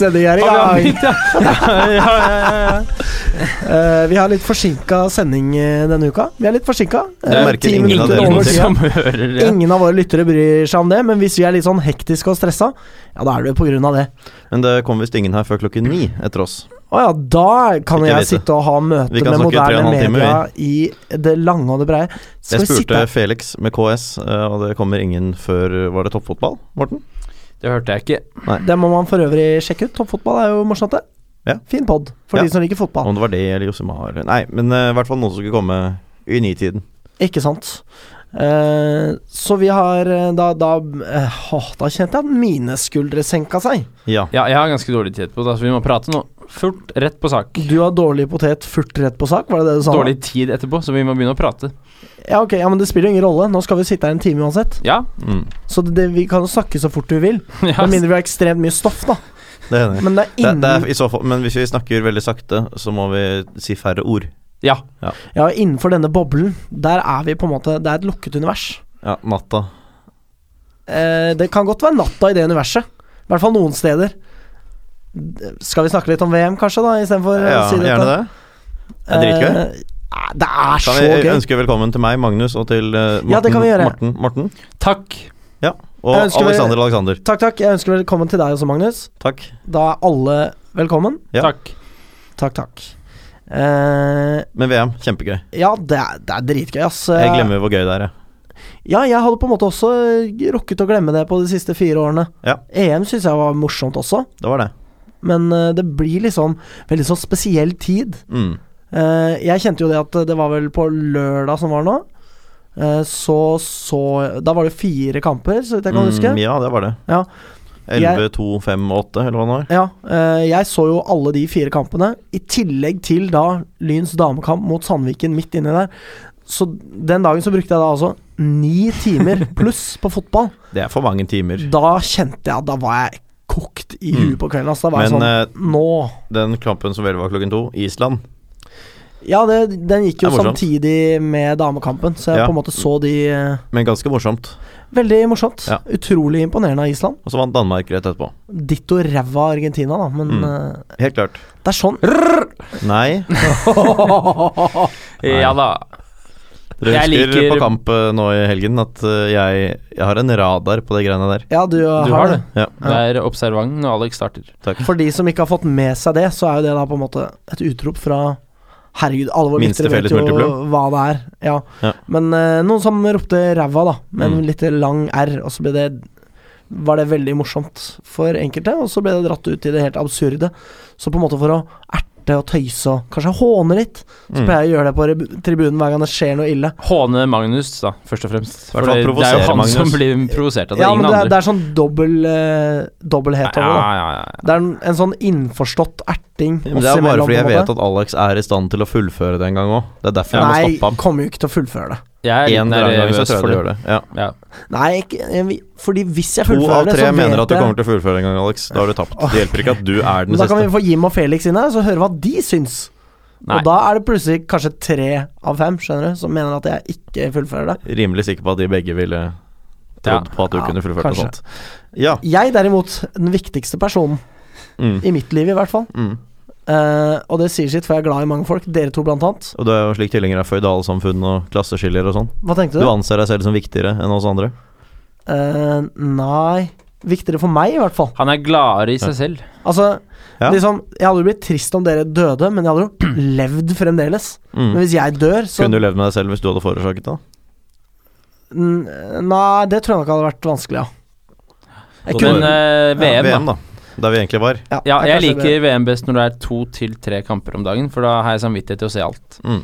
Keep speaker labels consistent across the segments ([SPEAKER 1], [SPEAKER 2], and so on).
[SPEAKER 1] Sending er i
[SPEAKER 2] Har vi
[SPEAKER 1] gang.
[SPEAKER 2] anbegynt, ja? ja, ja, ja, ja.
[SPEAKER 1] Eh, vi har litt forsinka sending eh, denne uka. Vi er litt Eh, forsinka.
[SPEAKER 3] Det merker ingen av dere
[SPEAKER 2] Ingen
[SPEAKER 3] noe
[SPEAKER 1] over
[SPEAKER 3] til.
[SPEAKER 1] tida.
[SPEAKER 2] som hører det.
[SPEAKER 1] Ingen av våre lyttere bryr seg om det, men hvis vi er litt sånn hektiske og stressa, ja, da er det jo på grunn av det.
[SPEAKER 3] Men det kom visst ingen her før klokken ni etter oss.
[SPEAKER 1] Å ja, da kan
[SPEAKER 3] Ikke
[SPEAKER 1] jeg
[SPEAKER 3] vite.
[SPEAKER 1] sitte og ha møte
[SPEAKER 3] Vi kan
[SPEAKER 1] med
[SPEAKER 3] snakke i tre og en
[SPEAKER 1] moderne
[SPEAKER 3] halv time,
[SPEAKER 1] media i det lange og det breie. Skal
[SPEAKER 3] Jeg
[SPEAKER 1] vi sitte
[SPEAKER 3] spurte
[SPEAKER 1] her?
[SPEAKER 3] Felix med KS, eh, og det kommer ingen før eh, Var det toppfotball, Morten?
[SPEAKER 2] Det hørte jeg ikke.
[SPEAKER 1] Det må man for øvrig sjekke ut. Toppfotball er jo morsomt, det.
[SPEAKER 3] Ja.
[SPEAKER 1] Fin pod for
[SPEAKER 3] Ja.
[SPEAKER 1] de som liker fotball.
[SPEAKER 3] Om det var det eller Josimar Nei, men eh, i hvert fall noen som skulle komme i nitiden.
[SPEAKER 1] Ikke sant. Eh, så vi har eh, Da, da, eh, åh, da kjente jeg at mine skuldre senka seg.
[SPEAKER 3] Ja.
[SPEAKER 2] Ja, jeg har ganske dårlig tid på det, så vi må prate nå. Fort rett på sak.
[SPEAKER 1] Du har dårlig potet, furt rett på sak, var det det du sa?
[SPEAKER 2] Dårlig tid etterpå, så vi må begynne å prate.
[SPEAKER 1] Ja, ok, ja, men det spiller jo ingen rolle. Nå skal vi sitte her en time uansett.
[SPEAKER 2] Ja.
[SPEAKER 3] Mm,
[SPEAKER 1] Så det, det, vi kan jo snakke så fort vi vil.
[SPEAKER 2] ja.
[SPEAKER 1] Med mindre vi har ekstremt mye stoff, da.
[SPEAKER 3] det hender.
[SPEAKER 1] Men det er
[SPEAKER 3] Det,
[SPEAKER 1] innen,
[SPEAKER 3] det er i så fall, men hvis vi snakker veldig sakte, så må vi si færre ord.
[SPEAKER 2] ja.
[SPEAKER 1] ja, innenfor denne boblen, der er vi på en måte Det er et lukket univers.
[SPEAKER 3] Ja, natta.
[SPEAKER 1] Eh, det kan godt være natta i det universet. I hvert fall noen steder. D- Skal vi snakke litt om VM, kanskje, da, istedenfor å
[SPEAKER 3] Ja,
[SPEAKER 1] si dette?
[SPEAKER 3] gjerne det. Det er dritgøy.
[SPEAKER 1] Eh, nei, det er så
[SPEAKER 3] Kan vi
[SPEAKER 1] gøy.
[SPEAKER 3] ønske velkommen til meg, Magnus, og til eh, Morten,
[SPEAKER 1] Ja, det kan vi gjøre.
[SPEAKER 3] Morten, Morten
[SPEAKER 2] Takk.
[SPEAKER 3] og
[SPEAKER 1] Jeg ønsker vi-
[SPEAKER 3] Alexander Alexander.
[SPEAKER 1] Takk, takk. Jeg ønsker velkommen til deg også, Magnus.
[SPEAKER 3] Takk.
[SPEAKER 1] Da er alle velkommen.
[SPEAKER 3] Ja.
[SPEAKER 2] Takk.
[SPEAKER 1] Takk, takk. Eh,
[SPEAKER 3] Men VM, kjempegøy.
[SPEAKER 1] ja, det er, det er dritgøy, ass.
[SPEAKER 3] Jeg glemmer hvor gøy det er, jeg.
[SPEAKER 1] Ja, jeg hadde på en måte også eh, rukket å glemme det på de siste fire årene.
[SPEAKER 3] Ja.
[SPEAKER 1] EM syns jeg var morsomt også,
[SPEAKER 3] Det var det.
[SPEAKER 1] men eh, det blir liksom veldig sånn spesiell tid.
[SPEAKER 3] Mm.
[SPEAKER 1] Eh, jeg kjente jo det at det var vel på lørdag som var nå. eh, så så Da var det fire kamper, så vidt jeg kan huske.
[SPEAKER 3] Mm, ja, det var det.
[SPEAKER 1] Ja.
[SPEAKER 3] 11, 2, 5 og 8, eller hva det var.
[SPEAKER 1] Ja, eh, jeg så jo alle de fire kampene, i tillegg til da Lyns damekamp mot Sandviken midt inni der. Så den dagen så brukte jeg da altså ni timer pluss på fotball.
[SPEAKER 3] Det er for mange timer.
[SPEAKER 1] Da kjente jeg at da var jeg kokt i huet
[SPEAKER 3] Mm.
[SPEAKER 1] på kvelden. Altså, da var
[SPEAKER 3] Men
[SPEAKER 1] jeg
[SPEAKER 3] eh,
[SPEAKER 1] sånn Nå!
[SPEAKER 3] den kampen som vel var klokken to, Island
[SPEAKER 1] Ja, det, den gikk jo
[SPEAKER 3] Det er morsomt.
[SPEAKER 1] samtidig med damekampen, så jeg
[SPEAKER 3] Ja.
[SPEAKER 1] på en måte så de eh,
[SPEAKER 3] Men ganske morsomt.
[SPEAKER 1] Veldig morsomt.
[SPEAKER 3] Ja.
[SPEAKER 1] Utrolig imponerende av Island.
[SPEAKER 3] Og så vant Danmark rett etterpå.
[SPEAKER 1] Ditto ræva Argentina, da, men
[SPEAKER 3] Mm.
[SPEAKER 1] eh,
[SPEAKER 3] Helt klart.
[SPEAKER 1] det er sånn.
[SPEAKER 3] Nei. Nei.
[SPEAKER 2] Ja da.
[SPEAKER 3] Dere
[SPEAKER 2] Jeg
[SPEAKER 3] husker
[SPEAKER 2] liker-
[SPEAKER 3] på kamp eh, nå i helgen at eh, jeg, jeg har en radar på de greiene der.
[SPEAKER 1] Ja, du,
[SPEAKER 2] Du
[SPEAKER 1] har
[SPEAKER 2] har
[SPEAKER 1] det.
[SPEAKER 2] det.
[SPEAKER 3] Ja.
[SPEAKER 2] Det er observant når Alex starter.
[SPEAKER 3] Takk.
[SPEAKER 1] For de som ikke har fått med seg det, så er jo det da på en måte et utrop fra Herregud, alle våre
[SPEAKER 3] Minste
[SPEAKER 1] lyttere vet
[SPEAKER 3] felles
[SPEAKER 1] jo
[SPEAKER 3] multiplum.
[SPEAKER 1] hva det er. Ja.
[SPEAKER 3] Ja.
[SPEAKER 1] Men eh, noen som ropte 'ræva', da, med en
[SPEAKER 3] Mm.
[SPEAKER 1] litt lang R, og så ble det var det veldig morsomt for enkelte, og så ble det dratt ut i det helt absurde. Så på en måte for å erte og tøyse og kanskje håne litt, så
[SPEAKER 3] Mm.
[SPEAKER 1] pleier jeg å gjøre det på rebu- tribunen hver gang det skjer noe ille.
[SPEAKER 2] Håne Magnus, da, først og fremst. For
[SPEAKER 3] hvert fall
[SPEAKER 2] det, det er
[SPEAKER 3] provosere
[SPEAKER 2] jo han
[SPEAKER 3] Magnus.
[SPEAKER 2] som blir provosert av det,
[SPEAKER 1] Ja, men det
[SPEAKER 2] ingen
[SPEAKER 1] er, det
[SPEAKER 2] andre.
[SPEAKER 1] er sånn dobbel eh, dobbelthet over det. da.
[SPEAKER 2] ja, ja, ja.
[SPEAKER 1] Det er en, en sånn innforstått erting
[SPEAKER 3] Men
[SPEAKER 1] oss
[SPEAKER 3] det er bare
[SPEAKER 1] imellom, på
[SPEAKER 3] fordi
[SPEAKER 1] en
[SPEAKER 3] jeg
[SPEAKER 1] måte.
[SPEAKER 3] vet at Alex er i stand til å fullføre det en gang òg. Det er derfor jeg må
[SPEAKER 1] Nei,
[SPEAKER 3] stoppe ham.
[SPEAKER 1] kommer jo ikke til å fullføre det.
[SPEAKER 2] Jeg er
[SPEAKER 3] En
[SPEAKER 2] litt
[SPEAKER 3] eller annen gang så
[SPEAKER 2] nervøs
[SPEAKER 3] tror jeg
[SPEAKER 2] for
[SPEAKER 3] du
[SPEAKER 2] det.
[SPEAKER 3] gjør det. Ja.
[SPEAKER 2] Ja.
[SPEAKER 1] Nei, ikke, jeg- fordi hvis jeg
[SPEAKER 3] To
[SPEAKER 1] fullfører
[SPEAKER 3] av
[SPEAKER 1] det, så
[SPEAKER 3] tre
[SPEAKER 1] vet
[SPEAKER 3] mener at du
[SPEAKER 1] jeg
[SPEAKER 3] kommer til å fullføre en gang, Alex. Da har du tapt. Det hjelper ikke at du er
[SPEAKER 1] Men
[SPEAKER 3] den
[SPEAKER 1] Da kan vi
[SPEAKER 3] siste.
[SPEAKER 1] få Jim og Felix inn her, så høre hva de syns.
[SPEAKER 2] Nei.
[SPEAKER 1] Og da er det plutselig kanskje tre av fem skjønner du, som mener at jeg ikke fullfører det.
[SPEAKER 3] Rimelig sikker på at de begge ville trodd på at du
[SPEAKER 1] Ja,
[SPEAKER 3] kunne fullført noe
[SPEAKER 1] kanskje.
[SPEAKER 3] sånt. Ja.
[SPEAKER 1] Jeg derimot, den viktigste personen,
[SPEAKER 3] Mm.
[SPEAKER 1] i mitt liv i hvert fall,
[SPEAKER 3] Mm.
[SPEAKER 1] eh, og det sier sitt, for jeg er glad i mange folk, dere to blant annet.
[SPEAKER 3] Og du er jo slik tilhenger av føydalsamfunn og klasseskiller og sånn.
[SPEAKER 1] Hva tenkte
[SPEAKER 3] Du
[SPEAKER 1] du?
[SPEAKER 3] anser deg selv som viktigere enn oss andre.
[SPEAKER 1] Eh, nei Viktigere for meg, i hvert fall.
[SPEAKER 2] Han er gladere i seg selv.
[SPEAKER 1] Altså,
[SPEAKER 3] Ja.
[SPEAKER 1] liksom, jeg hadde jo blitt trist om dere døde, men jeg hadde jo levd fremdeles. Men
[SPEAKER 3] Mm.
[SPEAKER 1] hvis jeg dør, så
[SPEAKER 3] Kunne du levd med deg selv hvis du hadde forårsaket det?
[SPEAKER 1] N- Nei, det tror jeg nok hadde vært vanskelig, ja. Jeg
[SPEAKER 3] Så
[SPEAKER 1] kunne,
[SPEAKER 2] Men eh,
[SPEAKER 3] Ja,
[SPEAKER 2] VM, da.
[SPEAKER 3] VM, da. Der vi egentlig var.
[SPEAKER 1] ja,
[SPEAKER 2] Ja,
[SPEAKER 1] det er
[SPEAKER 2] jeg
[SPEAKER 1] kanskje det.
[SPEAKER 2] liker VM best når det er to til tre kamper om dagen, for da har jeg samvittighet til å se alt.
[SPEAKER 3] Mm.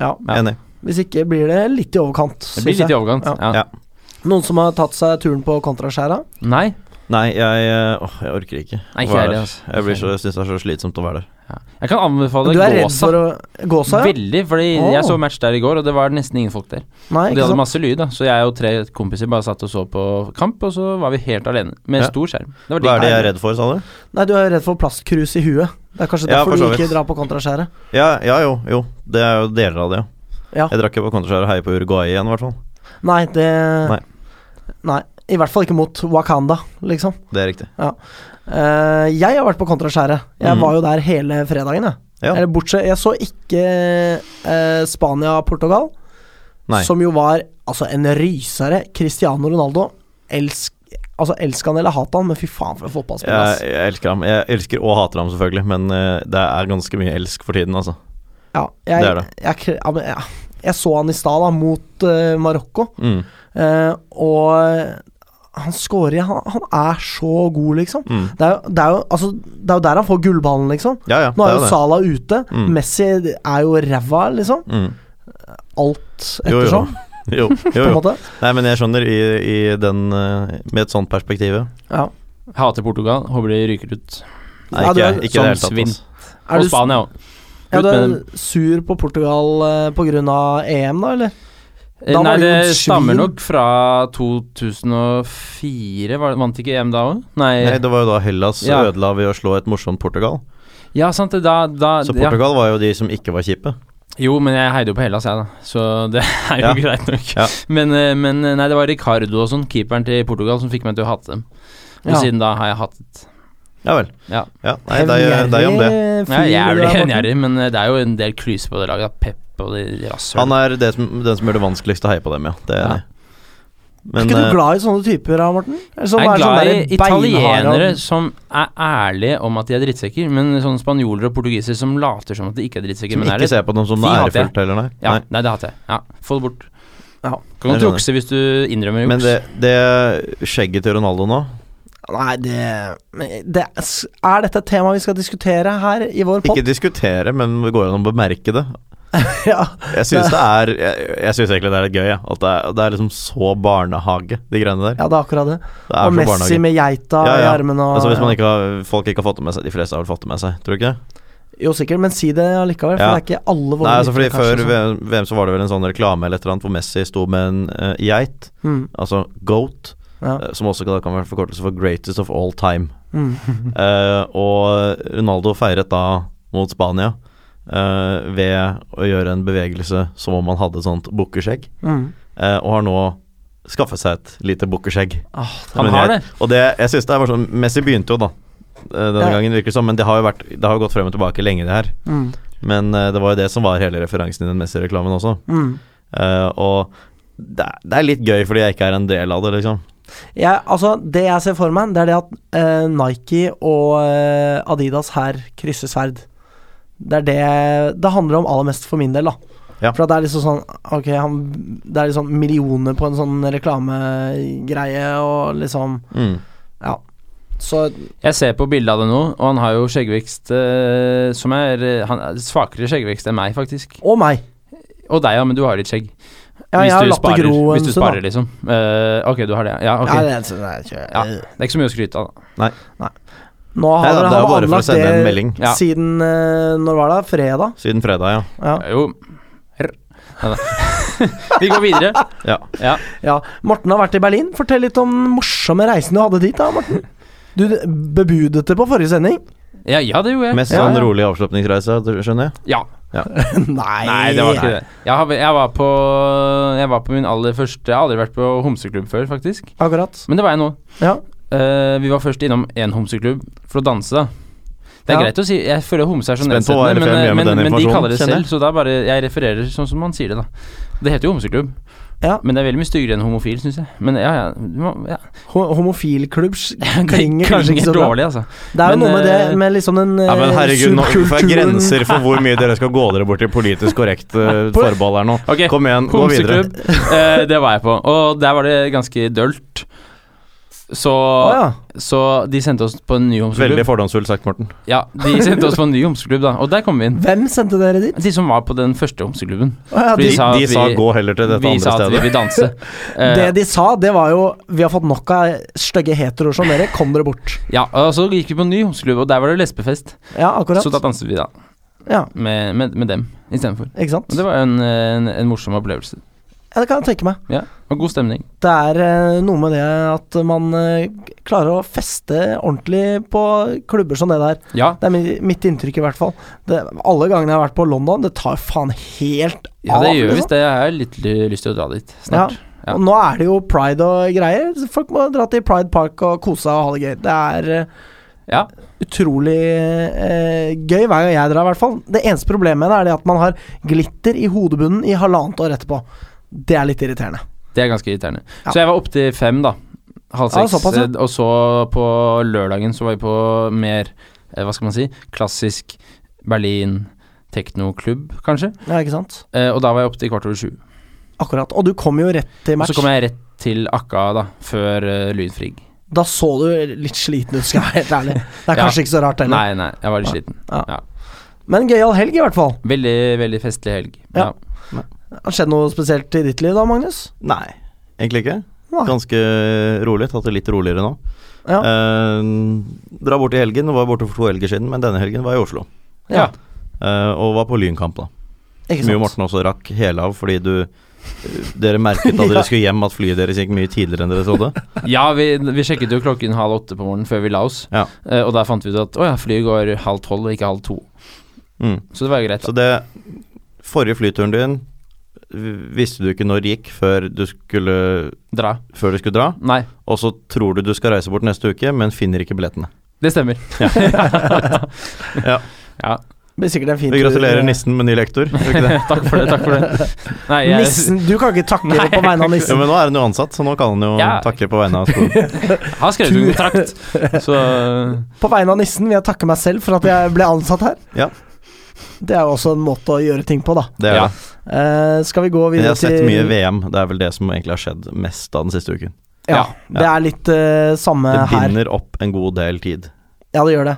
[SPEAKER 1] ja.
[SPEAKER 2] Ja.
[SPEAKER 3] Enig.
[SPEAKER 1] Hvis ikke blir det litt i overkant.
[SPEAKER 2] Det blir
[SPEAKER 1] synes
[SPEAKER 2] litt i
[SPEAKER 1] jeg.
[SPEAKER 2] overkant.
[SPEAKER 1] Ja.
[SPEAKER 2] Ja.
[SPEAKER 3] Ja.
[SPEAKER 1] Noen som har tatt seg turen på kontraskjæra?
[SPEAKER 2] Nei,
[SPEAKER 3] Nei, jeg eh, Åh, jeg orker ikke.
[SPEAKER 2] Nei,
[SPEAKER 3] å
[SPEAKER 2] ikke jeg
[SPEAKER 3] være der.
[SPEAKER 2] heller, altså.
[SPEAKER 3] Jeg, blir så- jeg syns det er så slitsomt å være der.
[SPEAKER 2] jeg kan anbefale
[SPEAKER 1] Du er redd
[SPEAKER 2] Gåsa.
[SPEAKER 1] for å Gåsa? ja?
[SPEAKER 2] Veldig, fordi
[SPEAKER 1] Åh.
[SPEAKER 2] jeg så match der i går, og det var nesten ingen folk der.
[SPEAKER 1] Nei,
[SPEAKER 2] Og de
[SPEAKER 1] ikke sant?
[SPEAKER 2] hadde masse lyd, da, så jeg og tre kompiser bare satt og så på kamp, og så var vi helt alene, med
[SPEAKER 3] Ja.
[SPEAKER 2] stor skjerm. Det var
[SPEAKER 3] Hva er det jeg
[SPEAKER 2] digg.
[SPEAKER 3] er redd for, sa du?
[SPEAKER 1] Nei, du er redd for plastkrus i huet. Det er kanskje
[SPEAKER 3] Ja,
[SPEAKER 1] derfor
[SPEAKER 3] for så
[SPEAKER 1] du ikke
[SPEAKER 3] vidt.
[SPEAKER 1] drar på kontraskjæret.
[SPEAKER 3] Ja, ja jo, jo. Det er jo deler av det,
[SPEAKER 1] Ja.
[SPEAKER 3] ja. Jeg drakk jo på kontraskjæret og heier på Uruguay igjen, i hvert fall.
[SPEAKER 1] Nei, det
[SPEAKER 3] Nei.
[SPEAKER 1] Nei. I hvert fall ikke mot Wakanda, liksom.
[SPEAKER 3] Det er riktig.
[SPEAKER 1] Eh, jeg har vært på Kontraskjæret. Jeg
[SPEAKER 3] Mm.
[SPEAKER 1] var jo der hele fredagen, jeg.
[SPEAKER 3] Ja.
[SPEAKER 1] Eller bortsett Jeg så ikke eh, Spania-Portugal,
[SPEAKER 3] Nei.
[SPEAKER 1] som jo var altså en rysere. Cristiano Ronaldo. Elsk, altså, elsk han eller hat han, men fy faen for en fotballspiller. ass.
[SPEAKER 3] Jeg, jeg elsker ham. Jeg elsker og hater ham, selvfølgelig, men eh, det er ganske mye elsk for tiden, altså.
[SPEAKER 1] Ja, jeg,
[SPEAKER 3] det er det.
[SPEAKER 1] Jeg, kre- ja, men, ja. jeg så han i stad, da, mot eh, Marokko.
[SPEAKER 3] Mm.
[SPEAKER 1] Eh, og han scorer han, han er så god, liksom.
[SPEAKER 3] Mm.
[SPEAKER 1] Det er, jo- det, er jo, altså, det er jo der han får gullballen, liksom.
[SPEAKER 3] Ja, ja.
[SPEAKER 1] Nå er
[SPEAKER 3] det
[SPEAKER 1] jo
[SPEAKER 3] det.
[SPEAKER 1] Salah ute.
[SPEAKER 3] Mm.
[SPEAKER 1] Messi er jo ræva, liksom.
[SPEAKER 3] Mm.
[SPEAKER 1] Alt
[SPEAKER 3] Jo, jo.
[SPEAKER 1] ettersom,
[SPEAKER 3] Jo, jo,
[SPEAKER 1] på en
[SPEAKER 3] jo.
[SPEAKER 1] måte.
[SPEAKER 3] Nei, men jeg skjønner, i, i den, eh, med et sånt perspektiv
[SPEAKER 1] Ja.
[SPEAKER 2] Hater Portugal, håper de ryker ut.
[SPEAKER 3] Nei,
[SPEAKER 1] Ja,
[SPEAKER 3] ikke,
[SPEAKER 1] du er- sånn
[SPEAKER 3] ikke i det hele tatt.
[SPEAKER 2] Som svin.
[SPEAKER 3] Altså.
[SPEAKER 1] Er
[SPEAKER 2] Og
[SPEAKER 1] du,
[SPEAKER 2] Spania òg.
[SPEAKER 1] ja,
[SPEAKER 2] Ut
[SPEAKER 1] du er
[SPEAKER 2] med
[SPEAKER 1] sur på Portugal eh, på grunn av EM, da, eller? Da var
[SPEAKER 2] Eh, Nei,
[SPEAKER 1] de jo
[SPEAKER 2] det
[SPEAKER 1] et
[SPEAKER 2] stammer
[SPEAKER 1] svin.
[SPEAKER 2] nok fra 2004. Var det, vant ikke EM da òg? Nei.
[SPEAKER 3] Nei, det var jo da Hellas
[SPEAKER 2] Ja.
[SPEAKER 3] ødela ved å slå et morsomt Portugal.
[SPEAKER 2] Ja, sant det. Da, da
[SPEAKER 3] Så
[SPEAKER 2] ja.
[SPEAKER 3] Portugal var jo de som ikke var kjipe.
[SPEAKER 2] Jo, men jeg heide jo på Hellas, jeg, da. Så det er jo
[SPEAKER 3] Ja.
[SPEAKER 2] greit nok.
[SPEAKER 3] Ja.
[SPEAKER 2] Men, eh, men eh, nei, det var Ricardo og sånn, keeperen til Portugal, som fikk meg til å hate dem. Og
[SPEAKER 1] Ja.
[SPEAKER 2] siden da har jeg hatet
[SPEAKER 3] Ja vel.
[SPEAKER 2] Ja.
[SPEAKER 3] nei, det er det er jo om det.
[SPEAKER 1] Hevngjerrig fyr
[SPEAKER 2] Jeg er
[SPEAKER 1] du
[SPEAKER 2] jævlig
[SPEAKER 1] er, Morten.
[SPEAKER 2] gjerrig, men eh, det er jo en del klyser på det laget. da. Pep og de
[SPEAKER 3] Han
[SPEAKER 2] rasshøla.
[SPEAKER 3] er det som, den som gjør det vanskeligst å heie på dem, ja. Det er jeg
[SPEAKER 2] Ja.
[SPEAKER 3] enig i. Men
[SPEAKER 1] er ikke
[SPEAKER 3] eh,
[SPEAKER 1] du glad i sånne typer, da, Morten? Eller sånn-
[SPEAKER 2] Jeg er
[SPEAKER 1] er sånn
[SPEAKER 2] glad i
[SPEAKER 1] der beinharde-
[SPEAKER 2] italienere som er ærlige om at de er drittsekker, men sånne spanjoler og portugisere som later som at de ikke er drittsekker,
[SPEAKER 3] som
[SPEAKER 2] men er
[SPEAKER 3] ikke
[SPEAKER 2] det.
[SPEAKER 3] ser på dem som
[SPEAKER 2] De
[SPEAKER 3] noe
[SPEAKER 2] hater jeg.
[SPEAKER 3] ærefullt heller, nei.
[SPEAKER 2] Ja,
[SPEAKER 3] nei.
[SPEAKER 2] nei, det hater jeg. Ja, Få det bort.
[SPEAKER 1] Ja.
[SPEAKER 2] Kan godt
[SPEAKER 3] Jeg skjønner.
[SPEAKER 2] jukse hvis du innrømmer
[SPEAKER 3] Men
[SPEAKER 2] juks.
[SPEAKER 3] det, det skjegget til Ronaldo nå
[SPEAKER 1] Nei, det, det Er dette et tema vi skal diskutere her i vår pod?
[SPEAKER 3] Ikke diskutere, men det går an å bemerke det.
[SPEAKER 1] ja.
[SPEAKER 3] Jeg syns det er Jeg, jeg synes egentlig det er litt gøy, jeg. At det er, det er liksom så barnehage, de greiene der.
[SPEAKER 1] ja, det er akkurat det.
[SPEAKER 3] Det er
[SPEAKER 1] og
[SPEAKER 3] så
[SPEAKER 1] Messi
[SPEAKER 3] barnehage.
[SPEAKER 1] med geita
[SPEAKER 3] Ja, ja.
[SPEAKER 1] i armene og
[SPEAKER 3] Altså Hvis man ikke har, folk ikke har fått det med seg De fleste har vel fått det med seg, tror du ikke? det?
[SPEAKER 1] Jo, sikkert, men si det allikevel, for
[SPEAKER 3] Ja.
[SPEAKER 1] det er ikke alle våre
[SPEAKER 3] Nei, altså fordi
[SPEAKER 1] lyttere,
[SPEAKER 3] Før
[SPEAKER 1] kanskje,
[SPEAKER 3] VM, VM så var det vel en sånn reklame eller et eller annet hvor Messi sto med en eh, geit,
[SPEAKER 1] som- Mm,
[SPEAKER 3] altså goat,
[SPEAKER 1] ja.
[SPEAKER 3] eh, som også kan- kan være forkortelse for greatest of all time.
[SPEAKER 1] Mm.
[SPEAKER 3] Eh, og Ronaldo feiret da mot Spania eh, ved å gjøre en bevegelse som om han hadde et sånt bukkeskjegg,
[SPEAKER 1] Mm.
[SPEAKER 3] eh, og har nå skaffet seg et lite bukkeskjegg.
[SPEAKER 1] Ah, det-
[SPEAKER 2] Han
[SPEAKER 3] Men
[SPEAKER 2] har
[SPEAKER 3] jeg-
[SPEAKER 2] det.
[SPEAKER 3] Og det, jeg synes det er bare sånn Messi begynte jo da eh, denne
[SPEAKER 1] Ja.
[SPEAKER 3] gangen, virker det som, men det har jo vært, det har jo gått frem og tilbake lenge, det her.
[SPEAKER 1] mm.
[SPEAKER 3] Men eh, det var jo det som var hele referansen i den Messi-reklamen også.
[SPEAKER 1] Mm.
[SPEAKER 3] Eh, og det er, det er litt gøy fordi jeg ikke er en del av det, liksom.
[SPEAKER 1] Jeg, altså, det jeg ser for meg, det er det at eh, Nike og eh, Adidas her krysser sverd. Det er det det handler om aller mest for min del, da.
[SPEAKER 3] Ja.
[SPEAKER 1] For at det er liksom sånn Ok, han, det er liksom millioner på en sånn reklamegreie og liksom
[SPEAKER 3] Mm.
[SPEAKER 1] Ja. Så
[SPEAKER 2] Jeg ser på bildet av det nå, og han har jo skjeggvekst eh, som er eh, Han er svakere skjeggvekst enn meg, faktisk.
[SPEAKER 1] Og meg.
[SPEAKER 2] Og deg, ja, men du har litt skjegg.
[SPEAKER 1] Ja, jeg har
[SPEAKER 2] du
[SPEAKER 1] latt det
[SPEAKER 2] sparer,
[SPEAKER 1] gro en
[SPEAKER 2] hvis du
[SPEAKER 1] stund, da.
[SPEAKER 2] sparer liksom. Eh, ok, du har det. Ja, ok.
[SPEAKER 1] Ja, det, er så- nei, kjør.
[SPEAKER 2] Ja. Det er ikke så mye å skryte av. da.
[SPEAKER 1] Nå har
[SPEAKER 3] Nei, da,
[SPEAKER 1] han
[SPEAKER 3] det er jo bare for å
[SPEAKER 1] anlagt
[SPEAKER 3] sende en
[SPEAKER 1] det
[SPEAKER 3] melding
[SPEAKER 2] Ja.
[SPEAKER 1] siden eh, Når var det? Fredag?
[SPEAKER 3] siden fredag, ja.
[SPEAKER 1] Ja.
[SPEAKER 2] Det er Jo Rr. Nei da. Vi går videre.
[SPEAKER 3] ja.
[SPEAKER 1] Ja, Morten har vært i Berlin. Fortell litt om den morsomme reisen du hadde dit, da, Morten. Du bebudet det på forrige sending.
[SPEAKER 2] Ja, ja det gjorde jeg.
[SPEAKER 3] Mest
[SPEAKER 2] ja,
[SPEAKER 3] sånn
[SPEAKER 2] ja.
[SPEAKER 3] rolig avslutningsreise, skjønner jeg.
[SPEAKER 2] Ja.
[SPEAKER 1] Nei.
[SPEAKER 2] Nei, det var ikke det. Jeg, har, jeg, var på, jeg var på min aller første Jeg har aldri vært på homseklubb før, faktisk.
[SPEAKER 1] Akkurat.
[SPEAKER 2] Men det var jeg nå.
[SPEAKER 1] Ja.
[SPEAKER 2] Eh, vi var først innom én homseklubb for å danse, da. Det er
[SPEAKER 1] Ja.
[SPEAKER 2] greit å si Jeg føler homse er så
[SPEAKER 3] Spent på hva
[SPEAKER 2] nedsettende,
[SPEAKER 3] RFM
[SPEAKER 2] men,
[SPEAKER 3] gjør
[SPEAKER 2] men,
[SPEAKER 3] med den
[SPEAKER 2] men de
[SPEAKER 3] informasjonen,
[SPEAKER 2] kaller det
[SPEAKER 3] kjenner jeg.
[SPEAKER 2] selv, så da bare Jeg refererer sånn som man sier det, da. Det heter jo homseklubb.
[SPEAKER 1] Ja.
[SPEAKER 2] Men det er veldig mye styggere enn homofil, syns jeg. Men ja, ja, du må- ja.
[SPEAKER 1] Ho- Homofilklubb s-
[SPEAKER 2] Det
[SPEAKER 1] klinger kanskje ikke så bra.
[SPEAKER 2] dårlig, altså.
[SPEAKER 1] Det er jo
[SPEAKER 2] Men,
[SPEAKER 1] noe med
[SPEAKER 2] eh,
[SPEAKER 1] det med liksom den eh,
[SPEAKER 3] Ja, men herregud, nå får jeg
[SPEAKER 1] subkulturen.
[SPEAKER 3] grenser for hvor mye dere skal gå dere bort i politisk korrekt eh, forbehold her nå.
[SPEAKER 2] Ok,
[SPEAKER 3] Kom igjen, gå videre.
[SPEAKER 2] homseklubb. Eh, det var jeg på. Og der var det ganske dølt. Så,
[SPEAKER 1] Å ja.
[SPEAKER 2] så de sendte oss på en ny homseklubb.
[SPEAKER 3] Veldig fordomsfullt sagt, Morten.
[SPEAKER 2] Ja, de sendte oss på en ny homseklubb, da. Og der kom vi inn.
[SPEAKER 1] Hvem sendte dere dit?
[SPEAKER 2] De som var på den første homseklubben.
[SPEAKER 1] Å ja,
[SPEAKER 3] De,
[SPEAKER 1] de,
[SPEAKER 2] Vi sa at
[SPEAKER 3] de sa
[SPEAKER 2] vi-
[SPEAKER 3] gå heller til dette
[SPEAKER 2] Vi
[SPEAKER 3] andre
[SPEAKER 2] sa at vi
[SPEAKER 3] stedet.
[SPEAKER 2] vil danse. Eh,
[SPEAKER 1] det de sa, det var jo Vi har fått nok av stygge heteroer som dere. Kom dere bort.
[SPEAKER 2] ja, og så gikk vi på en ny homseklubb, og der var det lesbefest.
[SPEAKER 1] Ja, akkurat.
[SPEAKER 2] Så da danset vi, da.
[SPEAKER 1] Ja,
[SPEAKER 2] Med, med, med dem istedenfor.
[SPEAKER 1] ikke sant?
[SPEAKER 2] Og det var jo en, en, en morsom opplevelse.
[SPEAKER 1] Ja, det kan jeg tenke meg.
[SPEAKER 2] Ja, og god stemning.
[SPEAKER 1] Det er eh, noe med det at man eh, klarer å feste ordentlig på klubber som det der.
[SPEAKER 2] Ja,
[SPEAKER 1] Det er mi- mitt inntrykk i hvert fall. Det, alle gangene jeg har vært på London, det tar jo faen helt
[SPEAKER 2] ja
[SPEAKER 1] av.
[SPEAKER 2] det gjør
[SPEAKER 1] liksom.
[SPEAKER 2] visst det. Jeg har litt ly- lyst til å dra dit snart. Ja.
[SPEAKER 1] Og nå er det jo pride og greier. Så Folk må dra til Pride Park og kose seg og ha det gøy. Det er eh,
[SPEAKER 2] Ja.
[SPEAKER 1] utrolig eh, gøy hver gang jeg drar, i hvert fall. Det eneste problemet med det er det at man har glitter i hodebunnen i halvannet år etterpå. Det er litt irriterende.
[SPEAKER 2] Det er ganske irriterende.
[SPEAKER 1] Ja.
[SPEAKER 2] Så jeg var oppe til fem, da. Halv
[SPEAKER 1] Ja,
[SPEAKER 2] seks.
[SPEAKER 1] såpass, ja.
[SPEAKER 2] eh, Og så på lørdagen så var vi på mer, eh, hva skal man si, klassisk Berlin teknoklubb, kanskje.
[SPEAKER 1] Ja, ikke sant?
[SPEAKER 2] Eh, og da var jeg oppe til kvart over sju.
[SPEAKER 1] Akkurat. Og du kom jo rett til
[SPEAKER 2] Og
[SPEAKER 1] match.
[SPEAKER 2] så kom jeg rett til Akka, da, før eh, Lynfrig.
[SPEAKER 1] Da så du litt sliten ut, skal jeg være helt ærlig. Det er
[SPEAKER 2] Ja.
[SPEAKER 1] kanskje ikke så rart heller.
[SPEAKER 2] Nei, nei, jeg var litt sliten.
[SPEAKER 1] Men gøyal helg, i hvert fall.
[SPEAKER 2] Veldig, veldig festlig helg.
[SPEAKER 1] Ja. Har det skjedd noe spesielt i ditt liv da, Magnus?
[SPEAKER 3] Nei, egentlig ikke.
[SPEAKER 1] Nei.
[SPEAKER 3] Ganske rolig. Tatt det litt roligere nå.
[SPEAKER 1] Ja.
[SPEAKER 3] Eh, dra bort i helgen. Var borte for to helger siden, men denne helgen var jeg i Oslo.
[SPEAKER 2] Ja.
[SPEAKER 1] Ja.
[SPEAKER 3] Eh, og var på Lynkamp, da.
[SPEAKER 1] Ikke
[SPEAKER 3] Som jo
[SPEAKER 1] sant?
[SPEAKER 3] Morten også rakk hele av, fordi du eh, Dere merket da
[SPEAKER 1] Ja.
[SPEAKER 3] dere skulle hjem at flyet deres gikk mye tidligere enn dere trodde.
[SPEAKER 2] Ja, vi, vi sjekket jo klokken halv åtte på morgenen før vi la oss,
[SPEAKER 3] Ja.
[SPEAKER 2] eh, og der fant vi ut at å ja, flyet går halv tolv og ikke halv to.
[SPEAKER 3] Mm.
[SPEAKER 2] Så det var jo greit.
[SPEAKER 3] Så det Forrige flyturen din v- visste du ikke når gikk før du skulle,
[SPEAKER 2] da. Dra.
[SPEAKER 3] før du skulle dra,
[SPEAKER 2] Nei,
[SPEAKER 3] og så tror du du skal reise bort neste uke, men finner ikke billettene.
[SPEAKER 2] det stemmer.
[SPEAKER 3] Ja.
[SPEAKER 2] ja.
[SPEAKER 1] Blir sikkert en fin
[SPEAKER 3] Vi
[SPEAKER 1] tur.
[SPEAKER 3] gratulerer nissen med ny lektor. gjør vi ikke det?
[SPEAKER 2] takk for det, takk for det. Nei, jeg,
[SPEAKER 1] Nissen, du kan ikke takke det på vegne av
[SPEAKER 3] Ja,
[SPEAKER 1] nissen.
[SPEAKER 3] men nå er han jo ansatt, så nå kan han jo
[SPEAKER 2] Ja.
[SPEAKER 3] takke på vegne av skolen.
[SPEAKER 2] har skrevet en kontrakt, så
[SPEAKER 1] På vegne av nissen vil jeg takke meg selv for at jeg ble ansatt her.
[SPEAKER 3] Ja.
[SPEAKER 1] Det er jo også en måte å gjøre ting på, da.
[SPEAKER 3] Det er
[SPEAKER 2] Ja.
[SPEAKER 3] det.
[SPEAKER 1] Eh, skal vi gå
[SPEAKER 3] Men jeg
[SPEAKER 1] videre
[SPEAKER 3] har sett
[SPEAKER 1] til
[SPEAKER 3] mye VM. Det er vel det som egentlig har skjedd mest av den siste uken.
[SPEAKER 1] Ja,
[SPEAKER 3] Ja.
[SPEAKER 1] det er litt eh, samme
[SPEAKER 3] Det
[SPEAKER 1] her.
[SPEAKER 3] binder opp en god del tid.
[SPEAKER 1] Ja, det gjør det.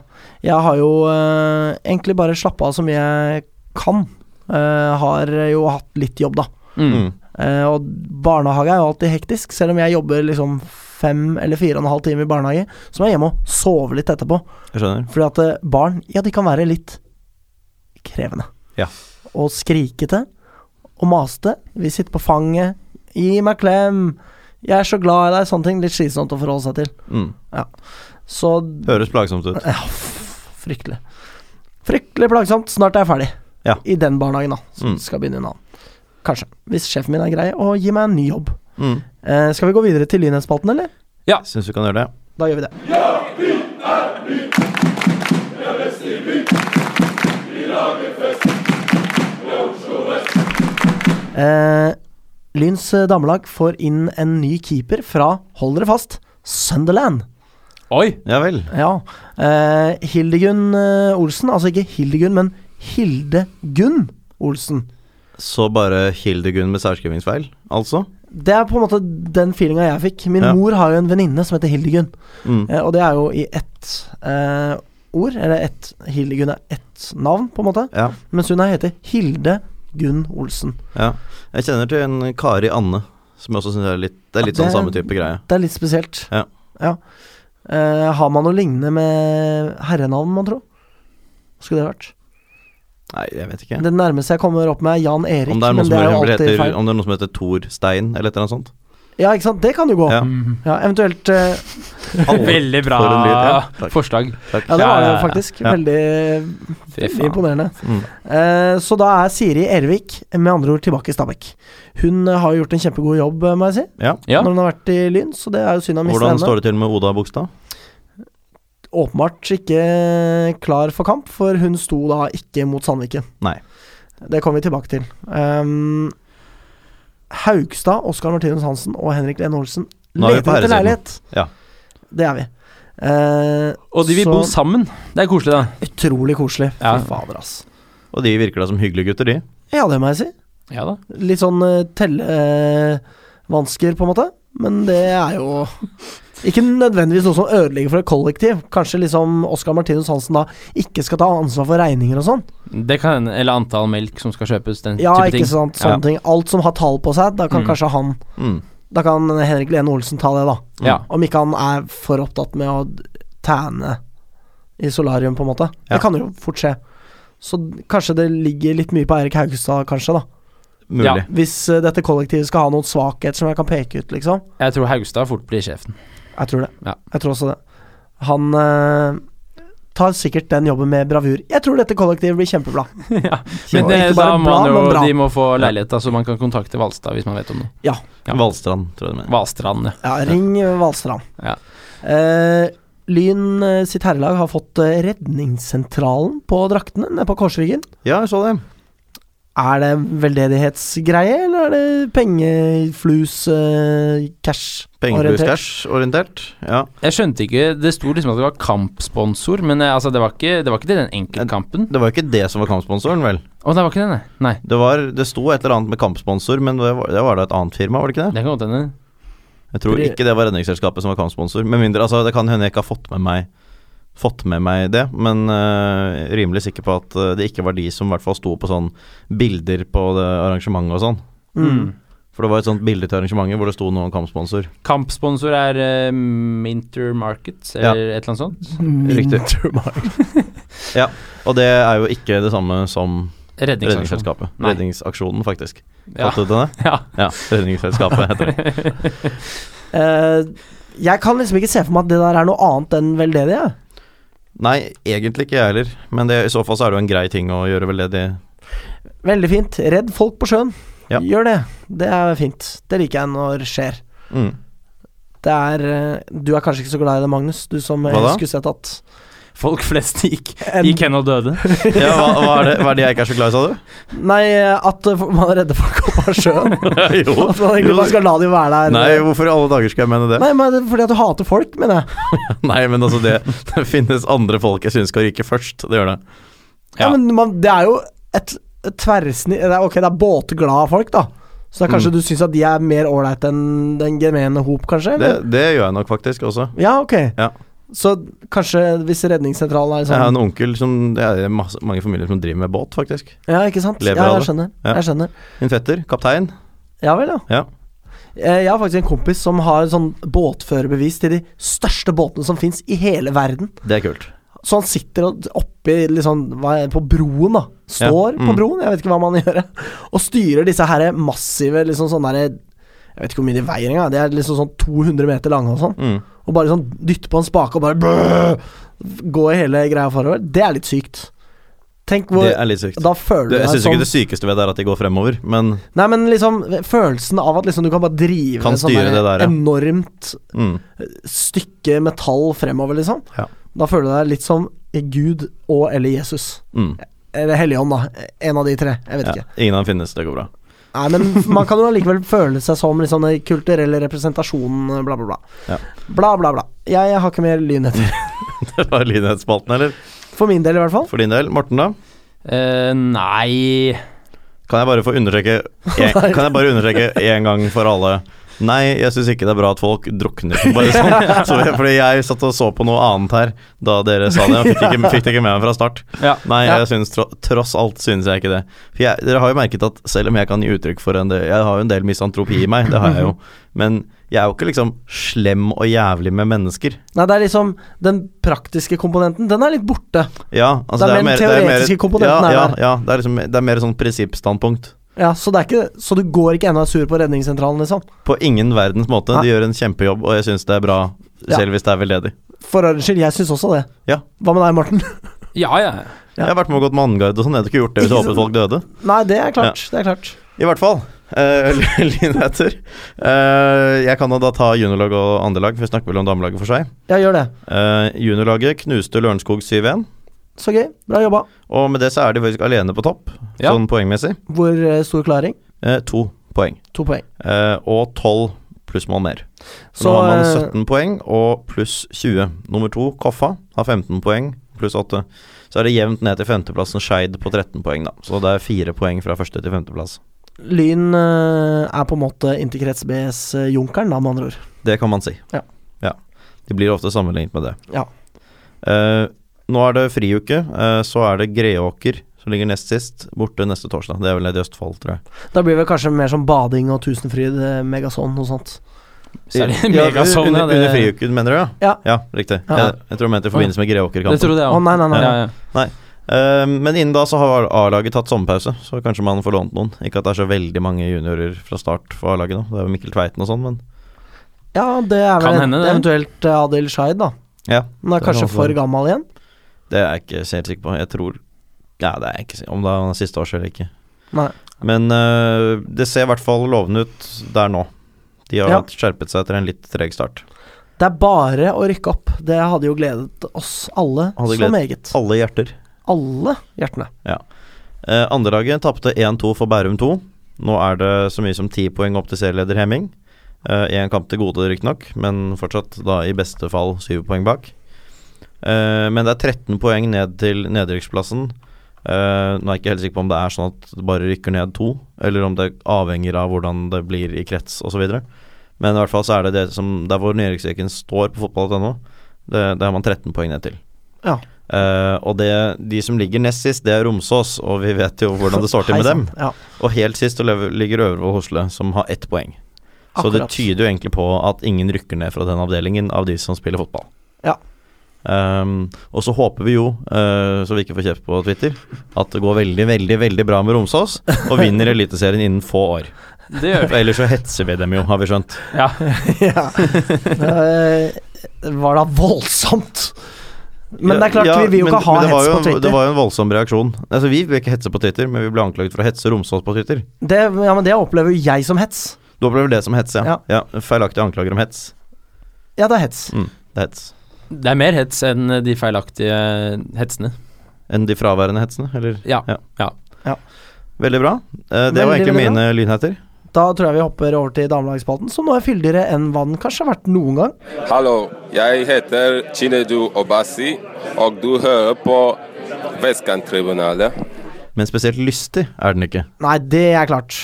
[SPEAKER 1] Jeg har jo eh, egentlig bare slappa av så mye jeg kan. Eh, har jo hatt litt jobb, da.
[SPEAKER 2] mm.
[SPEAKER 3] Mm.
[SPEAKER 1] Eh, og barnehage er jo alltid hektisk, selv om jeg jobber liksom fem eller fire og en halv time i barnehage, så må jeg hjem og sove litt etterpå.
[SPEAKER 3] Jeg skjønner.
[SPEAKER 1] Fordi at eh, barn, ja, de kan være litt krevende.
[SPEAKER 3] Ja.
[SPEAKER 1] Og skrikete og masete. Vi sitter på fanget. Gi meg klem. Jeg er så glad i deg. Sånne ting. Litt slitsomt å forholde seg til.
[SPEAKER 3] Mm.
[SPEAKER 1] Så
[SPEAKER 3] Høres plagsomt ut.
[SPEAKER 1] ja, f- fryktelig. Fryktelig plagsomt. Snart er jeg ferdig.
[SPEAKER 3] Ja.
[SPEAKER 1] I den barnehagen, da. Så
[SPEAKER 3] Mm.
[SPEAKER 1] skal begynne i en annen. Kanskje. Hvis sjefen min er grei, og gi meg en ny jobb.
[SPEAKER 3] Mm.
[SPEAKER 1] Eh, skal vi gå videre til Lynhetsspalten, eller?
[SPEAKER 3] Syns du kan gjøre det?
[SPEAKER 1] Da gjør vi det. Eh, Lyns eh, damelag får inn en ny keeper fra, hold dere fast, Sunderland.
[SPEAKER 2] Oi!
[SPEAKER 3] Ja vel.
[SPEAKER 1] Ja. Eh, Hildegunn eh, Olsen, altså ikke Hildegunn, men Hildegunn Olsen.
[SPEAKER 3] Så bare Hildegunn med særskrivingsfeil, altså?
[SPEAKER 1] Det er på en måte den feelinga jeg fikk. Min
[SPEAKER 3] Ja.
[SPEAKER 1] mor har jo en venninne som heter Hildegunn.
[SPEAKER 3] Mm.
[SPEAKER 1] Eh, og det er jo i ett eh, ord, eller ett Hildegunn er ett navn, på en måte.
[SPEAKER 3] Ja,
[SPEAKER 1] Mens hun her heter Hilde Gunn Olsen.
[SPEAKER 3] ja. Jeg kjenner til en Kari Anne, som jeg også syns er litt, det er litt
[SPEAKER 1] Ja,
[SPEAKER 3] sånn samme
[SPEAKER 1] det-
[SPEAKER 3] type greie.
[SPEAKER 1] Det er litt spesielt.
[SPEAKER 3] Ja.
[SPEAKER 1] Eh, har man noe lignende med herrenavn, man tro? Hva skulle det vært?
[SPEAKER 3] Nei, jeg vet ikke.
[SPEAKER 1] Det nærmeste jeg kommer opp med, er Jan Erik.
[SPEAKER 3] Om det er noen
[SPEAKER 1] men
[SPEAKER 3] som,
[SPEAKER 1] det er jo
[SPEAKER 3] for
[SPEAKER 1] alltid
[SPEAKER 3] eksempel heter,
[SPEAKER 1] feil.
[SPEAKER 3] om det er noen som heter Thor Stein, eller et eller annet sånt.
[SPEAKER 1] Ja, ikke sant? Det kan jo gå. Ja,
[SPEAKER 3] Ja.
[SPEAKER 2] Mm.
[SPEAKER 1] eventuelt eh,
[SPEAKER 3] Alle-
[SPEAKER 2] Veldig bra
[SPEAKER 3] For en lyd, ja. Takk.
[SPEAKER 2] forslag.
[SPEAKER 1] Ja, det
[SPEAKER 2] Ja,
[SPEAKER 1] var det
[SPEAKER 2] ja,
[SPEAKER 1] jo
[SPEAKER 2] ja.
[SPEAKER 1] faktisk.
[SPEAKER 3] Ja.
[SPEAKER 1] Veldig,
[SPEAKER 2] Fy
[SPEAKER 1] veldig
[SPEAKER 2] faen.
[SPEAKER 1] imponerende.
[SPEAKER 3] Mm.
[SPEAKER 1] Eh, så da er Siri Ervik med andre ord tilbake i Stabæk. Hun eh, har gjort en kjempegod jobb, eh, må jeg si,
[SPEAKER 3] Ja.
[SPEAKER 2] Ja.
[SPEAKER 1] når hun har vært i Lyn, så det er jo synd å miste
[SPEAKER 3] Hvordan
[SPEAKER 1] henne.
[SPEAKER 3] står det til med Oda Bogstad?
[SPEAKER 1] Åpenbart ikke klar for kamp, for hun sto da ikke mot Sandviken.
[SPEAKER 3] Nei.
[SPEAKER 1] Det kommer vi tilbake til. Ehm, Haugstad, Oskar Martinus Hansen og Henrik Lene Olsen
[SPEAKER 3] Nå er vi
[SPEAKER 1] leter
[SPEAKER 3] på
[SPEAKER 1] etter
[SPEAKER 3] herresiden.
[SPEAKER 1] leilighet.
[SPEAKER 3] Ja.
[SPEAKER 1] Det er vi. Eh,
[SPEAKER 2] Og de vil
[SPEAKER 1] så
[SPEAKER 2] bo sammen. Det er koselig, da.
[SPEAKER 1] utrolig koselig. Fy
[SPEAKER 2] Ja.
[SPEAKER 1] fader, ass.
[SPEAKER 3] Og de virker da som hyggelige gutter, de.
[SPEAKER 1] Ja, det må jeg si.
[SPEAKER 2] Ja da.
[SPEAKER 1] Litt sånn uh, tellevansker, på en måte. Men det er jo ikke nødvendigvis noe som ødelegger for et kollektiv. Kanskje liksom Oskar Martinus Hansen da ikke skal ta ansvar for regninger og sånn.
[SPEAKER 2] Det kan hende. Eller antall melk som skal kjøpes, den
[SPEAKER 1] Ja,
[SPEAKER 2] type ting.
[SPEAKER 1] ikke sant. Sånne
[SPEAKER 2] Ja.
[SPEAKER 1] ting. Alt som har tall på seg, da kan
[SPEAKER 2] Mm.
[SPEAKER 1] kanskje han
[SPEAKER 3] Mm.
[SPEAKER 1] Da kan Henrik Lene Olsen ta det, da.
[SPEAKER 2] Ja.
[SPEAKER 1] Om ikke han er for opptatt med å tæne i solarium, på en måte.
[SPEAKER 3] Ja.
[SPEAKER 1] Det kan jo fort skje. Så kanskje det ligger litt mye på Eirik Haugstad, kanskje, da.
[SPEAKER 3] Mulig.
[SPEAKER 2] Ja.
[SPEAKER 1] Hvis eh, dette kollektivet skal ha noen svakhet som jeg kan peke ut, liksom.
[SPEAKER 2] Jeg tror Haugstad fort blir sjefen.
[SPEAKER 1] Jeg tror det.
[SPEAKER 2] Ja.
[SPEAKER 1] Jeg tror også det. Han eh, tar sikkert den jobben med bravur. Jeg tror dette kollektivet blir kjempebra.
[SPEAKER 2] ja. Men
[SPEAKER 1] Og
[SPEAKER 2] det,
[SPEAKER 1] ikke
[SPEAKER 2] da
[SPEAKER 1] bare
[SPEAKER 2] må
[SPEAKER 1] bra,
[SPEAKER 2] han jo,
[SPEAKER 1] men bra.
[SPEAKER 2] de må få leilighet, da, så man kan kontakte Valstad hvis man vet om noe. Ja.
[SPEAKER 3] Valstrand, tror jeg det mener.
[SPEAKER 2] Valstrand, ja.
[SPEAKER 1] Ja, ring eh, Valstrand.
[SPEAKER 2] Ja.
[SPEAKER 1] Eh, Lyn eh, sitt herrelag har fått eh, redningssentralen på draktene nede på Korsryggen.
[SPEAKER 3] Ja, jeg så det.
[SPEAKER 1] Er det veldedighetsgreie, eller er det pengeflus, eh, cash? orientert?
[SPEAKER 3] Pengeblues-cash-orientert. Ja.
[SPEAKER 2] Jeg skjønte ikke Det sto liksom at det var kampsponsor, men eh, altså, det var ikke, det var ikke til den enkeltkampen.
[SPEAKER 3] Det var jo ikke det som var kampsponsoren, vel?
[SPEAKER 2] Å, det var ikke den, nei. nei.
[SPEAKER 3] Det, var, det sto et eller annet med kampsponsor, men det var, det var da et annet firma, var det ikke det?
[SPEAKER 2] Det kan godt hende.
[SPEAKER 3] Jeg tror
[SPEAKER 1] Fordi-
[SPEAKER 3] ikke det var Redningsselskapet som var kampsponsor. Med mindre, altså, det kan hende jeg ikke har fått med meg Fått med meg det, men øh, rimelig sikker på at øh, det ikke var de som i hvert fall sto på sånn bilder på det arrangementet og sånn.
[SPEAKER 1] Mm.
[SPEAKER 3] For det var et sånt bilde til arrangementet hvor det sto noe om kampsponsor.
[SPEAKER 2] Kampsponsor er eh, Minter Markets eller et eller annet sånt.
[SPEAKER 3] Riktig.
[SPEAKER 1] Mintermark.
[SPEAKER 3] Og det er jo ikke det samme som
[SPEAKER 2] Redningsaksjon.
[SPEAKER 3] Redningsselskapet.
[SPEAKER 2] Nei.
[SPEAKER 3] Redningsaksjonen, faktisk.
[SPEAKER 2] Ja.
[SPEAKER 3] Fant du ut av det?
[SPEAKER 2] ja.
[SPEAKER 3] Ja. Redningsselskapet heter det.
[SPEAKER 1] Eh, jeg kan liksom ikke se for meg at det der er noe annet enn veldedig. jeg.
[SPEAKER 3] Nei, egentlig ikke jeg heller, men det, i så fall så er det jo en grei ting å gjøre veldedig.
[SPEAKER 1] Veldig fint. Redd folk på sjøen.
[SPEAKER 3] Ja.
[SPEAKER 1] Gjør det. Det er fint. Det liker jeg når det skjer.
[SPEAKER 3] Mm.
[SPEAKER 1] Det er eh, Du er kanskje ikke så glad i det, Magnus, du som eh,
[SPEAKER 3] Hva da?
[SPEAKER 1] skulle sett at
[SPEAKER 2] Folk flest gikk,
[SPEAKER 1] en,
[SPEAKER 2] gikk hen og døde.
[SPEAKER 3] Ja, hva, hva, er det, hva er det jeg ikke er så glad i, sa du?
[SPEAKER 1] Nei, at eh, man redder folk opp av sjøen.
[SPEAKER 3] jo.
[SPEAKER 1] At man egentlig bare skal la dem være der.
[SPEAKER 3] Nei, hvorfor i alle dager skal jeg mene det?
[SPEAKER 1] Nei, men det er fordi at du hater folk, mener jeg.
[SPEAKER 3] Nei, men altså det, det finnes andre folk jeg syns skal ryke først. Det gjør det.
[SPEAKER 1] Ja,
[SPEAKER 2] Ja.
[SPEAKER 1] men man, Det er jo et, et tverrsnitt det er, Ok, det er båtglade folk, da. Så det er kanskje
[SPEAKER 3] Mm.
[SPEAKER 1] du syns at de er mer ålreit enn den gemene hop, kanskje?
[SPEAKER 3] Det,
[SPEAKER 1] Eller?
[SPEAKER 3] det gjør jeg nok faktisk også.
[SPEAKER 1] Ja, ok.
[SPEAKER 3] Ja.
[SPEAKER 1] Så kanskje hvis redningssentralen er
[SPEAKER 3] Jeg har
[SPEAKER 1] sånn
[SPEAKER 3] en onkel som Det er masse, mange familier som driver med båt, faktisk.
[SPEAKER 1] Ja, ikke sant?
[SPEAKER 3] Lever
[SPEAKER 1] Ja,
[SPEAKER 3] av
[SPEAKER 1] jeg
[SPEAKER 3] det.
[SPEAKER 1] skjønner.
[SPEAKER 3] Ja.
[SPEAKER 1] Jeg skjønner.
[SPEAKER 3] Min fetter, kaptein.
[SPEAKER 1] Ja vel, ja.
[SPEAKER 3] Ja.
[SPEAKER 1] Eh, Jeg har faktisk en kompis som har sånn båtførerbevis til de største båtene som fins i hele verden.
[SPEAKER 3] Det er kult.
[SPEAKER 1] Så han sitter og- oppi liksom, hva er det, på broen, da. Står
[SPEAKER 3] Ja, mm.
[SPEAKER 1] på broen, jeg vet ikke hva man gjør. Og styrer disse her massive liksom sånne der, Jeg vet ikke hvor mye de veier engang. De er liksom sånn 200 meter lange og sånn.
[SPEAKER 3] Mm.
[SPEAKER 1] Og bare sånn dytte på en spake og bare brø, Gå i hele greia forover. Det er litt sykt. Tenk hvor
[SPEAKER 3] Det er litt sykt.
[SPEAKER 1] Da føler du sånn-
[SPEAKER 3] Det, jeg
[SPEAKER 1] deg
[SPEAKER 3] syns
[SPEAKER 1] som
[SPEAKER 3] ikke det sykeste ved det er at de går fremover, men
[SPEAKER 1] Nei, men liksom følelsen av at liksom du kan bare drive
[SPEAKER 3] Kan
[SPEAKER 1] et sånn
[SPEAKER 3] styre
[SPEAKER 1] der
[SPEAKER 3] det der, ja.
[SPEAKER 1] enormt
[SPEAKER 3] mm.
[SPEAKER 1] stykke metall fremover, liksom.
[SPEAKER 3] Ja.
[SPEAKER 1] Da føler du deg litt som Gud og eller Jesus.
[SPEAKER 3] Mm.
[SPEAKER 1] Eller Helligånd, da. En av de tre. Jeg vet
[SPEAKER 3] Ja.
[SPEAKER 1] ikke.
[SPEAKER 3] Ingen av dem finnes, det går bra.
[SPEAKER 1] Nei, men man kan jo allikevel føle seg som liksom, den kulturelle representasjonen, bla, bla, bla.
[SPEAKER 3] Ja.
[SPEAKER 1] Bla, bla, bla. Jeg, har ikke mer lyn etter.
[SPEAKER 3] Det var Lynhetsspalten, eller?
[SPEAKER 1] For min del, i hvert fall.
[SPEAKER 3] For din del. Morten, da?
[SPEAKER 2] Eh, nei
[SPEAKER 3] Kan jeg bare få understreke en, Kan jeg bare understreke en gang for alle Nei, jeg syns ikke det er bra at folk drukner. Bare sånn. så, fordi jeg satt og så på noe annet her da dere sa det. Jeg fikk, ikke, fikk det ikke med meg fra start.
[SPEAKER 2] Ja.
[SPEAKER 3] Nei,
[SPEAKER 1] Ja.
[SPEAKER 3] jeg synes, tro, tross alt synes jeg ikke det. For jeg, dere har jo merket at selv om jeg kan gi uttrykk for en del Jeg har jo en del misantropi i meg, det har jeg jo. Men jeg er jo ikke liksom slem og jævlig med mennesker.
[SPEAKER 1] Nei, det er liksom Den praktiske komponenten, den er litt borte.
[SPEAKER 3] Ja, altså
[SPEAKER 1] Det er
[SPEAKER 3] det er,
[SPEAKER 1] mer
[SPEAKER 3] mer,
[SPEAKER 1] teoretiske
[SPEAKER 3] det er mer,
[SPEAKER 1] komponenten
[SPEAKER 3] ja,
[SPEAKER 1] her
[SPEAKER 3] ja,
[SPEAKER 1] der.
[SPEAKER 3] ja, det er liksom Det er mer sånn prinsippstandpunkt.
[SPEAKER 1] Ja, Så det er ikke Så du går ikke ennå sur på redningssentralen, liksom?
[SPEAKER 3] På ingen verdens måte.
[SPEAKER 1] Nei.
[SPEAKER 3] De gjør en kjempejobb, og jeg syns det er bra,
[SPEAKER 1] Ja.
[SPEAKER 3] selv hvis det er veldedig.
[SPEAKER 1] For ordens skyld, jeg syns også det.
[SPEAKER 3] Ja.
[SPEAKER 1] Hva med deg, Morten?
[SPEAKER 2] Ja, ja.
[SPEAKER 1] Ja.
[SPEAKER 3] Jeg har vært med og gått mannguide og sånn, jeg hadde ikke gjort det hvis jeg
[SPEAKER 1] Ikke
[SPEAKER 3] håpet folk døde.
[SPEAKER 1] Nei, det er klart. Det er klart.
[SPEAKER 3] I hvert fall. Uh, Lynheter. Eh, jeg kan jo da ta juniorlag og andrelag, for vi snakker vel om damelaget for seg.
[SPEAKER 1] Ja, gjør det.
[SPEAKER 3] Eh, juniorlaget knuste Lørenskog 7-1,
[SPEAKER 1] Så gøy. Bra jobba.
[SPEAKER 3] og med det så er de faktisk alene på topp,
[SPEAKER 2] Ja.
[SPEAKER 3] sånn poengmessig.
[SPEAKER 1] Hvor eh, stor klaring?
[SPEAKER 3] Eh, to poeng.
[SPEAKER 1] To poeng.
[SPEAKER 3] Eh, og tolv plussmål mer. Så
[SPEAKER 1] Så
[SPEAKER 3] nå har man
[SPEAKER 1] eh,
[SPEAKER 3] 17 poeng og pluss 20. Nummer to, Koffa, har 15 poeng pluss 8. Så er det jevnt ned til femteplassen Skeid på 13 poeng, da. Så det er fire poeng fra første til femteplass.
[SPEAKER 1] Lyn eh, er på en måte Interkrets Bs eh, Junkeren, da, med andre ord.
[SPEAKER 3] Det kan man si.
[SPEAKER 1] Ja.
[SPEAKER 3] De blir ofte sammenlignet med det.
[SPEAKER 1] Ja.
[SPEAKER 3] Eh, nå er det friuke, eh, så er det Greåker som ligger nest sist, borte neste torsdag. Det er vel nede i Østfold, tror jeg.
[SPEAKER 1] Da blir det kanskje mer som bading og Tusenfryd, eh, Megason, noe sånt.
[SPEAKER 2] Særlig
[SPEAKER 3] Ja,
[SPEAKER 2] Megason,
[SPEAKER 3] under,
[SPEAKER 2] ja, det-
[SPEAKER 3] under friuken, mener du? Ja,
[SPEAKER 1] Ja.
[SPEAKER 3] riktig.
[SPEAKER 1] Ja.
[SPEAKER 3] Jeg, jeg tror jeg mente i forbindelse med
[SPEAKER 2] Det
[SPEAKER 3] Greåker-kampen.
[SPEAKER 2] trodde
[SPEAKER 1] Å,
[SPEAKER 2] jeg òg.
[SPEAKER 1] nei, nei, nei.
[SPEAKER 2] Ja, ja.
[SPEAKER 3] Eh, men innen da så har A-laget tatt sommerpause, så kanskje man får lånt noen. Ikke at det er så veldig mange juniorer fra start for A-laget nå. Det er jo Mikkel Tveiten og sånn, men
[SPEAKER 1] Ja, det er
[SPEAKER 2] Kan
[SPEAKER 1] vel
[SPEAKER 2] hende det.
[SPEAKER 1] eventuelt eh, Adil Shaid, da.
[SPEAKER 3] ja.
[SPEAKER 1] Men er
[SPEAKER 3] Det kan
[SPEAKER 1] kanskje
[SPEAKER 3] også
[SPEAKER 1] for
[SPEAKER 3] være.
[SPEAKER 1] gammel igjen.
[SPEAKER 3] Det er jeg ikke så helt sikker på. Jeg tror Ja, det er jeg ikke sikker om det er siste års eller ikke.
[SPEAKER 1] Nei.
[SPEAKER 3] Men øh, det ser i hvert fall lovende ut der nå. De har
[SPEAKER 1] Ja.
[SPEAKER 3] skjerpet seg etter en litt treg start.
[SPEAKER 1] Det er bare å rykke opp. Det hadde jo gledet oss alle
[SPEAKER 3] Hadde
[SPEAKER 1] så
[SPEAKER 3] gledet-
[SPEAKER 1] meget.
[SPEAKER 3] Alle hjerter.
[SPEAKER 1] Alle hjertene.
[SPEAKER 3] Eh, andre laget tapte 1-2 for Bærum 2. Nå er det så mye som ti poeng opp til serieleder Hemming. Én kamp til gode, riktignok, men fortsatt da i beste fall syv poeng bak. Eh, men det er 13 poeng ned til nedrykksplassen. Eh, nå er jeg ikke helt sikker på om det er sånn at det bare rykker ned to, eller om det avhenger av hvordan det blir i krets osv. Men i hvert fall så er det det som Det er hvor nedrykksstreken står på fotball.no. Det, det har man 13 poeng ned til.
[SPEAKER 1] Ja.
[SPEAKER 3] Eh, og det, de som ligger nest sist, det er Romsås, og vi vet jo hvordan det står til med
[SPEAKER 1] Hei sann.
[SPEAKER 3] dem.
[SPEAKER 1] Ja,
[SPEAKER 3] Og helt sist så lever- ligger Øvrevoll Hosle, som har ett poeng. Så
[SPEAKER 1] akkurat.
[SPEAKER 3] det tyder jo egentlig på at ingen rykker ned fra den avdelingen av de som spiller fotball.
[SPEAKER 1] Ja.
[SPEAKER 3] Ehm, og så håper vi jo, eh, så vi ikke får kjeft på Twitter, at det går veldig, veldig veldig bra med Romsås, og vinner Eliteserien innen få år.
[SPEAKER 2] Det gjør
[SPEAKER 3] For ellers så hetser vi dem jo, har vi skjønt.
[SPEAKER 2] Ja.
[SPEAKER 1] ja. Det var da voldsomt. Men det er klart,
[SPEAKER 3] Ja,
[SPEAKER 1] vi vil jo
[SPEAKER 3] men-
[SPEAKER 1] ikke ha
[SPEAKER 3] men det var
[SPEAKER 1] hets
[SPEAKER 3] jo-
[SPEAKER 1] på Twitter.
[SPEAKER 3] Det var jo en voldsom reaksjon. Altså, vi vil ikke hetse på Twitter, men vi ble anklaget for å hetse Romsås på Twitter.
[SPEAKER 1] Det, ja, men det opplever jo jeg som hets.
[SPEAKER 3] Du opplever det som hets, ja.
[SPEAKER 1] Ja.
[SPEAKER 3] ja. feilaktige anklager om hets.
[SPEAKER 1] Ja, det er hets.
[SPEAKER 3] Det er hets.
[SPEAKER 2] Det er mer hets enn de feilaktige hetsene.
[SPEAKER 3] Enn de fraværende hetsene, eller?
[SPEAKER 2] Ja. Ja.
[SPEAKER 1] Ja.
[SPEAKER 3] Veldig bra. Eh, det
[SPEAKER 1] Veldig,
[SPEAKER 3] var egentlig
[SPEAKER 1] veldig bra.
[SPEAKER 3] mine lynheter.
[SPEAKER 1] Da tror jeg vi hopper over til damelagsspalten, som nå er fyldigere enn hva den kanskje har vært noen gang.
[SPEAKER 4] Hallo, jeg heter Chinedu Obasi, og du hører på Vestkanttribunalet.
[SPEAKER 3] Men spesielt lystig er den ikke.
[SPEAKER 1] Nei, det er klart.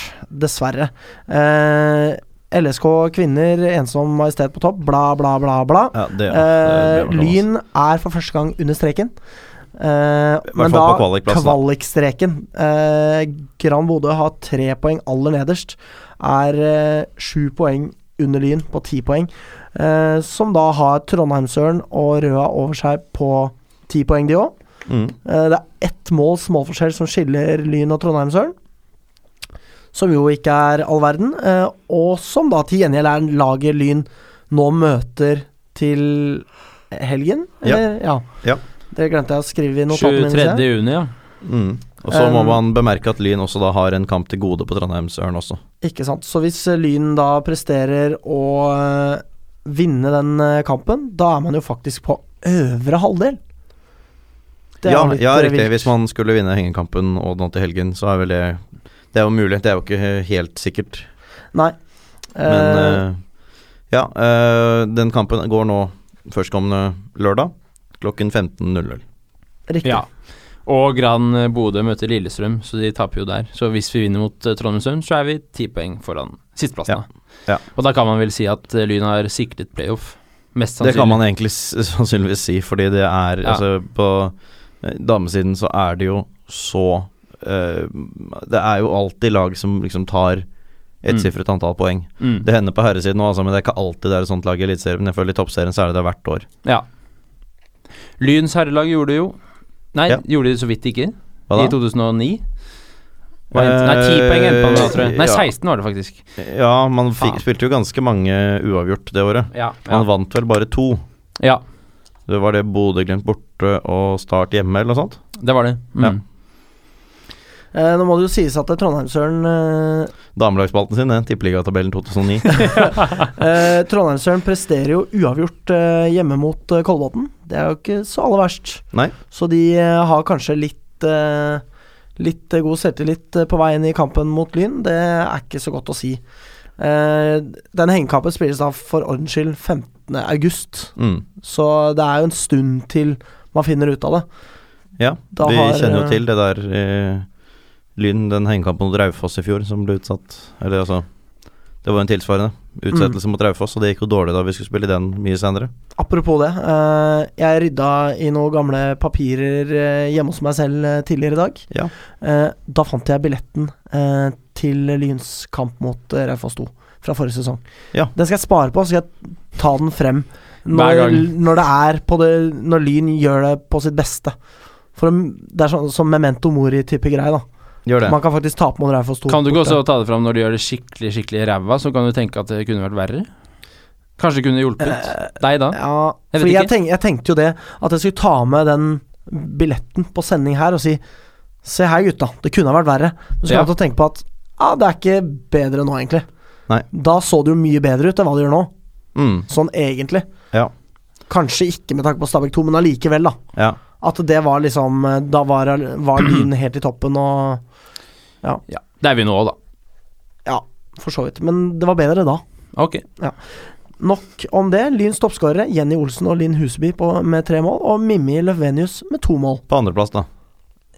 [SPEAKER 1] Dessverre. Eh, LSK kvinner, ensom majestet på topp, bla, bla, bla, bla.
[SPEAKER 3] Ja, det,
[SPEAKER 1] Eh,
[SPEAKER 3] det ble bra, altså.
[SPEAKER 1] lyn er for første gang under streken. Eh, men
[SPEAKER 3] fall
[SPEAKER 1] da
[SPEAKER 3] på kvalikplassen, da.
[SPEAKER 1] kvalikstreken. Eh, Gran Bodø har tre poeng aller nederst. Er eh, sju poeng under Lyn på ti poeng. Eh, som da har Trondheimsøren og Røa over seg på ti poeng, de òg.
[SPEAKER 3] Mm.
[SPEAKER 1] Eh, Det er ett måls målforskjell som skiller Lyn og Trondheimsølen. Som jo ikke er all verden, eh, og som da til gjengjeld er laget Lyn nå møter til helgen,
[SPEAKER 3] Ja.
[SPEAKER 1] eller? Ja.
[SPEAKER 3] Ja.
[SPEAKER 1] Det glemte jeg å skrive i notatene mine.
[SPEAKER 2] 23.
[SPEAKER 1] ser jeg.
[SPEAKER 2] juni, ja.
[SPEAKER 3] Mm. Og så må
[SPEAKER 1] Um,
[SPEAKER 3] man bemerke at Lyn også da har en kamp til gode på Trondheimsøren også.
[SPEAKER 1] Ikke sant. Så hvis eh, Lyn da presterer å eh, vinne den eh, kampen, da er man jo faktisk på øvre halvdel. Det er
[SPEAKER 3] Ja,
[SPEAKER 1] jo litt,
[SPEAKER 3] ja,
[SPEAKER 1] eh,
[SPEAKER 3] riktig.
[SPEAKER 1] vilt.
[SPEAKER 3] Hvis man skulle vinne hengekampen og nå til helgen, så er vel det Det er jo mulig. Det er jo ikke helt sikkert.
[SPEAKER 1] Nei.
[SPEAKER 3] Men
[SPEAKER 1] Eh,
[SPEAKER 3] eh, ja, eh, den kampen går nå førstkommende lørdag klokken 15.00. eh,
[SPEAKER 1] riktig.
[SPEAKER 2] ja. Og Gran Bodø møter Lillestrøm, så de taper jo der. Så hvis vi vinner mot eh, Trondheimsøren, så er vi ti poeng foran sisteplassen. da.
[SPEAKER 3] Ja.
[SPEAKER 2] Og da kan man vel si at eh, Lyn har sikret playoff. Mest
[SPEAKER 3] Det
[SPEAKER 2] sannsynlig.
[SPEAKER 3] kan man egentlig s sannsynligvis si, fordi det er
[SPEAKER 2] Ja.
[SPEAKER 3] altså På eh, damesiden så er det jo så eh, Det er jo alltid lag som liksom tar ettsifret antall poeng.
[SPEAKER 2] Mm.
[SPEAKER 3] Det hender på herresiden òg, altså, men det er ikke alltid det er et sånt lag i Eliteserien. Jeg føler i Toppserien så er det det hvert år.
[SPEAKER 2] Ja. Lyns herrelag gjorde det jo Nei,
[SPEAKER 3] Ja.
[SPEAKER 2] gjorde de så vidt ikke.
[SPEAKER 3] Hva
[SPEAKER 2] I
[SPEAKER 3] da? Eh,
[SPEAKER 2] 2009. Hva endte- Nei, 10 poeng endte man med, da, tror jeg. Nei,
[SPEAKER 3] Ja.
[SPEAKER 2] 16 var det faktisk.
[SPEAKER 3] Ja, man
[SPEAKER 2] Faen.
[SPEAKER 3] fikk, spilte jo ganske mange uavgjort det året.
[SPEAKER 2] Ja.
[SPEAKER 3] Man
[SPEAKER 2] ja.
[SPEAKER 3] vant vel bare to.
[SPEAKER 2] ja
[SPEAKER 3] Det var det Bodø-Glimt borte og Start hjemme, eller noe sånt?
[SPEAKER 2] det var det. Mm.
[SPEAKER 3] Ja.
[SPEAKER 1] Eh, nå må det jo sies at eh, Trondheimsøren eh,
[SPEAKER 3] Damelagsspalten sin, den tippeligatabellen 2009.
[SPEAKER 1] eh, Trondheimsøren presterer jo uavgjort eh, hjemme mot eh, Kolbotn. Det er jo ikke så aller verst.
[SPEAKER 3] Nei.
[SPEAKER 1] Så de eh, har kanskje litt eh, Litt eh, god selvtillit eh, på vei inn i kampen mot Lyn. Det er ikke så godt å si. Eh, den hengekampen spilles da for ordens skyld 15. august,
[SPEAKER 3] Mm.
[SPEAKER 1] så det er jo en stund til man finner ut av det.
[SPEAKER 3] Ja,
[SPEAKER 1] Da
[SPEAKER 3] vi
[SPEAKER 1] har,
[SPEAKER 3] kjenner
[SPEAKER 1] eh,
[SPEAKER 3] jo til det der eh, Lyn, den hengekampen mot Raufoss i fjor som ble utsatt. Eller altså Det var en tilsvarende
[SPEAKER 1] Mm.
[SPEAKER 3] utsettelse mot Raufoss, og det gikk jo dårlig da vi skulle spille den mye senere.
[SPEAKER 1] Apropos det, eh, jeg rydda i noen gamle papirer eh, hjemme hos meg selv eh, tidligere i dag.
[SPEAKER 3] Ja.
[SPEAKER 1] Eh, da fant jeg billetten eh, til Lyns kamp mot eh, Raufoss 2 fra forrige sesong.
[SPEAKER 3] Ja.
[SPEAKER 1] Den skal jeg spare på, så skal jeg ta den frem
[SPEAKER 2] Hver
[SPEAKER 1] når,
[SPEAKER 2] gang.
[SPEAKER 1] når det er på det Når Lyn gjør det på sitt beste. For det er sånn som memento mori-type greie, da.
[SPEAKER 3] Gjør det.
[SPEAKER 1] Man kan faktisk tape mot Raufoss 2.
[SPEAKER 2] Kan du ikke
[SPEAKER 1] borte.
[SPEAKER 2] også ta det fram når du gjør det skikkelig skikkelig ræva, så kan du tenke at det kunne vært verre? Kanskje det kunne hjulpet deg da?
[SPEAKER 1] Ja,
[SPEAKER 2] Jeg
[SPEAKER 1] for
[SPEAKER 2] vet
[SPEAKER 1] jeg,
[SPEAKER 2] ikke.
[SPEAKER 1] tenk, jeg tenkte jo det, at jeg skulle ta med den billetten på sending her og si Se her, gutta. Det kunne ha vært verre. Men så
[SPEAKER 2] Ja.
[SPEAKER 1] kommer du til å tenke på at ja, det er ikke bedre nå, egentlig.
[SPEAKER 3] Nei.
[SPEAKER 1] Da så det jo mye bedre ut enn hva det gjør nå.
[SPEAKER 3] Mm,
[SPEAKER 1] Sånn egentlig.
[SPEAKER 3] ja,
[SPEAKER 1] Kanskje ikke med tanke på Stabæk 2, men allikevel, da.
[SPEAKER 3] ja.
[SPEAKER 1] At det var liksom eh, Da var, var lyn helt i toppen og
[SPEAKER 2] Ja, Det er vi nå òg, da.
[SPEAKER 1] Ja, for så vidt. Men det var bedre da.
[SPEAKER 2] Ok.
[SPEAKER 1] Nok om det. Lyns toppskårere Jenny Olsen og Linn Huseby på, med tre mål, og Mimmi Løvenius med to mål.
[SPEAKER 3] På andreplass, da.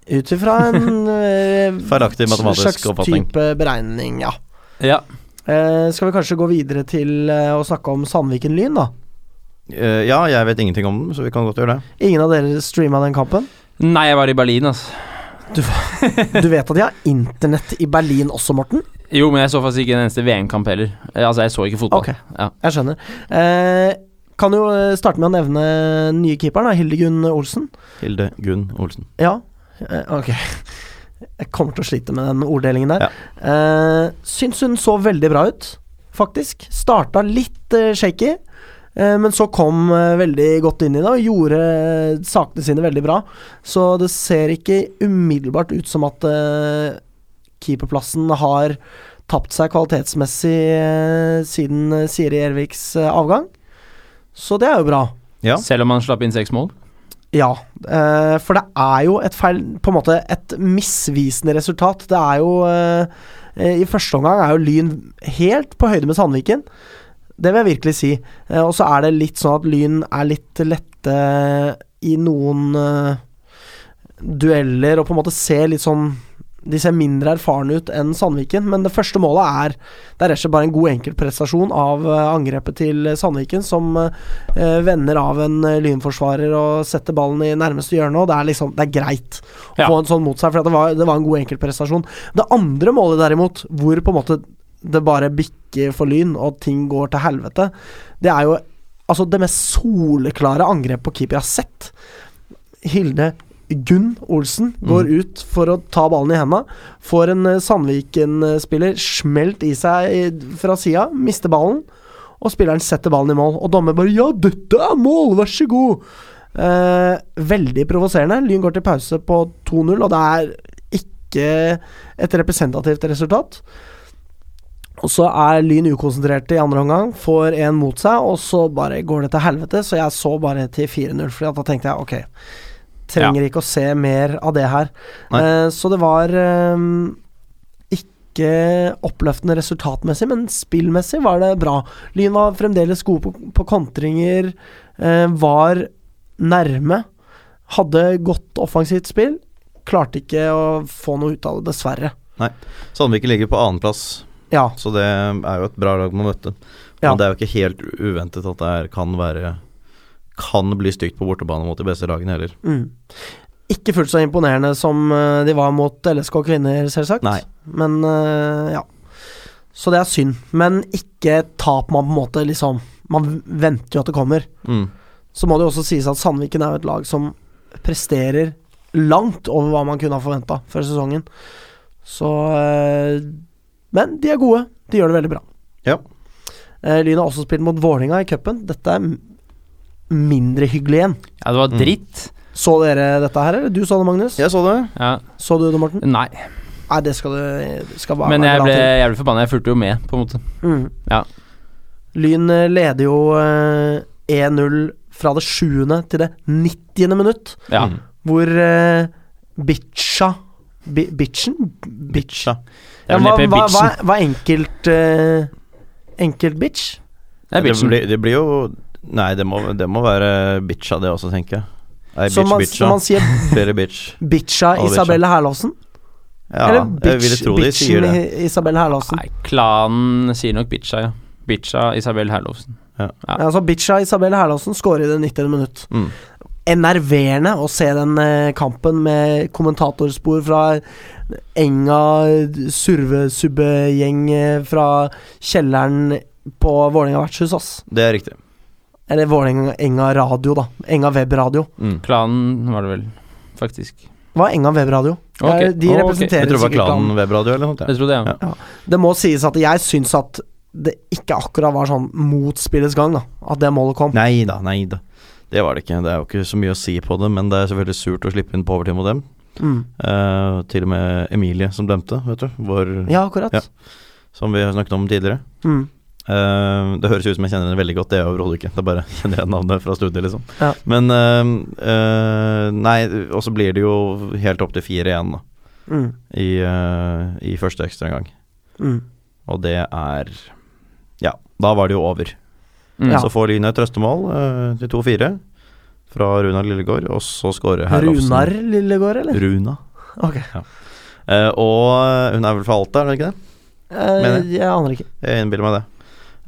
[SPEAKER 1] Ut ifra en eh,
[SPEAKER 3] Feilaktig matematisk
[SPEAKER 1] slags
[SPEAKER 3] oppfatning.
[SPEAKER 1] type beregning, ja.
[SPEAKER 2] Ja.
[SPEAKER 1] Eh, skal vi kanskje gå videre til eh, å snakke om Sandviken Lyn, da?
[SPEAKER 3] Eh, ja, jeg vet ingenting om den, så vi kan godt gjøre det.
[SPEAKER 1] Ingen av dere streama den kampen?
[SPEAKER 2] Nei, jeg var i Berlin, altså.
[SPEAKER 1] Du vet at de har internett i Berlin også, Morten?
[SPEAKER 2] Jo, men jeg så faktisk ikke en eneste VM-kamp heller. Eh, Altså, jeg så ikke fotball.
[SPEAKER 1] Ok,
[SPEAKER 2] Ja.
[SPEAKER 1] jeg skjønner. Eh, kan jo eh, starte med å nevne den nye keeperen, da, Hildegunn Olsen.
[SPEAKER 3] Hilde Gunn Olsen.
[SPEAKER 1] Ja, eh, ok. Jeg kommer til å slite med den orddelingen der. Eh, syns hun så veldig bra ut, faktisk. Starta litt eh, shaky, eh, men så kom eh, veldig godt inn i det og gjorde eh, sakene sine veldig bra. Så det ser ikke umiddelbart ut som at eh, keeperplassen har tapt seg kvalitetsmessig eh, siden eh, Siri Erviks eh, avgang. Så det er jo bra.
[SPEAKER 3] Ja.
[SPEAKER 2] Selv om han slapp inn seks mål.
[SPEAKER 1] Ja, eh, for det er jo et feil På en måte et misvisende resultat. Det er jo eh, eh, I første omgang er jo Lyn helt på høyde med Sandviken. Det vil jeg virkelig si. Eh, og så er det litt sånn at Lyn er litt lette i noen eh, dueller, og på en måte ser litt sånn De ser mindre erfarne ut enn Sandviken, men det første målet er Det er rett og slett bare en god enkeltprestasjon av eh, angrepet til Sandviken, som eh, eh, vender av en eh, lynforsvarer og setter ballen i nærmeste hjørne, og det er liksom Det er greit å
[SPEAKER 2] Ja.
[SPEAKER 1] få en sånn mot seg, for at det var, det var en god enkeltprestasjon. Det andre målet, derimot, hvor på en måte det bare bikker for Lyn, og ting går til helvete, det er jo altså det mest soleklare angrepet på keeper jeg har sett. Hilde Gunn Olsen går ut for å ta ballen i henda. Får en eh, Sandviken-spiller smelt i seg i- fra sida, mister ballen. Og spilleren setter ballen i mål, og dommer bare 'Ja, dette er mål! Vær så god!' Eh, veldig provoserende. Lyn går til pause på 2-0, og det er ikke et representativt resultat. Og så er Lyn ukonsentrerte i andre omgang, får en mot seg, og så bare går det til helvete. Så jeg så bare til 4-0, for da tenkte jeg ok, trenger ikke å se mer av det her.
[SPEAKER 3] Nei.
[SPEAKER 1] Eh, så det var eh, ikke oppløftende resultatmessig, men spillmessig var det bra. Lyn var fremdeles gode på, på kontringer, eh, var nærme. Hadde godt offensivt spill. Klarte ikke å få noe ut av det, dessverre.
[SPEAKER 3] Sandviken ligger på annenplass,
[SPEAKER 1] Ja.
[SPEAKER 3] så det er jo et bra lag man møtte. Men
[SPEAKER 1] Ja.
[SPEAKER 3] det er jo ikke helt uventet at det her kan være Kan bli stygt på bortebane mot de beste lagene heller.
[SPEAKER 1] Mm. Ikke fullt så imponerende som eh, de var mot LSK kvinner, selvsagt.
[SPEAKER 3] Nei.
[SPEAKER 1] Men eh, ja. Så det er synd. Men ikke tap man på en måte liksom Man venter jo at det kommer.
[SPEAKER 3] Mm.
[SPEAKER 1] Så må det jo også sies at Sandviken er jo et lag som presterer langt over hva man kunne ha forventa før sesongen. Så eh, Men de er gode. De gjør det veldig bra.
[SPEAKER 3] Ja.
[SPEAKER 1] Eh, Lyn har også spilt mot Vålinga i cupen. Dette er m- mindre hyggelig igjen.
[SPEAKER 2] Ja, det var
[SPEAKER 3] Mm.
[SPEAKER 2] dritt.
[SPEAKER 1] Så dere dette her, eller? Du så det, Magnus?
[SPEAKER 3] Jeg så det.
[SPEAKER 2] Ja.
[SPEAKER 1] Så du det, Morten?
[SPEAKER 2] Nei.
[SPEAKER 1] Nei, det skal du, du skal bare
[SPEAKER 2] Men
[SPEAKER 1] være
[SPEAKER 2] jeg
[SPEAKER 1] glad
[SPEAKER 2] ble jævlig forbanna. Jeg fulgte jo med, på en måte.
[SPEAKER 1] til. Mm.
[SPEAKER 2] Ja.
[SPEAKER 1] Lyn eh, leder jo eh, 1-0 fra det sjuende til det nittiende minutt,
[SPEAKER 2] Ja.
[SPEAKER 3] Mm.
[SPEAKER 1] hvor eh, bitcha bi, Bitchen? Bitch.
[SPEAKER 3] Bitcha.
[SPEAKER 2] Det er
[SPEAKER 1] Ja,
[SPEAKER 2] vel
[SPEAKER 1] hva,
[SPEAKER 2] neppe
[SPEAKER 1] hva, hva,
[SPEAKER 2] bitchen.
[SPEAKER 1] hva er enkelt eh, Enkelt bitch?
[SPEAKER 2] Det er
[SPEAKER 3] Det,
[SPEAKER 2] bitchen.
[SPEAKER 3] blir, det blir jo Nei, det må, det må være bitcha, det også, tenker jeg. Ei
[SPEAKER 1] Som
[SPEAKER 3] bitch,
[SPEAKER 1] man,
[SPEAKER 3] bitcha.
[SPEAKER 1] når man sier
[SPEAKER 3] Flere bitch.
[SPEAKER 1] bitcha
[SPEAKER 3] Ja, bitcha.
[SPEAKER 1] Isabelle Herlovsen?
[SPEAKER 3] Ja,
[SPEAKER 1] Eller
[SPEAKER 3] jeg ville
[SPEAKER 1] bitch,
[SPEAKER 3] tro de
[SPEAKER 1] bitchen
[SPEAKER 3] sier det.
[SPEAKER 1] I- Isabelle Herlovsen?
[SPEAKER 2] Nei, klanen sier nok bitcha, ja. Bitcha Isabel Herlovsen.
[SPEAKER 1] Ja, Altså, bitcha Isabelle Herlovsen skårer i det 90. minutt.
[SPEAKER 3] Mm.
[SPEAKER 1] enerverende å se den eh, kampen med kommentatorspor fra enga survesubbegjeng eh, fra kjelleren på Vålerenga vertshus, ass.
[SPEAKER 3] Det er riktig.
[SPEAKER 1] Eller Vålerenga radio, da. Enga webradio.
[SPEAKER 3] Mm.
[SPEAKER 2] Klanen var det vel, faktisk.
[SPEAKER 1] Hva er Enga webradio?
[SPEAKER 2] Ok,
[SPEAKER 1] Eh, De
[SPEAKER 2] ok.
[SPEAKER 1] representerer
[SPEAKER 3] Jeg tror det var
[SPEAKER 1] sikkert
[SPEAKER 3] klanen
[SPEAKER 1] klanen.
[SPEAKER 3] webradio eller noe sånt. ja.
[SPEAKER 2] Jeg tror det, ja.
[SPEAKER 3] Ja.
[SPEAKER 1] Det må sies at jeg syns at det ikke akkurat var sånn mot spillets gang, da. At det målet kom.
[SPEAKER 3] Nei da, nei da. Det var det ikke. Det er jo ikke så mye å si på det, men det er selvfølgelig surt å slippe inn på overtid mot dem.
[SPEAKER 1] Mm.
[SPEAKER 3] Eh, til og med Emilie som dømte, vet du. Vår,
[SPEAKER 1] Ja, akkurat.
[SPEAKER 3] Ja. Som vi har snakket om tidligere.
[SPEAKER 1] Mm.
[SPEAKER 3] Eh, det høres ut som jeg kjenner henne veldig godt, det er jeg overhodet ikke. Det er bare kjenner jeg navnet fra studiet, liksom.
[SPEAKER 1] Ja.
[SPEAKER 3] Men eh, eh, Nei, og så blir det jo helt opp til fire igjen, da.
[SPEAKER 1] Mm.
[SPEAKER 3] I, uh, i første ekstraomgang.
[SPEAKER 1] Mm.
[SPEAKER 3] Og det er Ja, da var det jo over.
[SPEAKER 2] Mm.
[SPEAKER 1] Ja.
[SPEAKER 3] Så får Lyn et trøstemål eh, til 2-4 fra Runar Lillegård, og så scorer Herlofsen.
[SPEAKER 1] Runar Lillegård, eller?
[SPEAKER 3] Runa.
[SPEAKER 1] Ok.
[SPEAKER 3] Eh, og hun er vel fra Alta, er hun ikke det?
[SPEAKER 1] Eh,
[SPEAKER 3] Mener
[SPEAKER 1] jeg aner ikke.
[SPEAKER 3] Jeg innbiller meg det.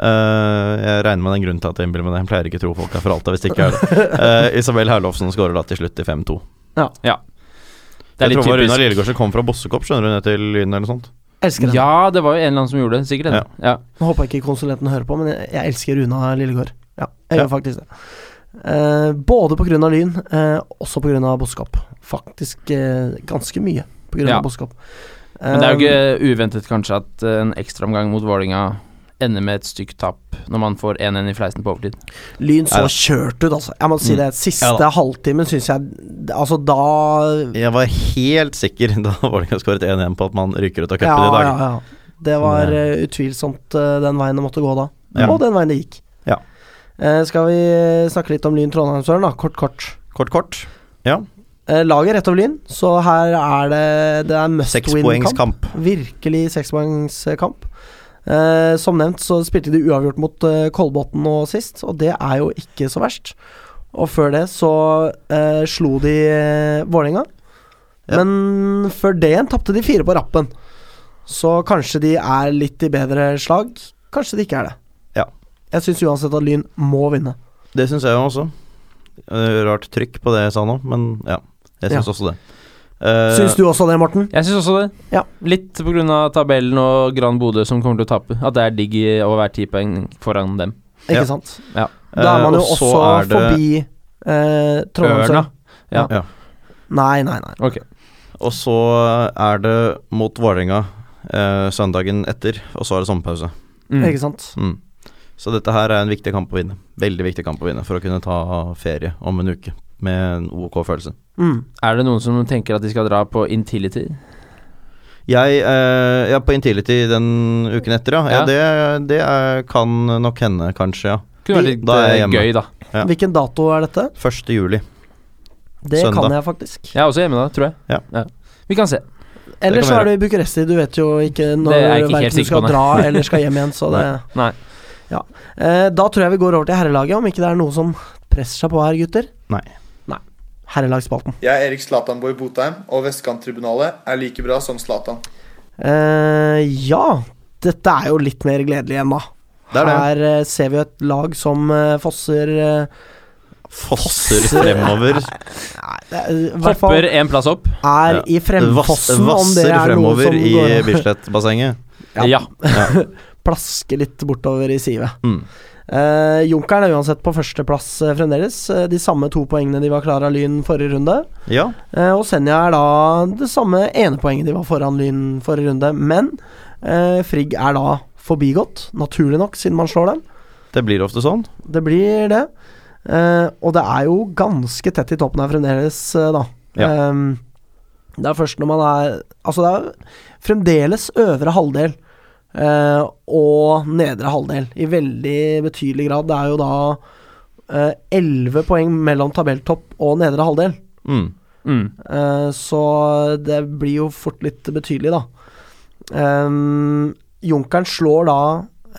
[SPEAKER 3] Eh, jeg regner med den grunnen til at jeg innbiller meg det. Jeg pleier ikke å tro folk er fra Alta hvis det ikke er det. Eh, Isabel Herlofsen scorer da til slutt til 5-2.
[SPEAKER 2] Det er
[SPEAKER 3] jeg
[SPEAKER 2] litt
[SPEAKER 3] tror det var Runar
[SPEAKER 2] typisk.
[SPEAKER 3] Lillegård som kom fra Bossekopp, skjønner du, ned til Lyn eller noe sånt.
[SPEAKER 1] Elsker den.
[SPEAKER 2] Ja, det var jo en eller annen som gjorde det. Sikkert det. Ja.
[SPEAKER 1] Nå håper jeg ikke konsulenten hører på, men jeg, jeg elsker Runa Lillegård. Ja, jeg
[SPEAKER 3] Ja.
[SPEAKER 1] gjør faktisk det. Eh, både pga. Lyn, eh, også pga. Boskap. Faktisk eh, ganske mye pga.
[SPEAKER 2] Ja.
[SPEAKER 1] av Boskap. Eh,
[SPEAKER 2] Men det er jo
[SPEAKER 1] Um,
[SPEAKER 2] ikke uventet kanskje at eh, en ekstraomgang mot Vålinga ender med et stygt tap når man får 1-1 i fleisen på overtid.
[SPEAKER 1] Lyn så
[SPEAKER 3] Ja.
[SPEAKER 1] kjørt ut, altså. Jeg må si
[SPEAKER 2] Mm.
[SPEAKER 1] det. Siste
[SPEAKER 3] Ja da.
[SPEAKER 1] halvtimen syns jeg Altså, da
[SPEAKER 3] Jeg var helt sikker da Vålerenga skåret 1-1 på at man ryker ut av cupen i dag. Mm,
[SPEAKER 1] Ja, ja. Det var eh, utvilsomt eh, den veien det måtte gå da.
[SPEAKER 3] Ja.
[SPEAKER 1] Og den veien det gikk.
[SPEAKER 3] Ja.
[SPEAKER 1] Eh, skal vi eh, snakke litt om Lyn Trondheim, Søren? da? Kort, kort.
[SPEAKER 3] Kort, kort. Ja.
[SPEAKER 1] Eh, laget er rett over Lyn, så her er det Det er must win-kamp.
[SPEAKER 3] Sekspoengskamp.
[SPEAKER 1] Virkelig sekspoengskamp. Eh, som nevnt så spilte de uavgjort mot eh, Kolbotn nå sist, og det er jo ikke så verst. Og før det så eh, slo de eh, Vålerenga.
[SPEAKER 3] Ja.
[SPEAKER 1] Men før det igjen tapte de fire på rappen. Så kanskje de er litt i bedre slag. Kanskje de ikke er det.
[SPEAKER 3] Ja.
[SPEAKER 1] Jeg syns uansett at Lyn må vinne.
[SPEAKER 3] Det syns jeg jo også. Eh, Rart trykk på det jeg sa nå, men ja. Jeg syns også det. Eh,
[SPEAKER 1] Syns du også det, Morten?
[SPEAKER 2] Jeg syns også det.
[SPEAKER 1] Ja.
[SPEAKER 2] Litt pga. tabellen og Gran Bodø som kommer til å tape. At det er digg i- å være ti poeng foran dem.
[SPEAKER 1] Ikke
[SPEAKER 3] Ja.
[SPEAKER 1] sant?
[SPEAKER 3] eh,
[SPEAKER 1] Da er man jo
[SPEAKER 3] og så
[SPEAKER 1] også
[SPEAKER 3] er det-
[SPEAKER 1] forbi eh, Trondheim
[SPEAKER 2] Ørna.
[SPEAKER 1] Sør. Nei, nei, nei.
[SPEAKER 2] Ok.
[SPEAKER 3] Og så er det mot Vålerenga eh, søndagen etter, og så er det sommerpause.
[SPEAKER 2] Mm.
[SPEAKER 1] Ikke sant?
[SPEAKER 3] Mm. Så dette her er en viktig kamp å vinne. Veldig viktig kamp å vinne for å kunne ta ferie om en uke med en ok følelse.
[SPEAKER 1] Mm.
[SPEAKER 2] Er det noen som tenker at de skal dra på Intility?
[SPEAKER 3] Jeg eh, ja, på Intility den uken etter, ja. ja.
[SPEAKER 2] Ja.
[SPEAKER 3] det det er, kan nok hende, kanskje, ja.
[SPEAKER 2] Kunne vært
[SPEAKER 1] De-
[SPEAKER 2] litt
[SPEAKER 3] Da er jeg
[SPEAKER 2] eh,
[SPEAKER 3] hjemme.
[SPEAKER 2] gøy, da.
[SPEAKER 3] Ja.
[SPEAKER 1] Hvilken dato er dette?
[SPEAKER 3] 1. juli.
[SPEAKER 1] Det
[SPEAKER 3] Søndag.
[SPEAKER 1] kan jeg faktisk.
[SPEAKER 2] Jeg er også hjemme da, tror jeg.
[SPEAKER 3] Ja.
[SPEAKER 2] Vi kan se.
[SPEAKER 1] Ellers
[SPEAKER 3] kan
[SPEAKER 1] så
[SPEAKER 3] vi
[SPEAKER 1] er du i Bucuresti. Du vet jo ikke når
[SPEAKER 2] Det er jeg ikke helt
[SPEAKER 1] verken du
[SPEAKER 2] sikker
[SPEAKER 1] skal
[SPEAKER 2] på, nei.
[SPEAKER 1] dra eller skal hjem igjen, så det
[SPEAKER 2] Nei.
[SPEAKER 1] Ja. Eh, da tror jeg vi går over til herrelaget, om ikke det er noe som presser seg på her, gutter.
[SPEAKER 3] Nei.
[SPEAKER 1] Nei. Herrelagsspalten.
[SPEAKER 5] Jeg er Erik Zlatanborg Botheim, og Vestkanttribunalet er like bra som Zlatan.
[SPEAKER 1] Eh, ja, dette er jo litt mer gledelig igjen, da.
[SPEAKER 3] Det er det.
[SPEAKER 1] Her eh, ser vi jo et lag som eh, fosser eh,
[SPEAKER 3] Fosser fremover.
[SPEAKER 1] Nei, det er- i hvert fall
[SPEAKER 2] Hopper en plass opp.
[SPEAKER 1] er
[SPEAKER 3] Ja.
[SPEAKER 1] i fremfossen, om det
[SPEAKER 3] Vasser
[SPEAKER 1] er noe
[SPEAKER 3] fremover
[SPEAKER 1] som
[SPEAKER 3] i
[SPEAKER 1] går
[SPEAKER 3] Bislett-bassenget.
[SPEAKER 1] Ja.
[SPEAKER 2] Ja.
[SPEAKER 1] plasker litt bortover i sivet.
[SPEAKER 3] Mm.
[SPEAKER 1] Eh, Junkeren er uansett på førsteplass eh, fremdeles. Eh, de samme to poengene de var klar av Lyn forrige runde.
[SPEAKER 3] Ja.
[SPEAKER 1] Eh, og Senja er da det samme enepoenget de var foran Lyn forrige runde. Men eh, Frigg er da forbigått, naturlig nok, siden man slår dem.
[SPEAKER 3] Det blir ofte sånn.
[SPEAKER 1] Det blir det. Eh, og det er jo ganske tett i toppen her fremdeles, eh, da.
[SPEAKER 3] Ja.
[SPEAKER 1] Ehm, det er først når man er Altså, det er fremdeles øvre halvdel eh, og nedre halvdel i veldig betydelig grad. Det er jo da eh, elleve poeng mellom tabelltopp og nedre halvdel.
[SPEAKER 3] Mm.
[SPEAKER 2] Mm.
[SPEAKER 1] Eh, så det blir jo fort litt betydelig, da. Ehm, Junkeren slår da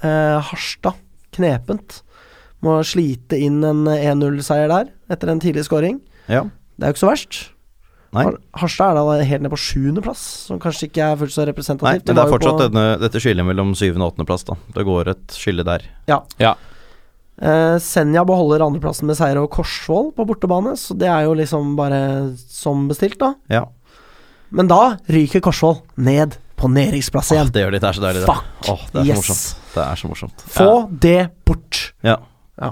[SPEAKER 1] eh, Harstad knepent. Må slite inn en 1-0-seier der, etter en tidlig scoring.
[SPEAKER 3] Ja.
[SPEAKER 1] Det er jo ikke så verst.
[SPEAKER 3] Nei.
[SPEAKER 1] Har- Harstad er da helt ned på sjuendeplass, som kanskje ikke er fullt så
[SPEAKER 3] Nei,
[SPEAKER 1] representativt.
[SPEAKER 3] men det er
[SPEAKER 1] var jo
[SPEAKER 3] fortsatt
[SPEAKER 1] på-
[SPEAKER 3] denne, dette skillet mellom syvende og åttendeplass, da. Det går et skille der.
[SPEAKER 1] Eh, Senja beholder andreplassen med seier over Korsvoll på bortebane, så det er jo liksom bare som bestilt, da.
[SPEAKER 3] Ja.
[SPEAKER 1] Men da ryker Korsvoll ned på nedrykksplass
[SPEAKER 3] Åh,
[SPEAKER 1] igjen.
[SPEAKER 3] det gjør de, det er så deilig, det.
[SPEAKER 1] Fuck!
[SPEAKER 3] Åh, det er så
[SPEAKER 1] yes.
[SPEAKER 3] morsomt. Det er så morsomt.
[SPEAKER 1] Få det bort!
[SPEAKER 3] Ja.
[SPEAKER 1] Ja.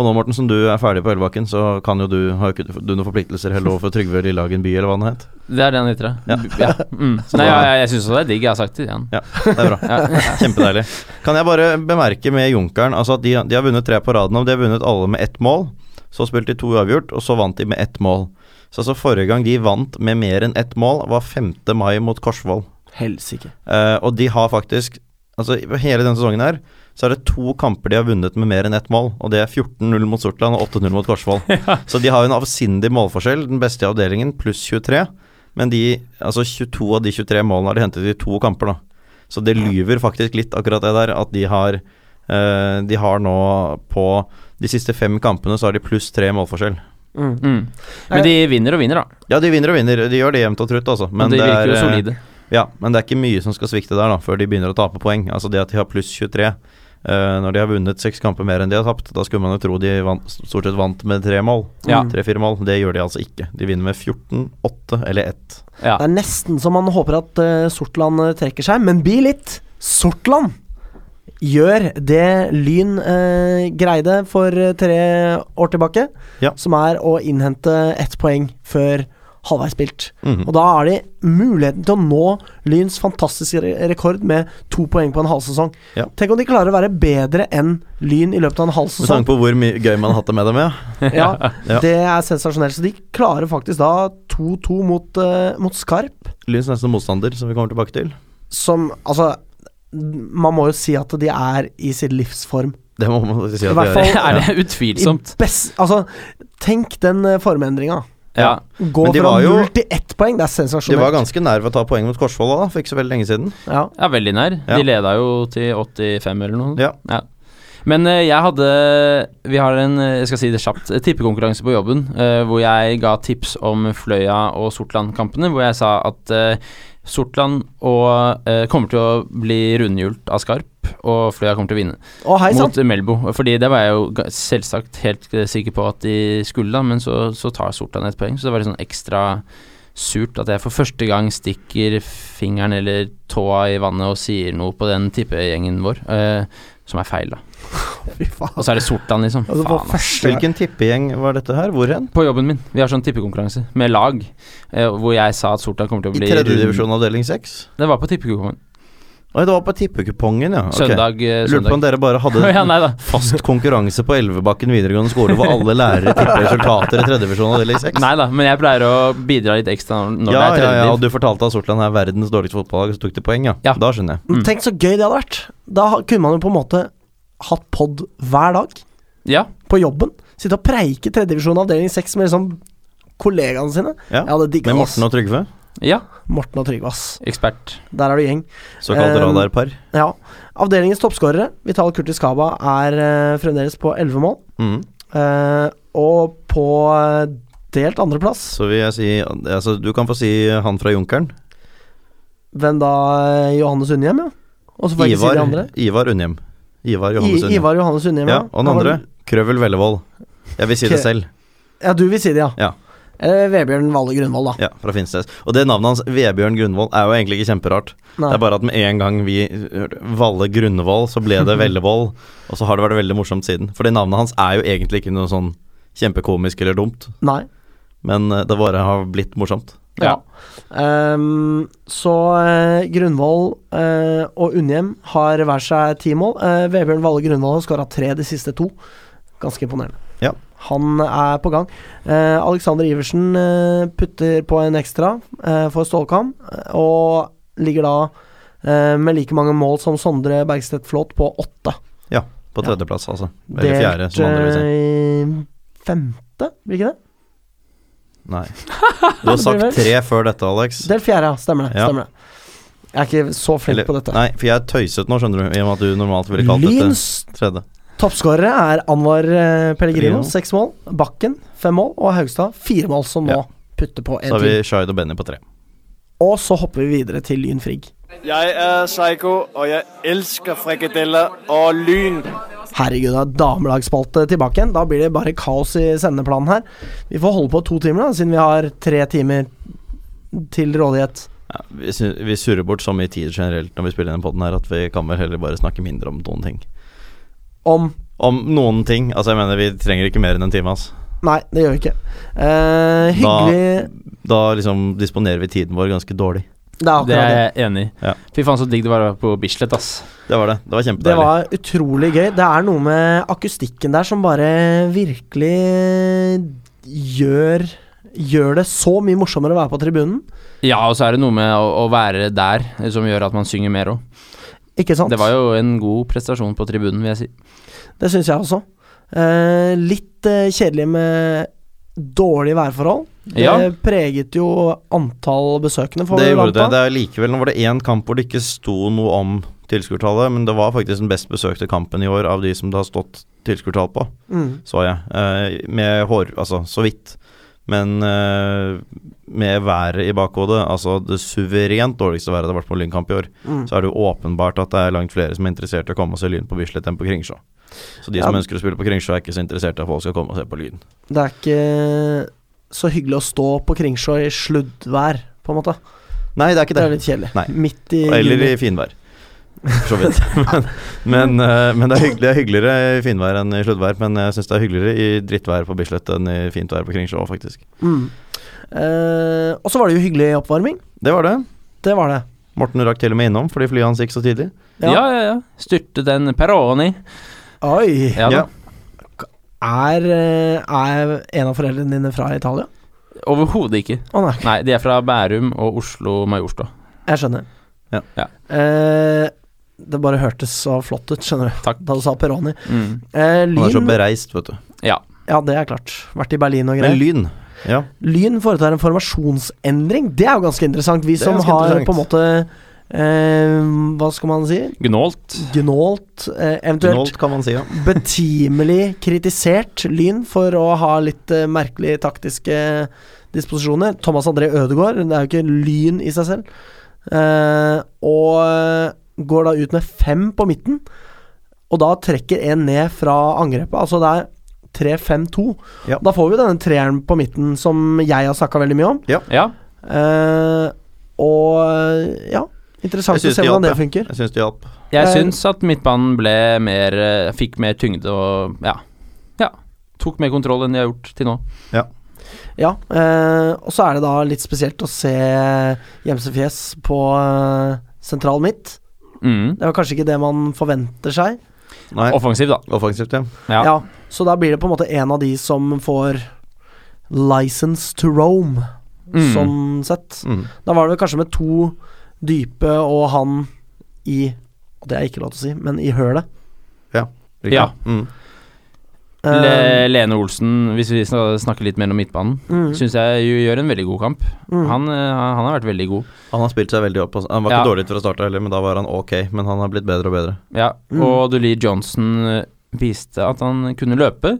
[SPEAKER 3] Og nå, Morten, som du er ferdig på Elvebakken, så kan jo du Har jo ikke du noen forpliktelser heller overfor Trygve Lillehagen by, eller hva han het?
[SPEAKER 2] Det er det han heter, ja. ja. Mm. Nei, ja, jeg, jeg syns også det er digg. Jeg har sagt det igjen.
[SPEAKER 3] Ja, det er bra. Kjempedeilig. Kan jeg bare bemerke med Junkeren altså at de, de har vunnet tre på rad nå. De har vunnet alle med ett mål. Så spilte de to uavgjort, og så vant de med ett mål. Så altså forrige gang de vant med mer enn ett mål, var 5. mai mot Korsvoll.
[SPEAKER 1] Helsike.
[SPEAKER 3] Eh, og de har faktisk Altså i Hele denne sesongen her så er det to kamper de har vunnet med mer enn ett mål. Og det er 14-0 mot Sortland og 8-0 mot Korsvoll. Så de har jo en avsindig målforskjell, den beste i avdelingen, pluss 23. Men de, altså 22 av de 23 målene har de hentet i to kamper, da. Så det lyver faktisk litt, akkurat det der, at de har eh, De har nå på de siste fem kampene så har de pluss tre målforskjell.
[SPEAKER 1] Mm.
[SPEAKER 2] Mm. Men de vinner og vinner, da.
[SPEAKER 3] Ja, de vinner og vinner. De gjør det jevnt og trutt, altså.
[SPEAKER 2] Men de virker jo
[SPEAKER 3] eh,
[SPEAKER 2] solide.
[SPEAKER 3] ja, men det er ikke mye som skal svikte der da, før de begynner å tape poeng. Altså det at de har pluss 23 eh, når de har vunnet seks kamper mer enn de har tapt, da skulle man jo tro de vant, stort sett vant med tre mål.
[SPEAKER 2] Ja.
[SPEAKER 3] Tre-fire mål. Det gjør de altså ikke. De vinner med 14, 8 eller 1.
[SPEAKER 2] Ja.
[SPEAKER 1] Det er nesten så man håper at eh, Sortland eh, trekker seg, men bi litt. Sortland gjør det Lyn eh, greide for eh, tre år tilbake,
[SPEAKER 3] Ja.
[SPEAKER 1] som er å innhente ett poeng før halvveis spilt.
[SPEAKER 3] Mhm.
[SPEAKER 1] Og da er det muligheten til å nå Lyns fantastiske re rekord med to poeng på en halv sesong.
[SPEAKER 3] Ja.
[SPEAKER 1] Tenk om de klarer å være bedre enn Lyn i løpet av en halv
[SPEAKER 3] Med
[SPEAKER 1] sesong.
[SPEAKER 3] tanke på hvor mye gøy man har hatt det med dem, ja.
[SPEAKER 1] Ja,
[SPEAKER 3] Ja.
[SPEAKER 1] Det er sensasjonelt. Så de klarer faktisk da 2-2 mot, eh, mot Skarp.
[SPEAKER 3] Lyns neste motstander, som vi kommer tilbake til.
[SPEAKER 1] som Altså, man må jo si at de er i sin livsform.
[SPEAKER 3] Det må man faktisk si
[SPEAKER 1] I
[SPEAKER 3] at
[SPEAKER 1] hvert
[SPEAKER 3] de
[SPEAKER 1] fall-
[SPEAKER 3] gjør.
[SPEAKER 2] Er det
[SPEAKER 1] I
[SPEAKER 2] utvilsomt?
[SPEAKER 1] best, altså, tenk den eh, formendringa.
[SPEAKER 2] Ja.
[SPEAKER 1] Gå
[SPEAKER 3] Men de
[SPEAKER 1] fra
[SPEAKER 3] var jo-
[SPEAKER 1] null til ett poeng, det er
[SPEAKER 3] De var
[SPEAKER 1] sensasjonelt.
[SPEAKER 3] ganske nær ved å ta poeng mot Korsvoll da, for ikke så veldig lenge siden.
[SPEAKER 1] Ja.
[SPEAKER 2] Ja, veldig nær.
[SPEAKER 3] Ja.
[SPEAKER 2] De leda jo til 85 eller noe.
[SPEAKER 3] Ja.
[SPEAKER 2] Men eh, jeg hadde Vi har en eh, jeg skal si det kjapt, eh, tippekonkurranse på jobben eh, hvor jeg ga tips om Fløya og Sortland-kampene. Hvor jeg sa at eh, Sortland og, eh, kommer til å bli rundhjult av Skarp, og Fløya kommer til å vinne
[SPEAKER 1] Å, hei sann!
[SPEAKER 2] mot Melbo. Fordi det var jeg jo ga- selvsagt helt eh, sikker på at de skulle, da, men så, så tar Sortland et poeng. Så det var litt sånn ekstra surt at jeg for første gang stikker fingeren eller tåa i vannet og sier noe på den tippegjengen vår, eh, som er feil, da.
[SPEAKER 1] Fy faen.
[SPEAKER 2] Og så er det Sortland, liksom.
[SPEAKER 1] Altså, på
[SPEAKER 2] Faen, ass.
[SPEAKER 1] første gang.
[SPEAKER 3] Hvilken tippegjeng var dette her? Hvor hen?
[SPEAKER 2] På jobben min. Vi har sånn tippekonkurranse med lag, eh, hvor jeg sa at Sortland kommer til å
[SPEAKER 3] I
[SPEAKER 2] bli
[SPEAKER 3] tredje
[SPEAKER 2] rund-
[SPEAKER 3] divisjon avdeling 6?
[SPEAKER 2] Det var på tippekupongen.
[SPEAKER 3] Oi, det var på tippekupongen, ja. Ok.
[SPEAKER 2] Søndag. eh,
[SPEAKER 3] Lurte på om
[SPEAKER 2] søndag.
[SPEAKER 3] dere bare hadde
[SPEAKER 2] ja, nei da.
[SPEAKER 3] fast konkurranse på Elvebakken videregående skole hvor alle lærere tipper resultater i tredjevisjon av deling 6.
[SPEAKER 2] Nei da, men jeg pleier å bidra litt ekstra når når
[SPEAKER 3] ja,
[SPEAKER 2] det er
[SPEAKER 3] ja,
[SPEAKER 2] tredje
[SPEAKER 3] ja,
[SPEAKER 2] div.
[SPEAKER 3] og du fortalte at Sortland er verdens dårligste fotballag, så tok de poeng, ja.
[SPEAKER 2] Ja.
[SPEAKER 3] Da skjønner jeg.
[SPEAKER 1] Men Tenk så gøy det hadde vært. Da ha- kunne man jo på en måte hatt pod hver dag
[SPEAKER 2] Ja,
[SPEAKER 1] på jobben. Sitte og preike tredjedivisjon avdeling seks med liksom kollegaene sine.
[SPEAKER 3] Ja.
[SPEAKER 1] Jeg hadde digga
[SPEAKER 3] Med
[SPEAKER 1] ass.
[SPEAKER 3] Morten og Trygve,
[SPEAKER 2] ja.
[SPEAKER 1] Morten og Trygve, ass.
[SPEAKER 2] Ekspert.
[SPEAKER 1] Der er du gjeng.
[SPEAKER 3] såkalt
[SPEAKER 1] Um,
[SPEAKER 3] radarpar.
[SPEAKER 1] Ja. Avdelingens toppskårere, Vital Kurtis Kaba, er eh, fremdeles på 11 mål.
[SPEAKER 3] Mm.
[SPEAKER 1] Eh, og på eh, delt andreplass,
[SPEAKER 3] Så vil jeg si altså, Du kan få si han fra Junkeren.
[SPEAKER 1] hvem da? eh, Johannes Undhjem, ja. Og så får jeg ikke si de
[SPEAKER 3] Ivar,
[SPEAKER 1] andre.
[SPEAKER 3] Ivar Undhjem. Ivar Johannes
[SPEAKER 1] I,
[SPEAKER 3] Undhjem.
[SPEAKER 1] Ivar Johannes Undhjem,
[SPEAKER 3] Ja, og
[SPEAKER 1] Han
[SPEAKER 3] den
[SPEAKER 1] var-
[SPEAKER 3] andre? Krøvel Vellevold. Jeg vil si
[SPEAKER 1] Kre-
[SPEAKER 3] det selv.
[SPEAKER 1] Ja, du vil si det, ja.
[SPEAKER 3] Ja.
[SPEAKER 1] Eller Vebjørn Valle Grunvoll, da.
[SPEAKER 3] Ja, fra Finnsnes. Og det navnet hans, Vebjørn Grunvoll, er jo egentlig ikke kjemperart.
[SPEAKER 1] Nei.
[SPEAKER 3] Det er bare at med en gang vi hørte Valle Grunvoll, så ble det Vellevoll, og så har det vært veldig morsomt siden. Fordi navnet hans er jo egentlig ikke noe sånn kjempekomisk eller dumt,
[SPEAKER 1] Nei.
[SPEAKER 3] men eh, det bare har blitt morsomt.
[SPEAKER 1] Ja. Ehm, så eh, Grunvoll eh, og Undhjem har hver seg ti mål. Eh, Vebjørn Valle Grunvoll har skåra tre de siste to. Ganske imponerende.
[SPEAKER 3] Ja.
[SPEAKER 1] Han er på gang. Eh, Alexander Iversen eh, putter på en ekstra eh, for Stålkam, eh, og ligger da eh, med like mange mål som Sondre Bergstedt Flåt på åtte.
[SPEAKER 3] På
[SPEAKER 1] Ja.
[SPEAKER 3] tredjeplass, altså. Eller fjerde, som andre vil si.
[SPEAKER 1] eh, femte, blir ikke det?
[SPEAKER 3] Nei. Du har sagt tre før dette, Alex.
[SPEAKER 1] Delt fjerde, ja. Stemmer det.
[SPEAKER 3] Ja.
[SPEAKER 1] Stemmer det. Jeg er ikke så flink
[SPEAKER 3] Eller-
[SPEAKER 1] på dette.
[SPEAKER 3] Nei, for jeg tøyset nå, skjønner du, i og med at du normalt ville kalt dette
[SPEAKER 1] Lyns
[SPEAKER 3] tredje.
[SPEAKER 1] toppskårere er Anwar eh, Pellegrino,
[SPEAKER 3] Pellegrino.
[SPEAKER 1] seks mål. Bakken, fem mål. Og Haugstad, fire mål, som nå
[SPEAKER 3] Ja.
[SPEAKER 1] putter på
[SPEAKER 3] Så
[SPEAKER 1] en
[SPEAKER 3] har vi
[SPEAKER 1] til.
[SPEAKER 3] Shaid og Benny på tre.
[SPEAKER 1] Og så hopper vi videre til Lyn Frigg.
[SPEAKER 6] Jeg er Psycho, og jeg elsker frikadeller og lyn.
[SPEAKER 1] Herregud, det er damelagsspalte tilbake igjen. Da blir det bare kaos i sendeplanen her. Vi får holde på to timer, da, siden vi har tre timer til rådighet.
[SPEAKER 3] Ja, vi, sy- vi surrer bort så mye tid generelt når vi spiller inn podden her, at vi kan vel heller bare snakke mindre om noen ting.
[SPEAKER 1] Om
[SPEAKER 3] Om noen ting. Altså, jeg mener, vi trenger ikke mer enn en time, altså.
[SPEAKER 1] Nei, det gjør vi ikke. Eh, hyggelig
[SPEAKER 3] Da liksom disponerer vi tiden vår ganske dårlig.
[SPEAKER 1] Det er
[SPEAKER 2] Det
[SPEAKER 1] akkurat
[SPEAKER 2] er
[SPEAKER 1] det.
[SPEAKER 2] jeg enig i.
[SPEAKER 3] Ja.
[SPEAKER 2] Fy faen, så digg det var å være på Bislett, ass.
[SPEAKER 3] Det var det. Det var
[SPEAKER 1] Det
[SPEAKER 3] kjempedeilig.
[SPEAKER 1] var utrolig gøy. Det er noe med akustikken der som bare virkelig gjør Gjør det så mye morsommere å være på tribunen.
[SPEAKER 2] Ja, og så er det noe med å, å være der eh, som gjør at man synger mer òg.
[SPEAKER 1] Ikke sant?
[SPEAKER 2] Det var jo en god prestasjon på tribunen, vil jeg si.
[SPEAKER 1] Det syns jeg også. Eh, litt eh, kjedelig med dårlige værforhold. Det
[SPEAKER 2] Ja.
[SPEAKER 1] preget jo antall besøkende, får
[SPEAKER 3] Det
[SPEAKER 1] vi
[SPEAKER 3] gjorde det.
[SPEAKER 1] anta.
[SPEAKER 3] det er likevel, Nå var det én kamp hvor det ikke sto noe om tilskuertallet, men det var faktisk den best besøkte kampen i år av de som det har stått tilskuertall på,
[SPEAKER 1] Mm.
[SPEAKER 3] så jeg. Eh, med hår Altså, så vidt. Men eh, med været i bakhodet, altså det suverent dårligste været det har vært på en Lynkamp i år,
[SPEAKER 1] Mm.
[SPEAKER 3] så er det jo åpenbart at det er langt flere som er interessert i å komme og se Lyn på Bislett enn på Kringsjå. Så de som
[SPEAKER 1] Ja.
[SPEAKER 3] ønsker å spille på Kringsjå, er ikke så interessert i at folk skal komme og se på Lyn.
[SPEAKER 1] Det er ikke så hyggelig å stå på Kringsjå i sluddvær, på en måte.
[SPEAKER 3] Nei, det er ikke
[SPEAKER 1] Det
[SPEAKER 3] det.
[SPEAKER 1] er litt kjedelig.
[SPEAKER 3] Nei.
[SPEAKER 1] Midt i
[SPEAKER 3] Eller
[SPEAKER 1] juni.
[SPEAKER 3] i finvær. For så vidt. Men, men, eh, men det, er hygg, det er hyggeligere i finvær enn i sluddvær. Men jeg syns det er hyggeligere i drittvær på Bislett enn i fint vær på Kringsjå, faktisk.
[SPEAKER 1] Mm. Eh, og så var det jo hyggelig oppvarming.
[SPEAKER 3] Det var det.
[SPEAKER 1] Det var det.
[SPEAKER 3] Morten rakk til og med innom fordi flyet hans gikk så tidlig.
[SPEAKER 1] Ja.
[SPEAKER 2] Ja, ja, ja. Styrte den Peroni.
[SPEAKER 1] Oi!
[SPEAKER 2] Ja, da.
[SPEAKER 3] Ja.
[SPEAKER 1] Er, eh, er en av foreldrene dine fra Italia?
[SPEAKER 2] Overhodet ikke.
[SPEAKER 1] Å nei,
[SPEAKER 2] Nei, de er fra Bærum og Oslo Majorstua.
[SPEAKER 1] jeg skjønner.
[SPEAKER 3] Ja.
[SPEAKER 2] Ja.
[SPEAKER 1] Eh, det bare hørtes så flott ut, skjønner du,
[SPEAKER 2] Takk.
[SPEAKER 1] da du sa Peroni.
[SPEAKER 2] Mm.
[SPEAKER 1] Eh,
[SPEAKER 3] Han er så
[SPEAKER 1] lyn
[SPEAKER 3] bereist, vet du.
[SPEAKER 1] Ja, det er klart. Vært i Berlin og
[SPEAKER 3] Men
[SPEAKER 1] greier.
[SPEAKER 3] Lyn Ja,
[SPEAKER 1] Lyn foretar en formasjonsendring. Det er jo ganske interessant. Vi
[SPEAKER 3] Det er
[SPEAKER 1] som
[SPEAKER 3] ganske
[SPEAKER 1] har
[SPEAKER 3] interessant.
[SPEAKER 1] på en måte eh, Hva skal man si?
[SPEAKER 2] Gnålt.
[SPEAKER 1] Gnålt, eh, eventuelt
[SPEAKER 3] Knolt kan man si, ja.
[SPEAKER 1] betimelig kritisert Lyn for å ha litt eh, merkelige taktiske disposisjoner. Thomas André Ødegaard, det er jo ikke Lyn i seg selv. Eh, og eh, går da ut med fem på midten, og da trekker en ned fra angrepet. Altså det er 3-5-2.
[SPEAKER 3] Ja.
[SPEAKER 1] Da får vi denne treeren på midten som jeg har snakka veldig mye om.
[SPEAKER 2] Ja.
[SPEAKER 1] Eh, og ja, interessant
[SPEAKER 3] Jeg
[SPEAKER 1] å
[SPEAKER 3] synes
[SPEAKER 1] se
[SPEAKER 3] det
[SPEAKER 1] hvordan det
[SPEAKER 3] hjalp,
[SPEAKER 1] funker.
[SPEAKER 3] Jeg syns det hjalp.
[SPEAKER 2] Jeg
[SPEAKER 1] Eh,
[SPEAKER 2] syns at midtbanen ble mer eh, Fikk mer tyngde og ja. ja. Tok mer kontroll enn de har gjort til nå.
[SPEAKER 1] Ja, eh, og så er det da litt spesielt å se Gjemsefjes på eh, sentral midt.
[SPEAKER 2] Mm.
[SPEAKER 1] Det var kanskje ikke det man forventer seg.
[SPEAKER 3] Nei.
[SPEAKER 2] Offensiv, da.
[SPEAKER 3] Offensivt, ja.
[SPEAKER 2] Ja.
[SPEAKER 1] Så da blir det på en måte en av de som får license to roam,
[SPEAKER 2] Mm.
[SPEAKER 1] sånn sett.
[SPEAKER 3] Mm.
[SPEAKER 1] Da var det vel kanskje med to dype og han i Og det er ikke lov til å si, men i hølet.
[SPEAKER 3] Riktig.
[SPEAKER 2] Ja.
[SPEAKER 3] Mm.
[SPEAKER 1] Eh,
[SPEAKER 2] Le Lene Olsen, hvis vi sna- snakker litt mer om midtbanen,
[SPEAKER 1] mm,
[SPEAKER 2] syns jeg jo gjør en veldig god kamp.
[SPEAKER 1] mm.
[SPEAKER 2] Han, eh, han har vært veldig god.
[SPEAKER 3] Han har spilt seg veldig opp. altså. Han var
[SPEAKER 2] Ja.
[SPEAKER 3] ikke dårlig fra starten heller, men da var han ok. Men han har blitt bedre og bedre.
[SPEAKER 2] Ja.
[SPEAKER 1] Mm.
[SPEAKER 2] Og Dulie Johnson eh, viste at han kunne løpe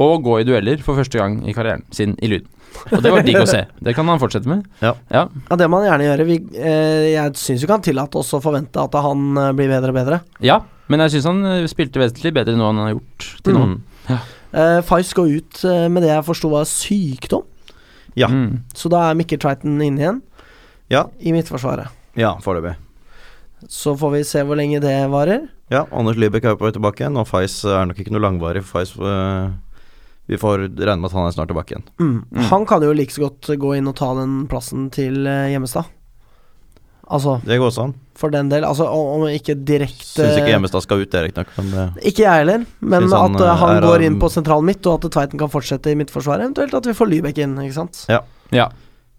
[SPEAKER 2] og gå i dueller for første gang i karrieren sin i Lyn. Og det var digg å se. Det kan han fortsette med.
[SPEAKER 1] Ja, det må han gjerne gjøre. Vi, eh, jeg syns vi kan tillate oss å forvente at han eh, blir bedre og bedre.
[SPEAKER 2] Ja, men jeg syns han eh, spilte vesentlig bedre nå enn han har gjort til nå.
[SPEAKER 3] Mm.
[SPEAKER 1] Eh, Fais går ut eh, med det jeg forsto var sykdom.
[SPEAKER 3] Ja.
[SPEAKER 2] Mm.
[SPEAKER 1] Så da er Mikkel Tveiten inne igjen
[SPEAKER 3] Ja.
[SPEAKER 1] i midtforsvaret.
[SPEAKER 3] Ja, foreløpig.
[SPEAKER 1] Så får vi se hvor lenge det varer.
[SPEAKER 3] Ja, Anders Lybekk er jo på vei tilbake igjen, og Fais er nok ikke noe langvarig. For Fais øh, Vi får regne med at han er snart tilbake igjen.
[SPEAKER 2] Mm.
[SPEAKER 1] Han kan jo like så godt gå inn og ta den plassen til eh, Hjemmestad. Altså,
[SPEAKER 3] Det går også an.
[SPEAKER 1] for den del. Altså, om om ikke direkte
[SPEAKER 3] Syns ikke Hjemmestad skal ut, det er riktig nok, men eh, det
[SPEAKER 1] Ikke jeg heller, men
[SPEAKER 3] Synes han,
[SPEAKER 1] at eh,
[SPEAKER 3] eh,
[SPEAKER 1] han
[SPEAKER 3] er av-
[SPEAKER 1] går inn på sentral midt, og at Tveiten kan fortsette i midtforsvaret. Eventuelt at vi får Lybekk inn, ikke sant.
[SPEAKER 2] Ja.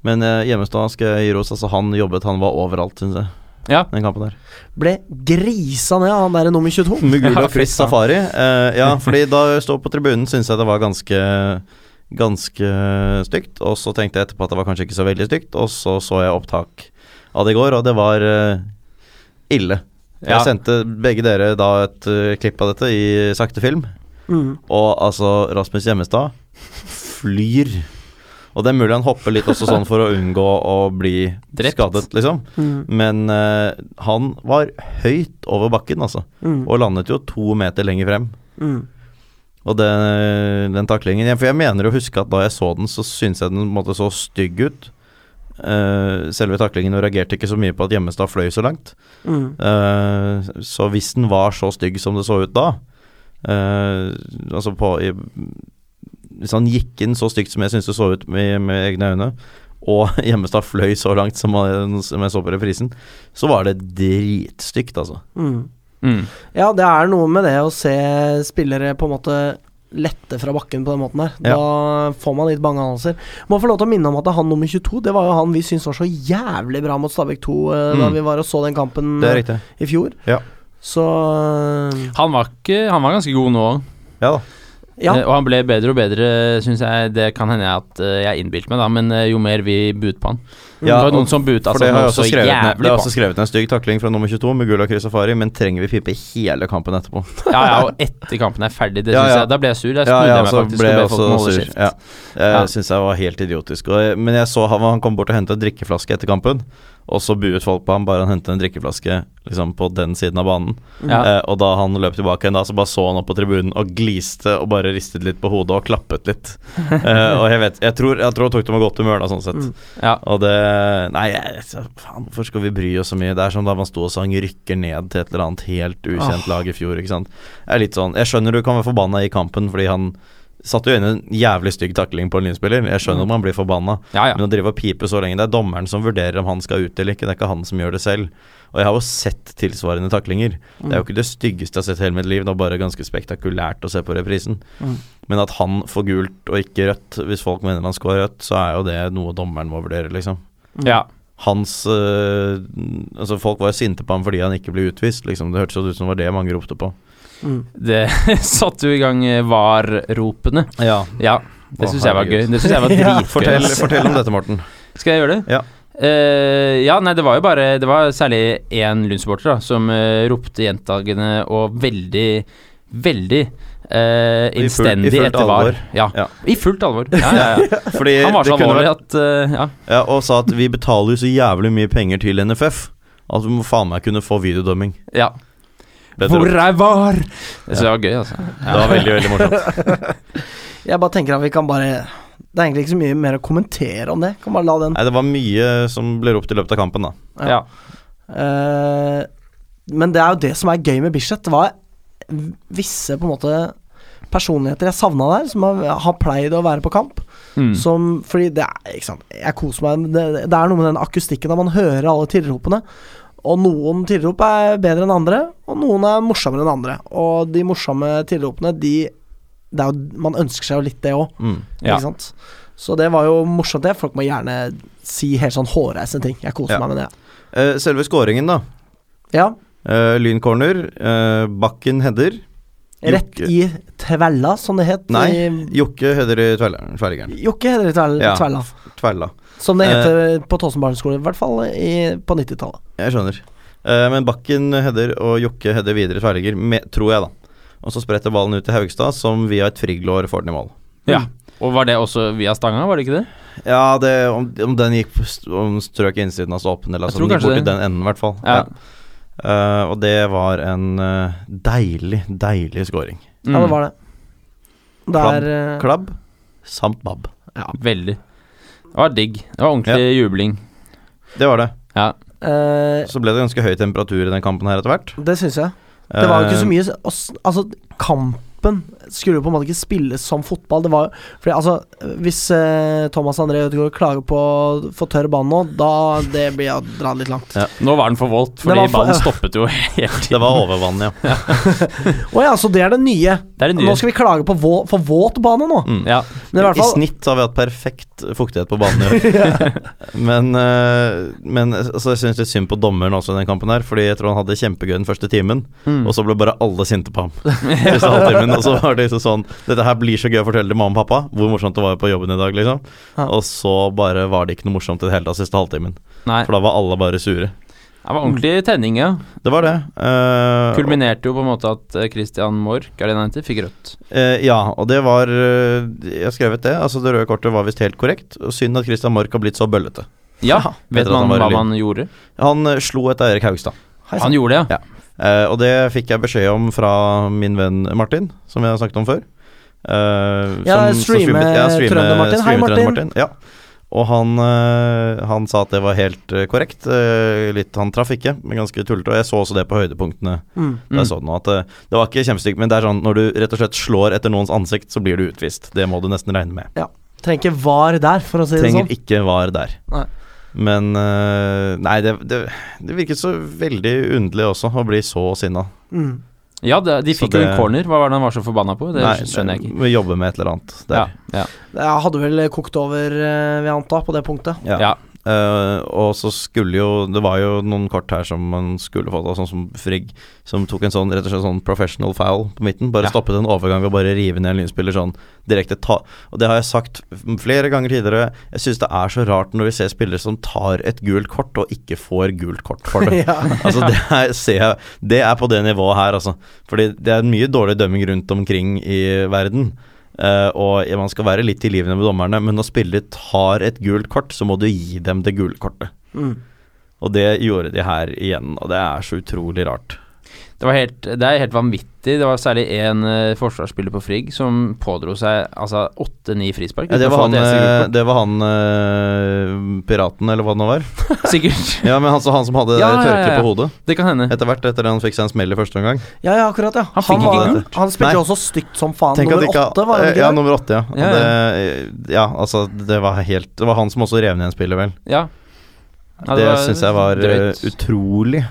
[SPEAKER 3] Men eh, Hjemmestad skal jeg gi ros. Altså, han jobbet, han var overalt, syns jeg.
[SPEAKER 2] Ja.
[SPEAKER 3] Den kampen der.
[SPEAKER 1] Ble grisa ned av han der nummer 22.
[SPEAKER 3] Mugula
[SPEAKER 2] Ja,
[SPEAKER 3] og Chris
[SPEAKER 2] fy faen.
[SPEAKER 3] Safari. eh, ja, fordi da jeg sto på tribunen, syns jeg det var ganske Ganske stygt. Og så tenkte jeg etterpå at det var kanskje ikke så veldig stygt, og så så jeg opptak av det i går, og det var eh, ille.
[SPEAKER 2] Ja.
[SPEAKER 3] Jeg sendte begge dere da et eh, klipp av dette i sakte film.
[SPEAKER 1] Mm.
[SPEAKER 3] Og altså, Rasmus Hjemmestad flyr. Og det er mulig han hopper litt også sånn for å unngå å bli
[SPEAKER 2] Drept.
[SPEAKER 3] skadet, liksom.
[SPEAKER 1] Mm.
[SPEAKER 3] Men eh, han var høyt over bakken, altså.
[SPEAKER 1] Mm.
[SPEAKER 3] Og landet jo to meter lenger frem.
[SPEAKER 1] Mm.
[SPEAKER 3] Og det, den taklingen jeg- For jeg mener å huske at da jeg så den, så syntes jeg den på en måte så stygg ut. Eh, selve taklingen og reagerte ikke så mye på at Hjemmestad fløy så langt.
[SPEAKER 1] Mm.
[SPEAKER 3] Eh, Så hvis den var så stygg som det så ut da eh, Altså på i, Hvis han gikk inn så stygt som jeg syns det så ut med, med egne øyne, og Hjemmestad fløy så langt som, man- som jeg så på reprisen, så var det dritstygt, altså.
[SPEAKER 1] Mm.
[SPEAKER 2] Mm.
[SPEAKER 1] Ja, det er noe med det å se spillere på en måte lette fra bakken på den måten der. Da får man litt bange anelser. Må få lov til å minne om at det er han nummer 22. Det var jo han vi syntes var så jævlig bra mot Stabæk 2 eh, da
[SPEAKER 3] Mm.
[SPEAKER 1] vi var og så den kampen
[SPEAKER 3] Det er
[SPEAKER 1] eh,
[SPEAKER 3] riktig.
[SPEAKER 1] i fjor.
[SPEAKER 3] Ja.
[SPEAKER 1] Så eh,
[SPEAKER 2] Han, var ikke, han var ganske god nå òg.
[SPEAKER 3] Ja da.
[SPEAKER 1] ja.
[SPEAKER 2] Eh, Og han ble bedre og bedre, syns jeg. Det kan hende at eh, jeg innbilte meg, da, men eh, jo mer vi buet på han
[SPEAKER 1] Mm.
[SPEAKER 3] Ja,
[SPEAKER 2] Det var
[SPEAKER 3] og-
[SPEAKER 2] noen som buet
[SPEAKER 3] For
[SPEAKER 2] altså,
[SPEAKER 3] det har jeg
[SPEAKER 2] noe
[SPEAKER 3] også
[SPEAKER 2] så
[SPEAKER 3] skrevet ned. Det
[SPEAKER 2] jævlig
[SPEAKER 3] er
[SPEAKER 2] på
[SPEAKER 3] også
[SPEAKER 2] han.
[SPEAKER 3] skrevet en stygg takling fra nummer 22 med Gula Kristafari, men trenger vi pipe hele kampen etterpå?
[SPEAKER 2] Ja, ja, og etter kampen er ferdig, det
[SPEAKER 3] Ja,
[SPEAKER 2] synes
[SPEAKER 3] ja.
[SPEAKER 2] jeg. Da ble jeg sur. Jeg
[SPEAKER 3] Ja,
[SPEAKER 2] snudde
[SPEAKER 3] ja,
[SPEAKER 2] meg
[SPEAKER 3] så
[SPEAKER 2] faktisk.
[SPEAKER 3] ble
[SPEAKER 2] og
[SPEAKER 3] jeg
[SPEAKER 2] ble folk
[SPEAKER 3] også
[SPEAKER 2] om å holde
[SPEAKER 3] sur.
[SPEAKER 2] kjeft.
[SPEAKER 3] Ja. Jeg
[SPEAKER 2] Ja.
[SPEAKER 3] syns jeg var helt idiotisk. Og, men jeg så han, han kom bort og hentet en drikkeflaske etter kampen, og så buet folk på ham bare han hentet en drikkeflaske liksom, på den siden av banen.
[SPEAKER 2] Ja.
[SPEAKER 3] Eh, og da han løp tilbake igjen, da, så bare så han opp på tribunen og gliste og bare ristet litt på hodet og klappet litt. Eh, og jeg vet Jeg tror, jeg tror han tok det med godt humør, da, sånn sett.
[SPEAKER 1] Mm.
[SPEAKER 2] Ja.
[SPEAKER 3] Og det Nei, jeg, så faen, hvorfor skal vi bry oss så mye? Det er som da man sto og sang 'Rykker ned' til et eller annet helt ukjent lag i fjor, ikke sant. Jeg er litt sånn Jeg skjønner du kan være forbanna i kampen fordi han satte jo inn en jævlig stygg takling på en linspiller. Jeg skjønner at man blir forbanna,
[SPEAKER 2] Ja, ja.
[SPEAKER 3] men å drive og pipe så lenge Det er dommeren som vurderer om han skal ut eller ikke, det er ikke han som gjør det selv. Og jeg har jo sett tilsvarende taklinger. Det er jo ikke det styggeste jeg har sett i hele mitt liv, det var bare ganske spektakulært å se på reprisen.
[SPEAKER 1] Mm.
[SPEAKER 3] Men at han får gult og ikke rødt, hvis folk mener han skal ha rødt, så er jo det noe dommeren må vurdere, liksom
[SPEAKER 2] Ja.
[SPEAKER 3] hans øh, Altså Folk var jo sinte på ham fordi han ikke ble utvist. Liksom. Det hørtes jo ut som det var det mange ropte på.
[SPEAKER 1] Mm.
[SPEAKER 2] Det satte jo i gang eh, var-ropene.
[SPEAKER 3] Ja,
[SPEAKER 2] Ja, det
[SPEAKER 3] Å,
[SPEAKER 2] syns jeg var gøy.
[SPEAKER 3] herregud.
[SPEAKER 2] Det synes jeg var
[SPEAKER 1] Ja.
[SPEAKER 2] dritgøy.
[SPEAKER 3] Fortell,
[SPEAKER 2] ass.
[SPEAKER 3] fortell om dette, Morten.
[SPEAKER 2] Skal jeg gjøre det?
[SPEAKER 3] Ja.
[SPEAKER 2] Eh, ja, nei, det var jo bare Det var særlig én Lund-supporter da, som eh, ropte gjentagende og veldig, veldig eh,
[SPEAKER 3] I full- i
[SPEAKER 2] innstendig
[SPEAKER 3] fullt
[SPEAKER 2] etter var.
[SPEAKER 3] alvor.
[SPEAKER 2] Ja.
[SPEAKER 3] Ja.
[SPEAKER 2] I fullt alvor. Ja, ja, ja.
[SPEAKER 3] Fordi
[SPEAKER 2] Han var
[SPEAKER 3] det
[SPEAKER 2] så
[SPEAKER 3] kunne
[SPEAKER 2] alvorlig
[SPEAKER 3] vært-
[SPEAKER 2] at eh, Ja.
[SPEAKER 3] ja, Og sa at vi betaler jo så jævlig mye penger til NFF at Altså, vi må faen meg kunne få videodømming.
[SPEAKER 2] ja.
[SPEAKER 3] Bedre
[SPEAKER 2] Hvor
[SPEAKER 3] ord.
[SPEAKER 2] er var? Så det var gøy, altså.
[SPEAKER 3] Det var veldig, veldig morsomt.
[SPEAKER 1] Jeg bare tenker at vi kan bare Det er egentlig ikke så mye mer å kommentere om det. Kan bare la den
[SPEAKER 3] Nei, det var mye som ble ropt i løpet av kampen, da.
[SPEAKER 1] Ja.
[SPEAKER 2] Ja.
[SPEAKER 1] Eh, men det er jo det som er gøy med Bislett. Det var visse på en måte personligheter jeg savna der, som har, har pleid å være på kamp.
[SPEAKER 2] Mm.
[SPEAKER 1] Som, fordi det er, ikke sant, jeg koser meg men det, det er noe med den akustikken da man hører alle tilropene. Og noen tilrop er bedre enn andre, og noen er morsommere enn andre. Og de morsomme tilropene, de det er jo, Man ønsker seg jo litt det òg,
[SPEAKER 3] Mm.
[SPEAKER 2] Ja.
[SPEAKER 1] ikke sant. Så det var jo morsomt, det. Folk må gjerne si helt sånn hårreisende ting. Jeg koser
[SPEAKER 3] Ja.
[SPEAKER 1] meg med det.
[SPEAKER 3] Eh, selve scoringen, da.
[SPEAKER 1] Ja.
[SPEAKER 3] Uh, Lyncorner. eh, bakken header.
[SPEAKER 1] Rett
[SPEAKER 3] Jokke-
[SPEAKER 1] i tvella, som det het.
[SPEAKER 3] Nei,
[SPEAKER 1] i-
[SPEAKER 3] Jokke header i tverrleggeren. Tverrleggeren.
[SPEAKER 1] Jokke heter det tvel,
[SPEAKER 3] Ja.
[SPEAKER 1] tvella.
[SPEAKER 3] Tverla.
[SPEAKER 1] Som det heter på Tåsen barneskole, i hvert fall i, på 90-tallet.
[SPEAKER 3] Jeg skjønner. Eh, men Bakken header og Jokke header videre tverrligger, med- tror jeg, da. Og så spretter ballen ut til Haugstad, som via et friglår får den i mål.
[SPEAKER 2] ja. Mm. Og var det også via stanga, var det ikke det?
[SPEAKER 3] Ja, det, om, om den gikk på st- om strøk innsiden av stolpen, eller
[SPEAKER 2] Jeg
[SPEAKER 3] altså
[SPEAKER 2] tror
[SPEAKER 3] den gikk
[SPEAKER 2] kanskje
[SPEAKER 3] bort i
[SPEAKER 2] det.
[SPEAKER 3] den enden, i hvert fall.
[SPEAKER 2] Ja.
[SPEAKER 3] Ja. Eh, og det var en eh, deilig, deilig scoring.
[SPEAKER 1] Ja, det
[SPEAKER 2] Mm.
[SPEAKER 1] var det. Det
[SPEAKER 3] Klabb.
[SPEAKER 1] er eh,
[SPEAKER 3] Klabb samt babb.
[SPEAKER 2] Veldig. Det var digg. Det var ordentlig jubling.
[SPEAKER 3] Det var det.
[SPEAKER 1] eh,
[SPEAKER 3] Så ble det ganske høy temperatur i den kampen her etter hvert.
[SPEAKER 1] Det syns jeg. Det var jo ikke så
[SPEAKER 3] Eh,
[SPEAKER 1] mye s- oss- Altså, kampen skulle jo på en måte ikke spilles som fotball. Det var Fordi altså, hvis eh, Thomas André Ødegaard klager på for tørr bane nå, da Det blir å dra det litt langt.
[SPEAKER 2] Nå var den for voldt,
[SPEAKER 1] Det var
[SPEAKER 2] fordi
[SPEAKER 1] for-
[SPEAKER 2] ballen stoppet jo helt
[SPEAKER 3] Det var overvann, ja.
[SPEAKER 1] Å ja, så det er det nye.
[SPEAKER 2] Det er det nye.
[SPEAKER 1] Nå skal vi klage på vå, for våt bane nå.
[SPEAKER 3] Mm.
[SPEAKER 2] Ja.
[SPEAKER 1] Men i hvert fall
[SPEAKER 3] I snitt har vi hatt perfekt fuktighet på banen i år. men eh, men altså, jeg syns litt synd på dommeren også i den kampen her, fordi jeg tror han hadde kjempegøy den første timen,
[SPEAKER 2] Mm.
[SPEAKER 3] og så ble bare alle sinte på ham. Første halvtimen, og så var det liksom sånn Dette her blir så gøy å fortelle til mamma og pappa, hvor morsomt det var på jobben i dag, liksom.
[SPEAKER 1] Ja.
[SPEAKER 3] Og så bare var det ikke noe morsomt i det hele tatt siste halvtimen,
[SPEAKER 2] Nei,
[SPEAKER 3] for da var alle bare sure.
[SPEAKER 2] det var ordentlig tenning, ja.
[SPEAKER 3] Det var det. Eh,
[SPEAKER 2] Kulminerte jo på en måte at eh, Christian Mork Alenante fikk rødt.
[SPEAKER 3] Eh, ja, og det var eh, Jeg har skrevet det. Altså Det røde kortet var visst helt korrekt. Og synd at Christian Mork har blitt så bøllete.
[SPEAKER 2] Ja,
[SPEAKER 3] Ja,
[SPEAKER 2] vet
[SPEAKER 3] etter at
[SPEAKER 2] man
[SPEAKER 3] han var
[SPEAKER 2] hva
[SPEAKER 3] i Lyn.
[SPEAKER 2] man gjorde?
[SPEAKER 3] Han eh, slo etter Erik Haugstad.
[SPEAKER 1] Hei sann.
[SPEAKER 2] Han gjorde det, ja.
[SPEAKER 3] Eh, og det fikk jeg beskjed om fra min venn Martin, som vi har snakket om før. Eh,
[SPEAKER 1] Ja, streame Trønder-Martin. Hei,
[SPEAKER 3] streame
[SPEAKER 1] Martin.
[SPEAKER 3] Trønder-Martin, Ja. Og han, eh, han sa at det var helt eh, korrekt. Eh, litt Han traff ikke, men ganske tullete. Og jeg så også det på høydepunktene.
[SPEAKER 1] Mm.
[SPEAKER 3] Da jeg så det nå, at eh, Det var ikke kjempestygt, men det er sånn når du rett og slett slår etter noens ansikt, så blir du utvist. Det må du nesten regne med.
[SPEAKER 1] Trenger ikke var der, for å si det
[SPEAKER 3] Trenger
[SPEAKER 1] sånn.
[SPEAKER 3] ikke var der.
[SPEAKER 1] Nei.
[SPEAKER 3] Men eh, Nei, det, det, det virket så veldig underlig også, å bli så sinna.
[SPEAKER 1] Mm.
[SPEAKER 2] Ja, det, de
[SPEAKER 3] Så
[SPEAKER 2] fikk jo en
[SPEAKER 3] det-
[SPEAKER 2] corner. Hva var det han var så forbanna på? Det skjønner jeg ikke.
[SPEAKER 3] Må jobbe med et eller annet der.
[SPEAKER 2] Ja, ja.
[SPEAKER 1] Jeg hadde vel kokt over, eh, vil jeg anta, på det punktet.
[SPEAKER 3] Ja.
[SPEAKER 2] Ja.
[SPEAKER 3] Eh, og så skulle jo Det var jo noen kort her som man skulle fått av, sånn som Frigg, som tok en sånn rett og slett sånn professional foul på midten. Bare
[SPEAKER 2] Ja.
[SPEAKER 3] stoppet en overgang ved å bare rive ned en lynspiller sånn direkte. Ta, og det har jeg sagt flere ganger tidligere. Jeg syns det er så rart når vi ser spillere som tar et gult kort og ikke får gult kort for det.
[SPEAKER 1] ja.
[SPEAKER 3] Altså det er, ser jeg, det er på det nivået her, altså. Fordi det er mye dårlig dømming rundt omkring i verden. Eh, og man skal være litt tilgivende med dommerne, men når spillere tar et gult kort, så må du gi dem det gule kortet.
[SPEAKER 1] Mm.
[SPEAKER 3] Og det gjorde de her igjen, og det er så utrolig rart.
[SPEAKER 2] Det, var helt, det er helt vanvittig. Det var særlig én eh, forsvarsspiller på Frigg som pådro seg altså åtte-ni frispark.
[SPEAKER 3] Ja, det,
[SPEAKER 2] uten å
[SPEAKER 3] var
[SPEAKER 2] få
[SPEAKER 3] han,
[SPEAKER 2] et eneste
[SPEAKER 3] eh,
[SPEAKER 2] gult
[SPEAKER 3] det var han eh, piraten, eller hva det nå var.
[SPEAKER 2] kort. Sikkert.
[SPEAKER 3] Ja, men altså han som hadde
[SPEAKER 2] Ja, ja, ja,
[SPEAKER 3] tørkle
[SPEAKER 2] ja.
[SPEAKER 3] på hodet
[SPEAKER 2] Det kan hende.
[SPEAKER 3] etter hvert, etter at han fikk seg en smell i første omgang.
[SPEAKER 1] ja, ja, akkurat, ja.
[SPEAKER 2] Han fikk
[SPEAKER 1] var,
[SPEAKER 2] ikke
[SPEAKER 3] gult.
[SPEAKER 1] han spilte
[SPEAKER 3] Nei.
[SPEAKER 1] jo også stygt som faen.
[SPEAKER 3] Tenk at
[SPEAKER 1] Nummer
[SPEAKER 3] ikke, Eh,
[SPEAKER 1] åtte, var det
[SPEAKER 3] Ja,
[SPEAKER 1] ikke det?
[SPEAKER 3] nummer åtte, ja.
[SPEAKER 2] Ja,
[SPEAKER 3] Det, ja altså, det var helt Det var han som også rev ned en spiller, vel.
[SPEAKER 2] Ja. Ja,
[SPEAKER 3] det
[SPEAKER 2] var
[SPEAKER 3] syns jeg var
[SPEAKER 2] drøyt.
[SPEAKER 3] eh, utrolig.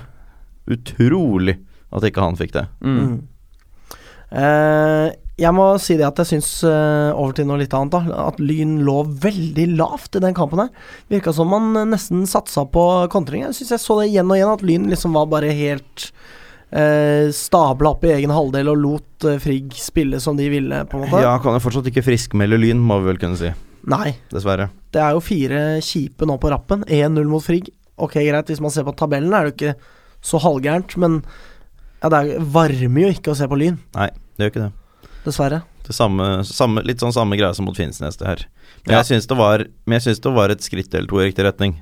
[SPEAKER 3] Utrolig at ikke han fikk det.
[SPEAKER 2] Mm.
[SPEAKER 1] Mm. Eh, jeg må si det at jeg syns, eh, over til noe litt annet, da, at Lyn lå veldig lavt i den kampen her. Virka som man eh, nesten satsa på kontring. Jeg syns jeg så det igjen og igjen, at Lyn liksom var bare helt eh, stabla opp i egen halvdel og lot eh, Frigg spille som de ville, på en måte.
[SPEAKER 3] Ja, kan jeg fortsatt ikke friskmelde Lyn, må vi vel kunne si.
[SPEAKER 1] Nei.
[SPEAKER 3] Dessverre.
[SPEAKER 1] Det er jo fire kjipe nå på rappen. 1-0 mot Frigg. Ok, greit, hvis man ser på tabellen, er det jo ikke så halvgærent, men ja, det er- varmer jo ikke å se på Lyn,
[SPEAKER 3] Det gjør ikke det.
[SPEAKER 1] dessverre.
[SPEAKER 3] det samme, samme, litt sånn samme greie som mot Finnsnes, det her. Men
[SPEAKER 2] Ja.
[SPEAKER 3] jeg syns det, var- men jeg syns det var et skritt eller to i riktig retning.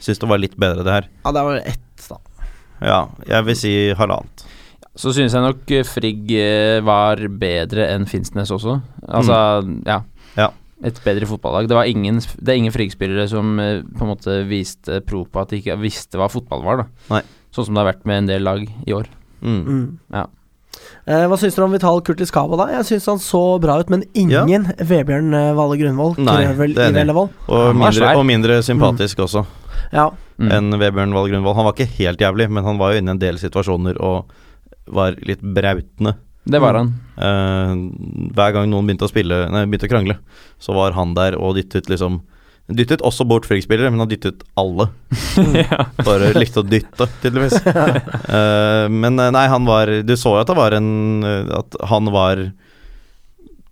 [SPEAKER 3] Syns det var litt bedre, det her.
[SPEAKER 1] Ja, det er vel ett, da.
[SPEAKER 3] Ja, jeg vil si halvannet.
[SPEAKER 2] Så syns jeg nok eh, Frigg eh, var bedre enn Finnsnes også. Altså, ja.
[SPEAKER 3] Mm. Ja.
[SPEAKER 2] Et bedre fotballag. Det, var ingen, det er ingen Frigg-spillere som eh, på en måte viste pro på at de ikke visste hva fotball var, da.
[SPEAKER 3] Nei.
[SPEAKER 2] Sånn som det har vært med en del lag i år.
[SPEAKER 3] Mm.
[SPEAKER 1] Mm.
[SPEAKER 2] Ja.
[SPEAKER 1] Eh, hva syns dere om Vital Kurtis Kaba, da? Jeg syns han så bra ut, men ingen Vebjørn eh, Valle Grunvoll.
[SPEAKER 3] Nei,
[SPEAKER 1] Krøvel
[SPEAKER 3] det er enig.
[SPEAKER 1] Ivellevold.
[SPEAKER 3] Og,
[SPEAKER 2] Han var
[SPEAKER 3] mindre,
[SPEAKER 2] svær.
[SPEAKER 3] og mindre sympatisk også.
[SPEAKER 1] Ja,
[SPEAKER 2] Mm.
[SPEAKER 3] enn Vebjørn Wahl Grunvoll. Han var ikke helt jævlig, men han var jo inne i en del situasjoner og var litt brautende.
[SPEAKER 2] Det
[SPEAKER 3] Mm.
[SPEAKER 2] var han.
[SPEAKER 3] Eh, hver gang noen begynte å spille Nei, begynte å krangle, så var han der og dyttet liksom Dyttet også bort Frigg-spillere, men han dyttet alle.
[SPEAKER 2] ja.
[SPEAKER 3] Bare likte å dytte, tydeligvis. Eh, men eh, nei, han var Du så jo at det var en eh, At han var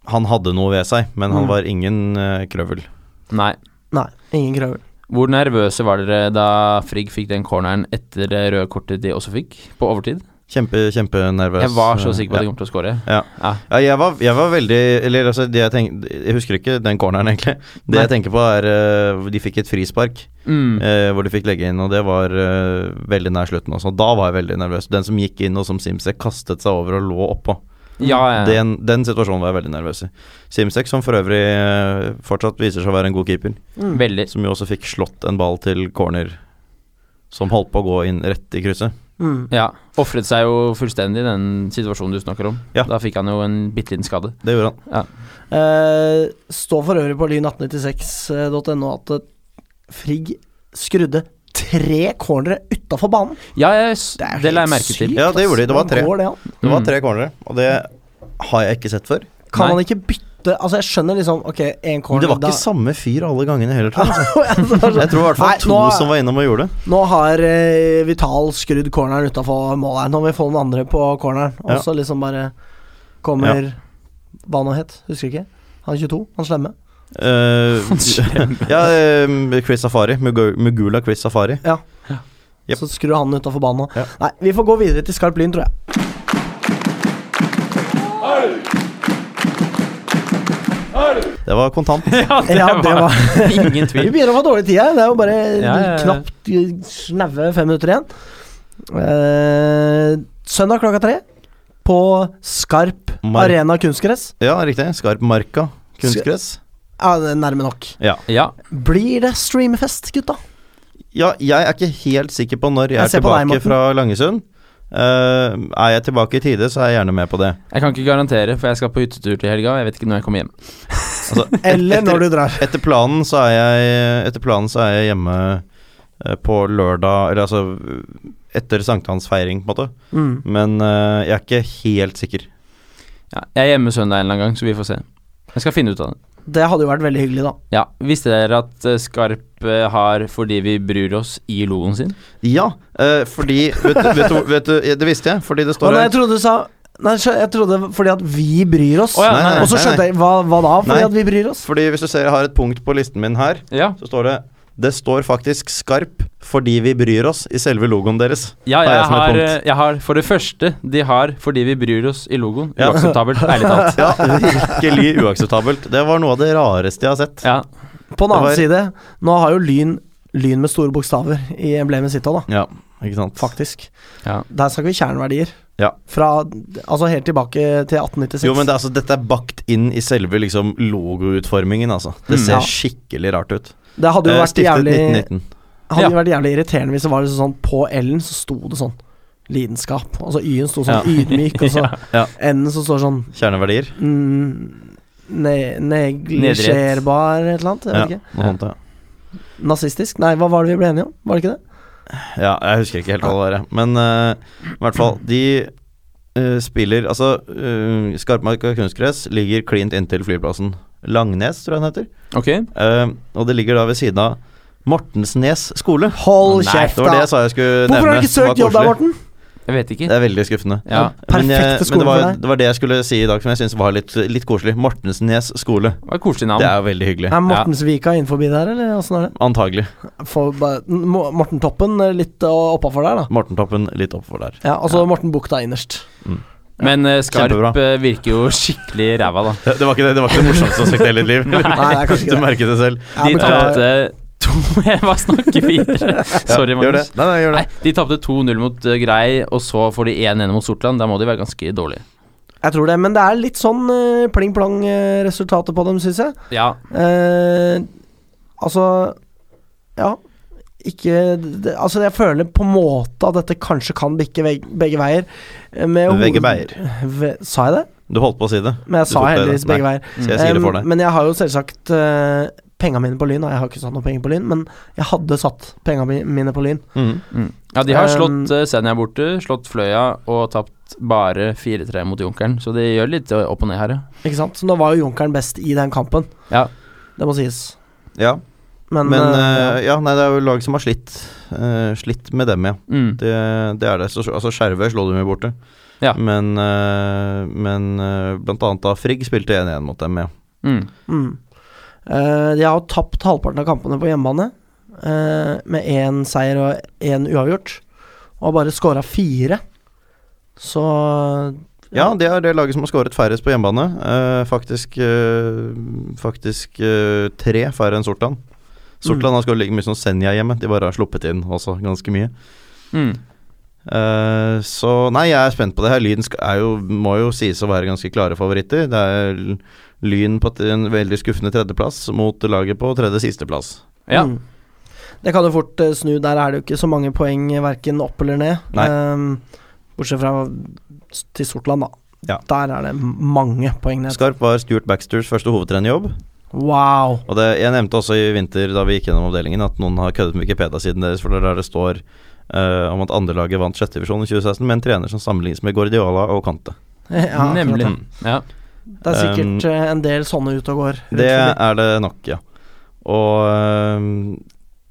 [SPEAKER 3] Han hadde noe ved seg, men han
[SPEAKER 1] Mm.
[SPEAKER 3] var ingen eh, krøvel.
[SPEAKER 2] Nei.
[SPEAKER 1] nei, ingen Krøvel.
[SPEAKER 2] Hvor nervøse var dere da Frigg fikk den corneren etter det røde kortet de også fikk, på overtid?
[SPEAKER 3] Kjempe, kjempenervøs.
[SPEAKER 2] Jeg var så sikker på
[SPEAKER 3] Ja.
[SPEAKER 2] at de kom til å skåre.
[SPEAKER 3] Ja.
[SPEAKER 2] Ja.
[SPEAKER 3] Ja, jeg var, jeg var veldig Eller altså, det jeg, tenk, jeg husker ikke den corneren, egentlig. Det jeg tenker på, er eh, De fikk et frispark
[SPEAKER 2] Mm.
[SPEAKER 3] eh, hvor de fikk legge inn, og det var eh, veldig nær slutten også. Da var jeg veldig nervøs. Den som gikk inn, og som Simsek kastet seg over og lå oppå.
[SPEAKER 2] Ja, ja.
[SPEAKER 3] Den, den situasjonen var jeg veldig nervøs i. Simsek, som for øvrig eh, fortsatt viser seg å være en god keeper,
[SPEAKER 1] Mm.
[SPEAKER 2] Veldig.
[SPEAKER 3] som jo også fikk slått en ball til corner som holdt på å gå inn rett i krysset.
[SPEAKER 1] Mm.
[SPEAKER 2] Ja. Ofret seg jo fullstendig i den situasjonen du snakker om.
[SPEAKER 3] Ja.
[SPEAKER 2] Da fikk han jo en bitte liten skade.
[SPEAKER 3] Det gjorde han.
[SPEAKER 1] Eh, står for øvrig på lyn1896.no at eh, Frigg skrudde tre cornere utafor banen.
[SPEAKER 2] Ja, jeg, s-
[SPEAKER 1] Det er
[SPEAKER 2] det la jeg
[SPEAKER 1] helt
[SPEAKER 2] merke til.
[SPEAKER 1] sykt,
[SPEAKER 3] Ja, det
[SPEAKER 1] ass.
[SPEAKER 3] gjorde de. Det var
[SPEAKER 1] Hvordan
[SPEAKER 3] tre.
[SPEAKER 1] går det an?
[SPEAKER 3] Det
[SPEAKER 2] Mm.
[SPEAKER 3] var tre cornere, og det har jeg ikke sett før.
[SPEAKER 1] Kan
[SPEAKER 2] Nei.
[SPEAKER 1] man ikke bytte Altså, jeg skjønner liksom Ok, én
[SPEAKER 3] Men
[SPEAKER 1] corner
[SPEAKER 3] det var
[SPEAKER 1] da-
[SPEAKER 3] ikke samme fyr alle gangene heller, tror jeg.
[SPEAKER 1] Altså, det var
[SPEAKER 3] Jeg tror i hvert fall
[SPEAKER 1] Nei,
[SPEAKER 3] to
[SPEAKER 1] nå-
[SPEAKER 3] som var innom og gjorde det.
[SPEAKER 1] sånn, Nå har eh, Vital skrudd corneren utafor målet her. Nå må vi få den andre på corneren. Og
[SPEAKER 3] Ja.
[SPEAKER 1] så liksom bare kommer Hva nå het? Husker ikke. Han er 22, han slemme.
[SPEAKER 3] Eh, ja, eh, Chris Safari. Mugu- Mugula Chris Safari. Jep.
[SPEAKER 1] Så skrur han utafor banen nå.
[SPEAKER 3] Ja.
[SPEAKER 1] Nei, vi får gå videre til skarp lyn, tror jeg.
[SPEAKER 3] Det var kontant.
[SPEAKER 2] ja, det,
[SPEAKER 1] Ja, det
[SPEAKER 2] var ingen
[SPEAKER 1] Vi
[SPEAKER 2] tvil.
[SPEAKER 1] begynner å få dårlig tid her. Det er jo bare
[SPEAKER 2] Ja, ja, ja.
[SPEAKER 1] knapt eh, snaue fem minutter igjen. Eh, søndag klokka tre på Skarp
[SPEAKER 3] Mar-
[SPEAKER 1] Arena kunstgress.
[SPEAKER 3] Ja, riktig. Skarp marka. Kunstgress.
[SPEAKER 1] Ja, det er nærme nok.
[SPEAKER 2] Ja,
[SPEAKER 1] Blir det streamfest, gutta?
[SPEAKER 3] Ja, jeg er ikke helt sikker på når jeg
[SPEAKER 1] Jeg
[SPEAKER 3] er
[SPEAKER 1] ser på deg,
[SPEAKER 3] tilbake
[SPEAKER 1] Morten.
[SPEAKER 3] fra Langesund. Eh, er jeg tilbake i tide, så er jeg gjerne med på det.
[SPEAKER 2] jeg kan ikke garantere, for jeg skal på hyttetur til helga. og Jeg vet ikke når jeg kommer hjem.
[SPEAKER 3] Altså,
[SPEAKER 1] Eller når du drar.
[SPEAKER 3] Etter planen så er jeg, etter planen så er jeg hjemme eh, på lørdag Eller altså etter sankthansfeiring, på en måte.
[SPEAKER 1] Mm.
[SPEAKER 3] Men eh, jeg er ikke helt sikker.
[SPEAKER 2] Ja, jeg er hjemme søndag en eller annen gang, så vi får se. Jeg skal finne ut av det.
[SPEAKER 1] Det hadde jo vært veldig hyggelig, da.
[SPEAKER 2] Ja, Visste dere at eh, Skarp eh, har 'Fordi vi bryr oss' i logoen sin?
[SPEAKER 3] Ja, eh, fordi vet, du- vet, du- vet du, Det visste jeg, fordi det
[SPEAKER 1] Å
[SPEAKER 3] står
[SPEAKER 1] nei,
[SPEAKER 3] her
[SPEAKER 1] jeg trodde du sa Nei, skjø- jeg trodde fordi at vi bryr oss.
[SPEAKER 2] Å ja,
[SPEAKER 3] Nei, nei, nei,
[SPEAKER 1] og så skjønte jeg hva, hva da? Fordi
[SPEAKER 3] Nei.
[SPEAKER 1] at vi bryr oss?
[SPEAKER 3] Fordi hvis du ser jeg har et punkt på listen min her,
[SPEAKER 2] Ja,
[SPEAKER 3] så står det det står faktisk 'skarp' fordi vi bryr oss i selve logoen deres.
[SPEAKER 2] ja
[SPEAKER 3] Har
[SPEAKER 2] jeg,
[SPEAKER 3] jeg som et
[SPEAKER 2] har,
[SPEAKER 3] punkt.
[SPEAKER 2] eh, jeg har For det første, de har 'Fordi vi bryr oss' i logoen.
[SPEAKER 3] Ja.
[SPEAKER 2] Uakseptabelt, ærlig talt.
[SPEAKER 3] Ja, Virkelig uakseptabelt. Det var noe av det rareste jeg har sett.
[SPEAKER 2] Ja.
[SPEAKER 1] På den
[SPEAKER 3] Det
[SPEAKER 1] annen
[SPEAKER 3] var-
[SPEAKER 1] side, nå har jo Lyn Lyn med store bokstaver i emblemet sitt òg, da.
[SPEAKER 3] Ja, ikke sant.
[SPEAKER 1] Faktisk.
[SPEAKER 2] Ja.
[SPEAKER 1] Der snakker vi kjerneverdier.
[SPEAKER 3] Ja.
[SPEAKER 1] Fra Altså helt tilbake til 1896.
[SPEAKER 3] Jo, men det, er altså, dette er bakt inn i selve liksom, logoutformingen, altså. Det
[SPEAKER 2] Mm.
[SPEAKER 3] ser
[SPEAKER 1] Ja.
[SPEAKER 3] skikkelig rart ut.
[SPEAKER 1] Det hadde jo
[SPEAKER 3] Eh,
[SPEAKER 1] vært
[SPEAKER 3] Stiftet
[SPEAKER 1] jævlig
[SPEAKER 3] 1919.
[SPEAKER 1] Hadde
[SPEAKER 2] Ja.
[SPEAKER 1] jo vært jævlig irriterende hvis det var sånn På L-en så sto det sånn Lidenskap. Altså Y-en sto sånn ydmyk, og så
[SPEAKER 3] Ja.
[SPEAKER 1] N-en så står sånn
[SPEAKER 3] Kjerneverdier.
[SPEAKER 1] mm, ne Neglisjerbar, et eller annet. Jeg
[SPEAKER 3] Ja,
[SPEAKER 1] vet
[SPEAKER 3] noe sånt, ja.
[SPEAKER 1] ikke. Nazistisk? Nei, hva var det vi ble enige om? Var det ikke det?
[SPEAKER 3] ja, jeg husker ikke helt hva det var, jeg. men eh, i hvert fall De eh, spiller Altså, eh, Skarpmark og kunstgress ligger klint inntil flyplassen. Langnes, tror jeg den heter.
[SPEAKER 2] Ok.
[SPEAKER 3] Eh, og det ligger da ved siden av Mortensnes skole.
[SPEAKER 1] Hold
[SPEAKER 3] Nei,
[SPEAKER 1] kjeft,
[SPEAKER 3] Det var det
[SPEAKER 1] da!
[SPEAKER 3] jeg sa jeg skulle nevne.
[SPEAKER 1] Hvorfor har du ikke
[SPEAKER 3] som var
[SPEAKER 1] søkt jobb der,
[SPEAKER 3] koselig.
[SPEAKER 1] Morten?
[SPEAKER 2] Jeg vet ikke.
[SPEAKER 3] Det er veldig skuffende.
[SPEAKER 2] Ja.
[SPEAKER 3] Men, jeg,
[SPEAKER 1] Perfekte
[SPEAKER 3] men
[SPEAKER 1] skole
[SPEAKER 3] det, var,
[SPEAKER 1] for deg.
[SPEAKER 3] det var det jeg skulle si i dag som jeg syns var litt, litt koselig. Mortensnes skole.
[SPEAKER 2] Det var et koselig navn.
[SPEAKER 3] Det er jo veldig hyggelig.
[SPEAKER 1] Er Mortensvika innenforbi der, eller åssen er det?
[SPEAKER 3] Antagelig.
[SPEAKER 1] Får bare- Mo- Mortentoppen eh, litt oppafor der, da.
[SPEAKER 3] Mortentoppen litt oppover der.
[SPEAKER 1] Ja, altså Mortenbukta innerst.
[SPEAKER 2] Men eh, Skarp
[SPEAKER 3] Kjempebra.
[SPEAKER 2] eh, virker jo skikkelig ræva, da.
[SPEAKER 3] Det, det, var ikke det, det var ikke det morsomste som har sagt i hele ditt liv.
[SPEAKER 1] Nei, det er kanskje
[SPEAKER 3] du
[SPEAKER 1] ikke det.
[SPEAKER 3] merket det selv.
[SPEAKER 1] Ja,
[SPEAKER 2] De
[SPEAKER 1] beklager.
[SPEAKER 3] eh.
[SPEAKER 2] tapte to Hva snakker vi Sorry,
[SPEAKER 3] Gjør det.
[SPEAKER 2] Magnus.
[SPEAKER 3] Nei, nei, gjør det.
[SPEAKER 2] Nei, de tapte 2-0 mot eh, Grei, og så får de 1-1 mot Sortland. Da må de være ganske dårlige.
[SPEAKER 1] Jeg tror det, men det er litt sånn pling-plong-resultatet på dem, syns jeg.
[SPEAKER 2] Ja,
[SPEAKER 1] Eh, altså Ja. Ikke det, Altså, jeg føler på en måte at dette kanskje kan bikke veg, begge veier. eh, Med hoved-
[SPEAKER 3] Begge veier.
[SPEAKER 1] Ve, sa jeg det?
[SPEAKER 3] Du holdt på å si det.
[SPEAKER 1] Men jeg
[SPEAKER 3] Du
[SPEAKER 1] sa
[SPEAKER 3] tok det,
[SPEAKER 1] heldigvis
[SPEAKER 3] nei.
[SPEAKER 1] begge veier.
[SPEAKER 3] Så jeg sier det for
[SPEAKER 1] Eh,
[SPEAKER 3] deg.
[SPEAKER 1] men jeg har jo selvsagt uh, penga mine på Lyn, og jeg har ikke satt noen penger på Lyn, men jeg hadde satt penga mi- mine på Lyn.
[SPEAKER 3] Mhm.
[SPEAKER 2] ja de har
[SPEAKER 1] Um,
[SPEAKER 2] slått eh, Senja borte, slått Fløya og tapt bare 4-3 mot Junkeren, så de gjør litt eh, opp og ned her, ja.
[SPEAKER 1] Ikke sant? Så nå var jo Junkeren best i den kampen.
[SPEAKER 2] Ja.
[SPEAKER 1] Det må sies.
[SPEAKER 3] Ja,
[SPEAKER 1] Men,
[SPEAKER 3] men
[SPEAKER 1] eh,
[SPEAKER 3] eh, ja, nei, det er jo lag som har slitt. eh, slitt med dem, ja.
[SPEAKER 2] Mm.
[SPEAKER 3] Det, det er det. Så, altså, Skjervøy slo dem jo borte.
[SPEAKER 2] Ja.
[SPEAKER 3] Men, eh, men eh, blant annet da Frigg spilte 1-1 mot dem, ja.
[SPEAKER 2] Mm.
[SPEAKER 1] Mm. Eh, de har jo tapt halvparten av kampene på hjemmebane, eh, med én seier og én uavgjort. Og har bare scora fire. Så
[SPEAKER 3] Ja, det er det laget som har skåret færrest på hjemmebane. Eh, faktisk eh, faktisk eh, tre færre enn Sortland. Sortland har skåret like mye som Senja hjemme. De bare har sluppet inn også ganske mye.
[SPEAKER 2] Mm.
[SPEAKER 3] Eh, så nei, jeg er spent på det her. Lyn sk- er jo, må jo sies å være ganske klare favoritter. Det er l- Lyn på t- en veldig skuffende tredjeplass mot laget på tredje sisteplass.
[SPEAKER 2] Ja.
[SPEAKER 1] Mm. Det kan jo fort eh, snu. Der er det jo ikke så mange poeng verken opp eller ned.
[SPEAKER 3] Nei.
[SPEAKER 1] Ehm, bortsett fra s- til Sortland, da.
[SPEAKER 3] Ja.
[SPEAKER 1] Der er det mange poeng ned.
[SPEAKER 3] Skarp var Stuart Baxters første hovedtrenerjobb.
[SPEAKER 1] Wow!
[SPEAKER 3] Og det, jeg nevnte også i vinter da vi gikk gjennom avdelingen at noen har køddet med Wikipedia-siden deres, for det er der det står eh, om at andrelaget vant sjettedivisjon i 2016 med en trener som sammenlignes med Guardiola og Kante.
[SPEAKER 1] Ja,
[SPEAKER 2] Nemlig.
[SPEAKER 1] akkurat,
[SPEAKER 2] Ja.
[SPEAKER 1] ja. Det er sikkert eh, en del sånne ute og går. rundt
[SPEAKER 3] Ehm, Det
[SPEAKER 1] forbi.
[SPEAKER 3] er det nok, ja. Og eh,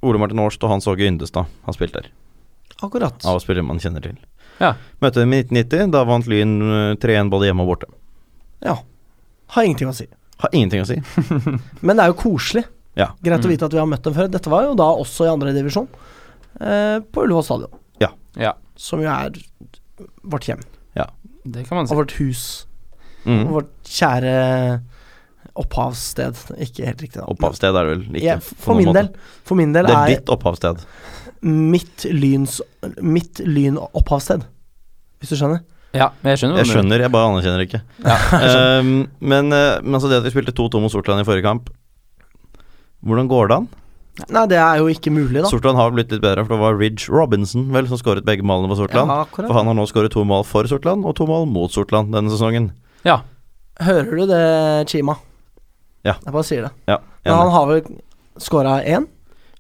[SPEAKER 3] Ole Martin Årst og Hans Åge Yndestad har spilt der,
[SPEAKER 1] Akkurat.
[SPEAKER 3] av spillere man kjenner til.
[SPEAKER 2] Ja.
[SPEAKER 3] Møtte dem i 1990, da vant Lyn eh, 3-1 både hjemme og borte.
[SPEAKER 1] Ja. Har ingenting å si.
[SPEAKER 3] Har ingenting å si.
[SPEAKER 1] Men det er jo koselig.
[SPEAKER 3] Ja. Mm.
[SPEAKER 1] Greit å vite at vi har møtt dem før. Dette var jo da også i andredivisjon, eh, på Ullevål stadion.
[SPEAKER 3] Ja.
[SPEAKER 2] Ja.
[SPEAKER 1] Som jo er vårt hjem,
[SPEAKER 2] Det kan man
[SPEAKER 1] og
[SPEAKER 2] si.
[SPEAKER 1] vårt hus, og
[SPEAKER 3] Mm.
[SPEAKER 1] vårt kjære opphavssted. Ikke helt riktig, da.
[SPEAKER 3] Opphavssted er det vel ikke?
[SPEAKER 1] Ja,
[SPEAKER 3] på
[SPEAKER 1] for,
[SPEAKER 3] noen
[SPEAKER 1] min
[SPEAKER 3] måte.
[SPEAKER 1] del, for min del
[SPEAKER 3] Det
[SPEAKER 1] er
[SPEAKER 3] er ditt opphavssted.
[SPEAKER 1] mitt lyns Mitt lyn opphavssted, hvis du skjønner.
[SPEAKER 2] Ja, men jeg skjønner hva
[SPEAKER 3] Jeg
[SPEAKER 2] du mener.
[SPEAKER 3] skjønner, jeg bare anerkjenner ikke. Ehm, men, eh, men altså det at vi spilte 2-2 mot Sortland i forrige kamp Hvordan går det an?
[SPEAKER 1] Nei, det er jo ikke mulig, da.
[SPEAKER 3] Sortland har blitt litt bedre, for det var Ridge Robinson vel som skåret begge målene for Sortland.
[SPEAKER 1] Ja,
[SPEAKER 3] for
[SPEAKER 1] akkurat.
[SPEAKER 3] han har nå skåret to mål for Sortland og to mål mot Sortland denne sesongen.
[SPEAKER 2] Ja.
[SPEAKER 1] Hører du det, Chima?
[SPEAKER 3] Ja.
[SPEAKER 1] Jeg bare sier det.
[SPEAKER 3] Ja,
[SPEAKER 1] Men
[SPEAKER 3] enig.
[SPEAKER 1] han har vel skåra én?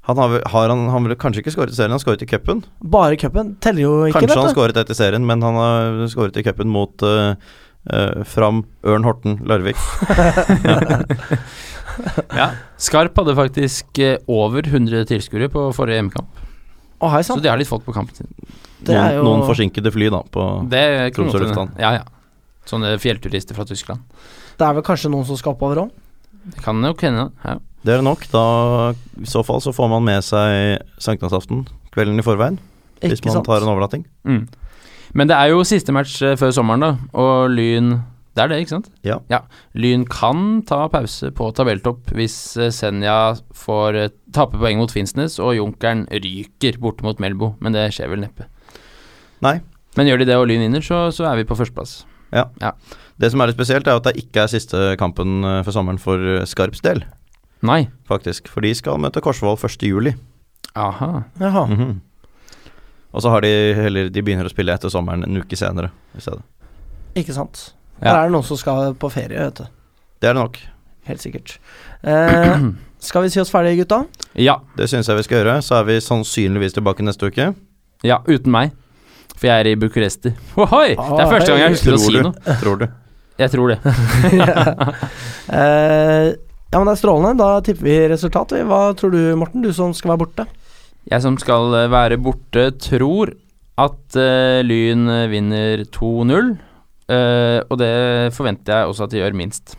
[SPEAKER 3] Han har, vel- har han, han ville kanskje ikke skåret i serien, han skåret i cupen.
[SPEAKER 1] Bare i cupen. Teller jo ikke,
[SPEAKER 3] Kanskje han
[SPEAKER 1] vet du.
[SPEAKER 3] skåret ett i serien, men han har skåret i cupen mot eh, eh, Fram, Ørn Horten, Larvik.
[SPEAKER 2] Ja. Skarp hadde faktisk eh, over 100 tilskuere på forrige hjemmekamp,
[SPEAKER 1] Å, hei
[SPEAKER 2] så
[SPEAKER 1] sann.
[SPEAKER 2] de har litt folk på kampen sin.
[SPEAKER 1] Det er
[SPEAKER 3] Noen,
[SPEAKER 1] jo-
[SPEAKER 3] noen forsinkede fly, da. På,
[SPEAKER 2] Det kan
[SPEAKER 3] Tromsø
[SPEAKER 2] godt hende.
[SPEAKER 3] lufthavn.
[SPEAKER 2] Ja, ja. Sånne fjellturister fra Tyskland.
[SPEAKER 1] Det er vel kanskje noen som skal oppover òg?
[SPEAKER 2] Det kan nok hende. Ja.
[SPEAKER 3] det er nok. Da, I så fall så får man med seg sankthansaften kvelden i forveien. Hvis
[SPEAKER 1] Ikke
[SPEAKER 3] man
[SPEAKER 1] sant?
[SPEAKER 3] tar en overnatting.
[SPEAKER 2] Mm. Men det er jo siste match eh, før sommeren, da, og Lyn Det er det, ikke sant?
[SPEAKER 3] Ja.
[SPEAKER 2] Lyn kan ta pause på tabelltopp hvis eh, Senja får eh, tape poeng mot Finnsnes og Junkeren ryker borte mot Melbo, men det skjer vel neppe.
[SPEAKER 3] Nei.
[SPEAKER 2] Men gjør de det og Lyn vinner, så, så er vi på førsteplass.
[SPEAKER 3] Det som er litt spesielt, er at det ikke er siste kampen eh, for sommeren for eh, Skarps del,
[SPEAKER 2] Nei.
[SPEAKER 3] faktisk. For de skal møte Korsvoll 1.7.
[SPEAKER 2] Aha.
[SPEAKER 1] Jaha.
[SPEAKER 3] Mhm. Og så har de heller De begynner å spille etter sommeren en uke senere i stedet.
[SPEAKER 1] Ikke sant.
[SPEAKER 2] Ja.
[SPEAKER 1] Der er det noen som skal på ferie, vet du.
[SPEAKER 3] Det er det nok.
[SPEAKER 1] Helt sikkert. Eh, skal vi si oss ferdige, gutta?
[SPEAKER 2] Ja.
[SPEAKER 3] Det syns jeg vi skal gjøre. Så er vi sannsynligvis tilbake neste uke.
[SPEAKER 2] Ja, uten meg. For jeg er i Bucuresti. Ohoi!
[SPEAKER 1] Ah,
[SPEAKER 2] Det er første gang jeg husker å si noe.
[SPEAKER 3] Tror du?
[SPEAKER 2] Jeg tror det.
[SPEAKER 1] Eh, ja, men det er strålende. Da tipper vi resultat. vi. Hva tror du, Morten? Du som skal være borte.
[SPEAKER 2] Jeg som skal eh, være borte, tror at eh, Lyn eh, vinner 2-0. eh, og det forventer jeg også at de gjør minst.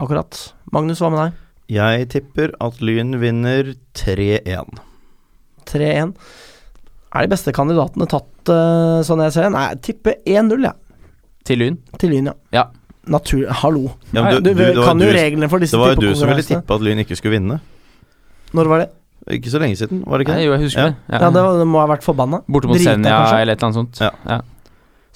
[SPEAKER 1] Akkurat. Magnus, hva med deg?
[SPEAKER 3] Jeg tipper at Lyn vinner 3-1.
[SPEAKER 1] 3-1. Er de beste kandidatene tatt, eh, sånn jeg ser det? Nei, jeg tipper 1-0, jeg.
[SPEAKER 2] Til Lyn.
[SPEAKER 1] Til Lyn, ja.
[SPEAKER 2] Ja.
[SPEAKER 1] Natur... Hallo.
[SPEAKER 3] Ja, men
[SPEAKER 1] Nei, du,
[SPEAKER 3] det var
[SPEAKER 1] kan jo
[SPEAKER 3] du-
[SPEAKER 1] reglene for disse
[SPEAKER 3] Det var jo du som ville
[SPEAKER 1] tippekonkurransene.
[SPEAKER 3] tippe at Lyn ikke skulle vinne.
[SPEAKER 1] Når var det?
[SPEAKER 3] Ikke så lenge siden, var det ikke
[SPEAKER 2] Nei,
[SPEAKER 3] det?
[SPEAKER 2] jo, jeg husker
[SPEAKER 3] Ja.
[SPEAKER 2] det.
[SPEAKER 1] Ja, det, var, det må ha vært forbanna.
[SPEAKER 2] Borte mot
[SPEAKER 1] Drita,
[SPEAKER 2] Senja
[SPEAKER 1] kanskje?
[SPEAKER 2] eller et eller annet sånt.
[SPEAKER 3] Ja.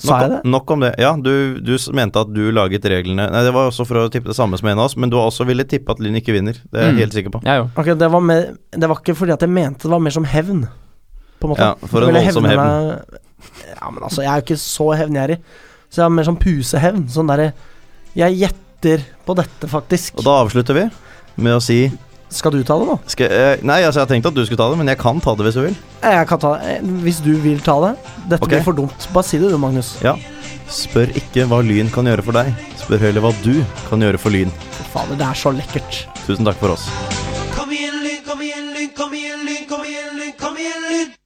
[SPEAKER 1] Sa jeg det?
[SPEAKER 3] Nok, nok om det. Ja, du, du s- mente at du laget reglene Nei, Det var også for å tippe det samme som en av oss, men du har også ville tippe at Lyn ikke vinner. Det er jeg
[SPEAKER 2] Mm.
[SPEAKER 3] helt sikker på.
[SPEAKER 2] Jeg òg.
[SPEAKER 1] Ok, det var, mer, det var ikke fordi at jeg mente det var mer som hevn. På en måte.
[SPEAKER 3] Ja, for en
[SPEAKER 1] Ville
[SPEAKER 3] voldsom
[SPEAKER 1] hevne
[SPEAKER 3] hevn.
[SPEAKER 1] meg- Ja, men altså, jeg er jo ikke så hevngjerrig. Så jeg er mer sånn pusehevn. Sånn derre Jeg gjetter på dette, faktisk.
[SPEAKER 3] Og da avslutter vi med å si
[SPEAKER 1] Skal du ta det nå?
[SPEAKER 3] skal, eh, Nei, altså, jeg tenkte at du skulle ta det, men jeg kan ta det hvis du vil.
[SPEAKER 1] Jeg kan ta det. Eh, Hvis du vil ta det. Dette
[SPEAKER 3] Ok.
[SPEAKER 1] blir for dumt. Bare si det du, Magnus.
[SPEAKER 3] Ja. Spør ikke hva Lyn kan gjøre for deg, spør heller hva du kan gjøre for Lyn.
[SPEAKER 1] Fy Fader, det er så lekkert.
[SPEAKER 3] Tusen takk for oss.
[SPEAKER 7] Kom igjen, lyn, kom igjen, lyn, kom igjen, lyn, kom igjen, lyn, kom igjen, lyn.